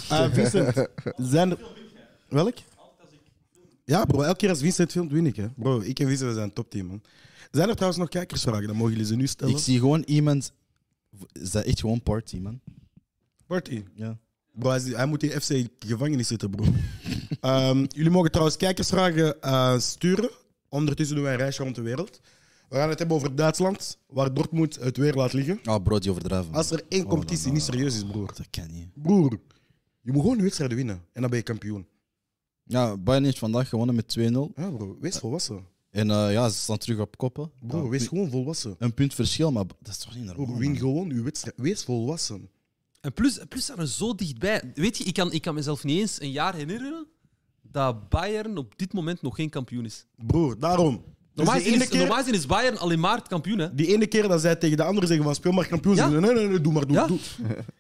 Eh, Vincent, zijn er... Welk? Ja, bro, elke keer als Vincent filmt, win ik, hè. Bro, ik en Vincent we zijn een topteam, man. Zijn er trouwens nog kijkersvragen? Dan mogen jullie ze nu
Ik
stellen.
zie gewoon iemand... Is dat echt gewoon party, man?
Party.
Ja.
eh, Bro, hij, is- hij moet in FC gevangenis zitten, bro. Ehm, jullie mogen trouwens kijkersvragen eh, sturen. Ondertussen doen wij een reisje rond de wereld. We gaan het hebben over Duitsland, waar Dortmund het weer laat liggen.
Ah, bro, die overdrijven.
Als er één
Oh,
competitie
dan,
niet
eh,
serieus is, broer.
Dat kan niet.
Broer, je moet gewoon een wedstrijd winnen en dan ben je kampioen.
Ja, Bayern heeft vandaag gewonnen met 2-0.
Ja, bro, wees volwassen.
En eh, ja, ze staan terug op koppen.
Bro,
Ja,
wees gewoon volwassen.
Een punt verschil, maar dat is toch niet normaal?
Bro, win
man?
gewoon uw wedstrijd. Wees volwassen.
En plus, plus zijn we zo dichtbij. Weet je, ik kan, ik kan mezelf niet eens een jaar herinneren dat Bayern op dit moment nog geen kampioen is.
Broer, daarom. Dus
Normaal
die,
gezien
ene
is, normaal
keer,
gezien is Bayern alleen maar kampioen. Hè?
die ene keer dat zij tegen de anderen zeggen van speel maar kampioen.
Ja.
Ze zeggen, nee, nee, nee, doe maar, doe,
Ja.
doe.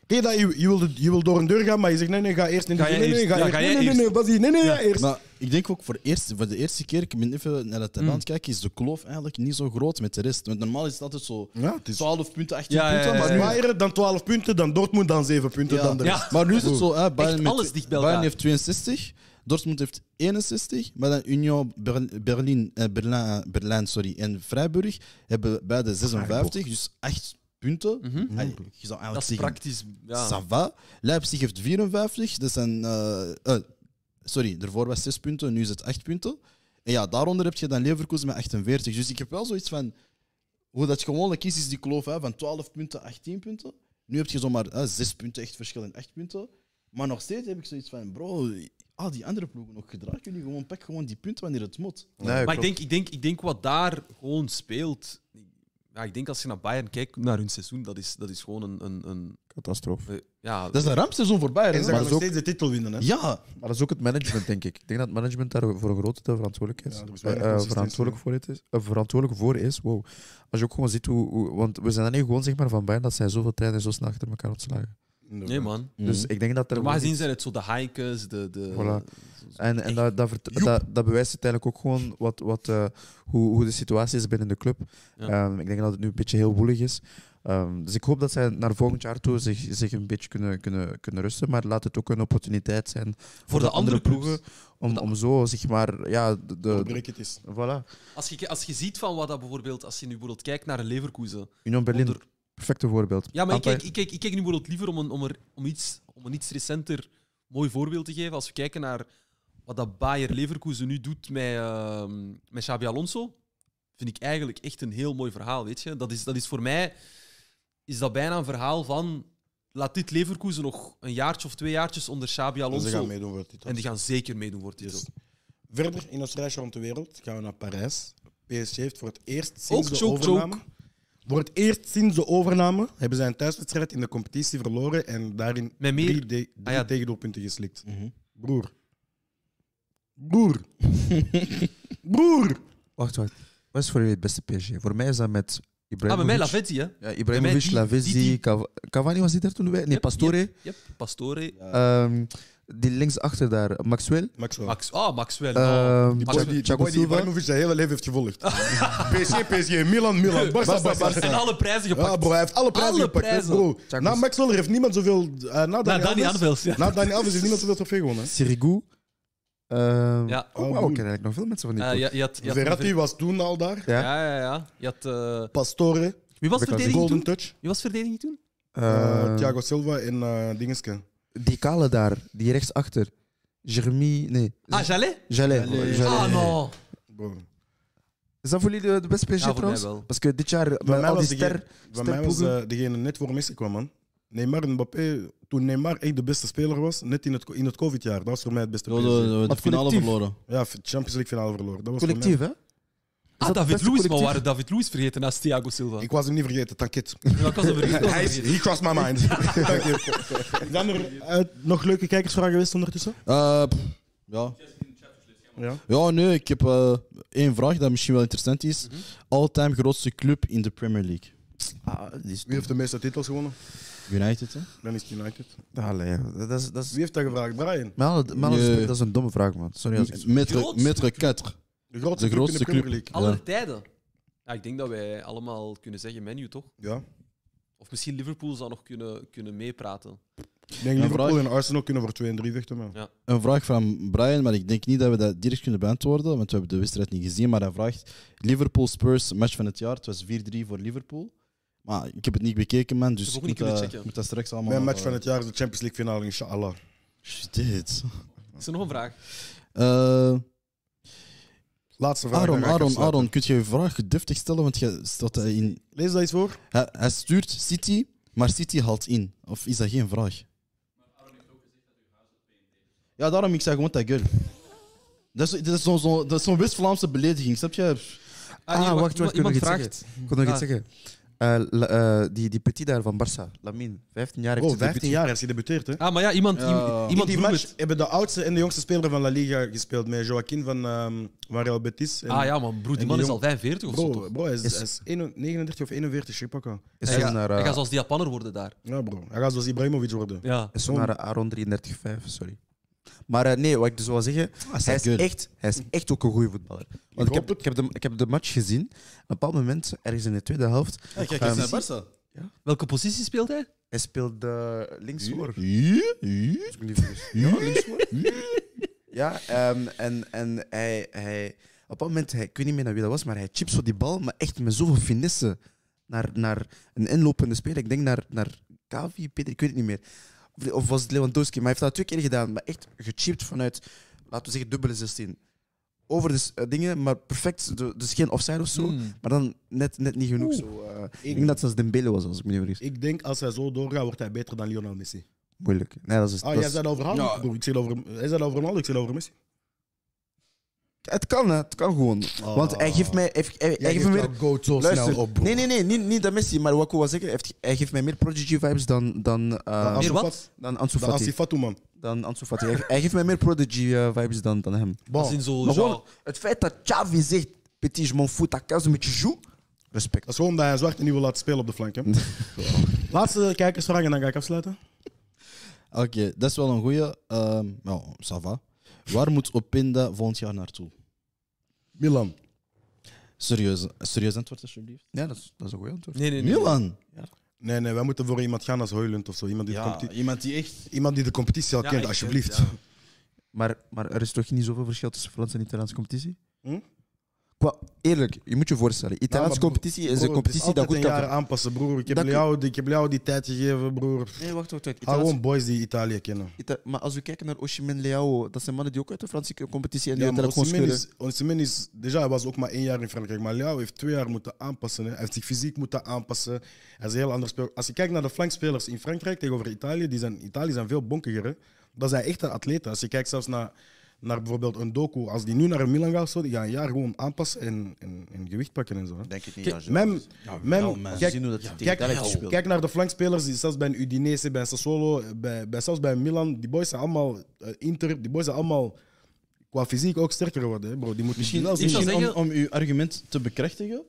Ken je dat? Je, je, wil, je wil door een deur gaan, maar je zegt nee, nee, ga eerst in de
Ga jij
nee, nee,
eerst.
ga
Ja,
eerst.
ga
Nee,
jij
nee, nee, nee,
eerst.
Basie, nee, nee,
Ja.
ja, eerst.
Maar ik denk ook voor, eerst, voor de eerste keer, ik ben even naar
Mm.
het land kijken, is de kloof eigenlijk niet zo groot met de rest. Want normaal is het altijd zo
Ja, het is-
12 punten, 18
Ja, ja,
punten.
ja,
Maar
ja,
Als
ja.
nu-
Bayern, dan 12 punten, dan Dortmund, dan 7 punten,
Ja.
dan de
eh, Ja.
rest.
Maar nu is het zo, hè, Bayern, met-
alles dicht bij
Bayern
elkaar.
heeft 62, Dortmund heeft 61, maar dan Union Ber- Berlin, eh, Berlijn, Berlijn sorry, en Freiburg hebben beide 56, dus 8 punten. Allee, je zou eigenlijk
Mhm. Dat is
zeggen,
praktisch. Ja.
ça va. Leipzig heeft 54, dat zijn, eh, eh, sorry, daarvoor was 6 punten, nu is het 8 punten. En ja, daaronder heb je dan Leverkusen met 48. Dus ik heb wel zoiets van, hoe dat gewoonlijk is, is die kloof hè, van 12 punten, 18 punten. Nu heb je zomaar hè, 6 punten echt verschil en 8 punten. Maar nog steeds heb ik zoiets van, bro, al die andere ploegen ook gedragen jullie gewoon, pak gewoon die punten wanneer het moet.
Nee,
Maar ik
klopt.
denk, ik, denk, ik denk wat daar gewoon speelt. Ja, ik denk als je naar Bayern kijkt, naar hun seizoen, dat is, dat is gewoon een. een, een
Catastrofe.
eh, ja,
Dat is een rampseizoen voor Bayern.
En
hè,
ze
maar
gaan
man.
dat
nog
is ook-
steeds de titel winnen. Hè?
Ja,
Maar dat is ook het management, denk ik. Ik denk dat het management daar voor een grote deel verantwoordelijk is.
Ja, er is
Eh,
weinig
eh,
consistentie,
verantwoordelijk, voor het is eh, verantwoordelijk voor is. Wow. Als je ook gewoon ziet hoe, hoe- Want we zijn dan niet gewoon zeg maar, van Bayern dat zij zoveel tijd en zo snel achter elkaar ontslagen.
nee, man.
Dus ik denk dat er.
Normaal
gewoon
gezien
iets-
zijn het zo de hikers, de. de
Voilà. En, en dat, dat, vert- dat, dat bewijst uiteindelijk ook gewoon wat, wat, eh, hoe, hoe de situatie is binnen de club.
Ja.
Ehm, ik denk dat het nu een beetje heel woelig is. Ehm, dus ik hoop dat zij naar volgend jaar toe zich, zich een beetje kunnen, kunnen, kunnen rusten. Maar laat het ook een opportuniteit zijn voor,
de andere clubs.
Om, om zo, zeg maar, ja, de, de-
Breek het is.
voilà.
Als, je, als je ziet van wat dat bijvoorbeeld, als je nu bijvoorbeeld kijkt naar Leverkusen.
Union Berlin,
Onder-
perfecte voorbeeld.
Ja, maar ik
Amper-
kijk, ik, kijk, ik kijk nu bijvoorbeeld liever om een, om, er, om, iets, om een iets recenter mooi voorbeeld te geven. Als we kijken naar wat dat Bayer Leverkusen nu doet met, ehm met Xabi Alonso, vind ik eigenlijk echt een heel mooi verhaal. Weet je? Dat, is, dat is voor mij is dat bijna een verhaal van laat dit Leverkusen nog een jaartje of twee jaartjes onder Xabi
Ze gaan
Alonso.
meedoen voor de titel.
En die gaan zeker meedoen voor het titel.
Yes. Verder in ons reisje rond de wereld gaan we naar Parijs. PSG heeft voor het eerst sinds
Ook
de
choke,
overname. Voor het eerst sinds de overname hebben zij een thuiswedstrijd in de competitie verloren en daarin
Met meer-
drie, de, drie
Ah, ja. Mhm.
tegendoelpunten geslikt. Broer. Broer. Broer.
Wacht, wacht. Wat is voor jullie het beste PSG? Voor mij is dat met
Ah, bij mij
Ibrahimovic.
Lavetti, hè?
ja, Ibrahimovic,
Bij mij die- die-
Lavezzi,
die-
Cav- Cavani was die daar toen bij? Nee,
Yep,
Pastore.
yep, yep. Pastore.
Ehm, die linksachter daar, Maxwell.
Maxwell.
Max, ah,
Eh,
Maxwell. ah.
Ehm,
boy
Thiago-
die-
Thiago
Boy die
Silva.
Ibrahimovic zijn hele leven heeft gevolgd. PSG, PSG, Milan, Milan, Barca, Barca.
en alle prijzen gepakt.
Ja, bro, hij heeft alle prijzen
Alle
gepakt. hè,
prijzen.
Bro.
Thiago
Na
S-
Maxwell heeft niemand zoveel... eh, na Dani
Dani
Alves,
Alves, ja.
Na Dani Alves heeft niemand zoveel trofee gewonnen. hè.
Sirigu. Ehm,
Ja.
Oh, wauw, ik ken eigenlijk nog veel mensen van die
Eh,
ploeg.
je, je had, je had
Verratti was toen al daar.
Ja.
Ja, ja, ja. Je had, eh,
Pastore,
wie was
Bekend.
verdediging
Golden
toen?
Touch.
Wie was verdediging toen?
eh,
Ehm,
Thiago Silva en eh Dingeske.
Die kale daar, die rechtsachter. Jeremy, nee.
Ah, Jallet?
Jallet. Jallet.
Ah, no.
Bro.
Is dat voor jullie de, de beste PSG
Ja, voor mij
trouwens?
wel.
Parce que dit jaar, met
mij
al die
was degene-
ster,
Bij mij was
sterploegen-
eh, degene net voor Messi kwam, man. Neymar en Mbappé, toen Neymar echt de beste speler was, net in het, co- in het COVID-jaar, dat was voor mij het beste
de,
PSG.
de, de
Maar
finale
collectief.
verloren.
Ja, Champions League finale verloren. Dat was voor mij-
collectief, hè?
Ah,
dat
David
beste
Luiz. Maar we
collectief?
waren David Luiz vergeten naast Thiago Silva.
Ik was hem niet vergeten, dank je.
Dat was een vergeten.
Hij is- He crossed my mind. Dank je. Zijn er eh, nog leuke kijkersvragen geweest ondertussen?
Eh, pff, ja.
Ja.
Ja, nee, ik heb eh, één vraag dat misschien wel interessant is.
Mhm.
All-time grootste club in de Premier League.
Ah, die is
Wie heeft de meeste titels gewonnen?
United, hè?
Dan is het United.
Allee, dat is... Dat is...
Wie heeft dat gevraagd? Brian.
Met alle- met alle
Nee.
respect, dat is een domme vraag, man. Sorry als ik...
Metre,
Grootste
metre 4.
De grootste,
De grootste
club in de
club.
Premier League.
Aller tijden. Ja, ik denk dat wij allemaal kunnen zeggen menu, toch?
Ja.
Of misschien Liverpool zou nog kunnen, kunnen meepraten.
Ik denk Liverpool en Arsenal kunnen voor 2 en 3 vechten, man.
Een vraag van Brian, maar ik denk niet dat we dat direct kunnen beantwoorden, want we hebben de wedstrijd niet gezien. Maar hij vraagt: Liverpool-Spurs, match van het jaar. Het was 4-3 voor Liverpool. Maar ik heb het niet bekeken, man. Dus
heb
ik
ook
moet,
niet kunnen
dat-
checken.
ik moet dat straks allemaal. eh,
Mijn match van het jaar is de Champions League finale, inshallah.
Dit.
Is er nog een vraag?
Eh,
Laatste vraag. dan
Aaron,
ga ik
Aaron,
afsluiten.
Aaron, kun je je vraag deftig stellen? Want je stelt dat in
Lees dat eens voor.
Hij, hij stuurt City, maar City haalt in. Of is dat geen vraag? Ja, daarom ik zei gewoon dat girl. Dat is, dat is zo'n zo, dat is zo'n West-Vlaamse belediging, snap je?
Ah,
nee,
wacht, wacht, ik wil nog
iemand
iets
vraagt.
zeggen. Ik wil nog
Ah.
iets zeggen. Eh, la- eh, die, die petit daar van Barça, Lamine, 15 jaar heeft
Oh,
hij debuut
15 jaar is gedebuteerd, hè?
Ah, maar ja, iemand,
Ja.
In
iemand
die
vroeg
match
het.
hebben de oudste en de jongste speler van La Liga gespeeld. Met Joaquin van, ehm van Real Betis. En
Ah ja, man, broer, die
en
man
die
is al
jong-
45 of zo,
Bro,
toch?
bro hij is,
Is-
hij is 1 39 of 41, je pakken.
Is
Hij
hij
gaat,
naar,
hij
eh,
gaat zoals die Japanner worden daar.
Ja, bro. Hij gaat zoals Ibrahimovic worden.
Ja.
is zo naar eh, Aaron 33,5, sorry. Maar eh, nee, wat ik dus wil zeggen,
Ah, is
hij, is
good.
echt, hij is echt ook een goede voetballer. Want ik
hoop
heb, ik, heb de, ik heb de match gezien. Op een bepaald moment, ergens in de tweede helft,
Ah,
kijk
eens
naar Barca.
Welke positie speelt hij?
hij speelde linksvoor.
Ja,
Ja, linksvoor. Ja, ehm, en, en hij, hij... Op een bepaald moment, hij, ik weet niet meer naar wie dat was, maar hij chipt zo die bal, maar echt met zoveel finesse naar, naar een inlopende speler. Ik denk naar, naar Kavi, Peter, ik weet het niet meer. Of, of was het Lewandowski, maar hij heeft dat twee keer gedaan. Maar echt gechipt vanuit, laten we zeggen, dubbele 16. Over de s- eh, dingen, maar perfect. du- Dus geen offside of zo.
Hmm.
Maar dan net, net niet genoeg. Zo, eh, ik denk dat zelfs Dembele was, als ik me niet vergis.
Ik denk als hij zo doorgaat, wordt hij beter dan Lionel Messi.
Moeilijk. Nee, dat is,
Ah,
dat
jij
is-
zei het over Haaland,
Ja.
broer. Ik zei het over, hij zei het over Ronaldo, ik zei het over Messi.
Het kan, hè. het kan gewoon. Want
Ah.
hij geeft mij, hij, hij, hij geeft me meer
go zo
Luister,
snel op, bro.
nee, nee, nee, niet, niet dat Messi, maar wat ik wil zeggen, hij heeft- hij geeft mij meer Prodigy vibes dan, dan, eh
Als
Meer
je
wat?
Fat-
dan Ansu
Dan
Fati.
Asifatu, man.
Dan Ansu Fati. Hij, hij geeft mij meer Prodigy eh, vibes dan, dan hem.
Als in zo,
Maar
zo-
gewoon, het feit dat Xavi zegt, petit, je m'en fout, dat kan ze met je joue, respect.
Dat is gewoon dat hij zwart en niet wil laten spelen op de flank. Hè. Laatste kijkersvraag en dan ga ik afsluiten.
Oké, dat is wel een goeie. Ehm ja, ça va. Waar moet Opinda volgend jaar naartoe?
Milan.
Serieus, serieus antwoord, alsjeblieft.
Ja, dat is, dat is een goed antwoord.
Nee, nee, nee.
Milan?
Nee, nee, wij moeten voor iemand gaan als Hoylund of zo. Iemand die, de,
Ja,
competi-
iemand die echt...
iemand die de competitie al
Ja,
kent,
ik-
alsjeblieft.
ja.
Maar, maar er is toch niet zoveel verschil tussen Franse en Italiaanse competitie?
Hm?
Qua, eerlijk, je moet je voorstellen, Italiaanse
maar-
competitie is
Broer,
een
het is
competitie dat
altijd
goed
een
kan...
jaar aanpassen, broer. Ik heb,
Dat kun-
jou, die- ik heb jou die tijd gegeven, broer.
Nee, wacht, wacht, wacht.
Hou gewoon boys die Italië kennen.
Ah, Ita- maar als we kijken naar Oshimin Leao, dat zijn mannen die ook uit de Franse competitie en die
Ja, maar
uiteindelijk gewoon
Osimhen
scheuren.
is, Osimhen is, déjà, hij was ook maar één jaar in Frankrijk, maar Leao heeft twee jaar moeten aanpassen. Hè. Hij heeft zich fysiek moeten aanpassen. Hij is een heel ander speler. Als je kijkt naar de flankspelers in Frankrijk tegenover Italië, die zijn, Italië zijn veel bonkiger. Hè. Dat zijn echte atleten. Als je kijkt zelfs naar, naar bijvoorbeeld een doku, als die nu naar een Milan gaat, of zo, die gaan een jaar gewoon aanpassen en, en, en gewicht pakken en zo. Hè.
Denk ik niet,
Kijk, Mem, Mem, kijk, kijk, kijk naar de flankspelers, die zelfs bij een Udinese, bij een Sassuolo, bij, bij, zelfs bij een Milan, die boys zijn allemaal eh, Inter, die boys zijn allemaal qua fysiek ook sterker worden. Hè, bro. Die moeten
Misschien,
wel zien.
misschien
zou zeggen-
om, om uw argument te bekrachtigen.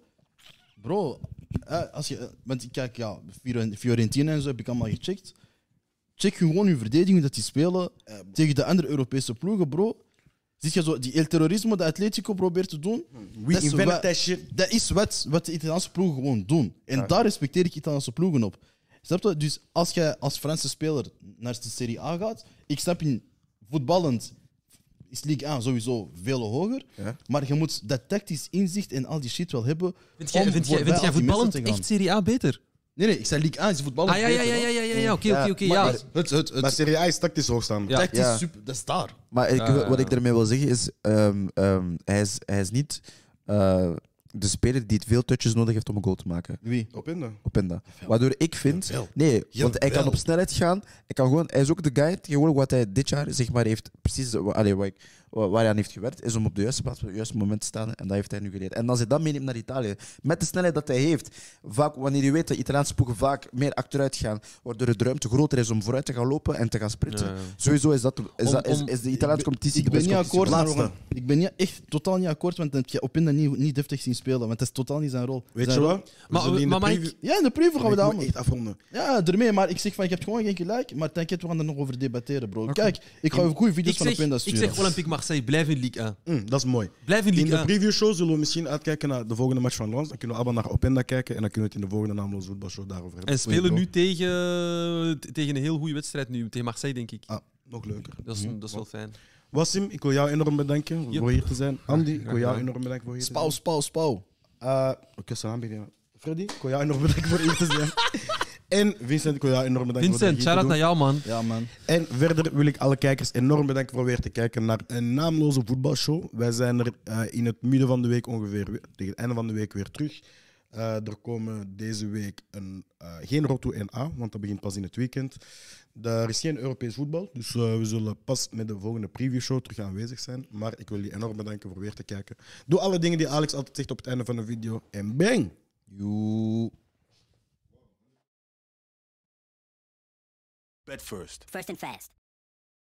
Bro, eh, als je, eh, want ik kijk, ja, Fiore- Fiorentina en zo heb ik allemaal gecheckt. Check gewoon uw verdediging, hoe dat die spelen tegen de andere Europese ploegen, bro. Zie je zo, die El Terrorismo dat Atletico probeert te doen,
We
Dat is
invented
wa-
that shit.
dat is wat, wat de Italiaanse ploegen gewoon doen. En daar respecteer ik Italiaanse ploegen op. Snap je? Dus als jij als Franse speler naar de Serie A gaat, ik snap in voetballend is Ligue 1 sowieso veel hoger, maar je moet dat tactisch inzicht en al die shit wel hebben.
Vind jij,
om
vind jij,
voorbij
vind
al die
jij
mensen
voetballend
te gaan.
echt Serie A beter?
Nee, nee, ik zei Ligue 1 is voetballend
Ah ja, ja,
beter,
ja, ja,
hoor.
ja, ja, ja, oké, oké, oké.
Maar
Ja,
het, het, het, het
Maar Serie A is tactisch hoogstaan.
Ja.
tactisch
Ja.
super, dat is daar.
Maar ik,
Ja, ja,
wat
ja.
ik daarmee wil zeggen is, ehm, ehm, hij is, hij is niet eh, de speler die het veel touches nodig heeft om een goal te maken.
Wie?
Op in de.
Openda. Waardoor ik vind...
Jawel.
Nee, want hij kan
Jawel.
op snelheid gaan. Hij, kan gewoon, hij is ook de guy tegenwoordig wat hij dit jaar zeg maar, heeft... Precies wa- allee, wat ik- wa- waar hij aan heeft gewerkt, is om op de juiste plaats op het juiste moment te staan. En dat heeft hij nu geleerd. En als hij dat meeneemt naar Italië, met de snelheid dat hij heeft, vaak wanneer je weet dat Italiaanse ploegen vaak meer achteruit gaan, waardoor de ruimte groter is om vooruit te gaan lopen en te gaan sprinten.
Ja, ja.
Sowieso is, dat, de- is,
Om-
dat, is,
om-
is de Italiaanse competitie
Ik
de
ben
beste
niet
competitie
akkoord,
van-
maar ik ben niet, echt totaal niet akkoord, want ik heb Opinda niet, niet deftig zien spelen, want dat is totaal niet zijn rol.
Weet
Zijn
je
rol-
wat? We
Maar-
zullen in de
maar mag ik-
preview-
Ja, in de preview gaan we dat
Ik moet
allemaal-
echt afronden.
Ja, ermee, maar ik zeg van, je hebt gewoon geen gelijk, maar denk we gaan er nog over debatteren, bro. Kijk, ik ga even goede
ik
video's van
zeg,
Opinda
ik
sturen.
zeg Olympique Marseille, blijf in Ligue 1.
Mm, dat is mooi.
Blijf in
In
Ligue
de
1.
previewshow zullen we misschien uitkijken naar de volgende match van Lans. Dan kunnen we allemaal naar Openda kijken. En dan kunnen we het in de volgende naamloze voetbalshow daarover hebben.
En spelen
Goeie
nu tegen, tegen een heel goede wedstrijd nu, tegen Marseille, denk ik.
bro. Ah, nog leuker.
Dat is, dat is wel fijn.
Wassim, ik wil jou enorm bedanken
Yep.
voor hier te zijn. Andy, ik wil jou
gedaan.
enorm bedanken voor hier te
Spauw, spauw, spauw.
zijn. Eh, Oké, salam binnen. Freddy, ik wil jou enorm bedanken voor hier te zijn. En Vincent, ik wil jou enorm bedanken voor
Vincent,
dit hier te
shout-out
doen.
naar jou, man.
Ja, man.
En verder wil ik alle kijkers enorm bedanken voor weer te kijken naar een naamloze voetbalshow. Wij zijn er eh, in het midden van de week ongeveer, weer- tegen het einde van de week weer terug. Eh, er komen deze week een, eh, geen Roto NA, want dat begint pas in het weekend. Er is geen Europees voetbal, dus eh, we zullen pas met de volgende previewshow terug aanwezig zijn. Maar ik wil jullie enorm bedanken voor weer te kijken. Doe alle dingen die Alex altijd zegt op het einde van de video. En bang!
Bet first.
First and fast.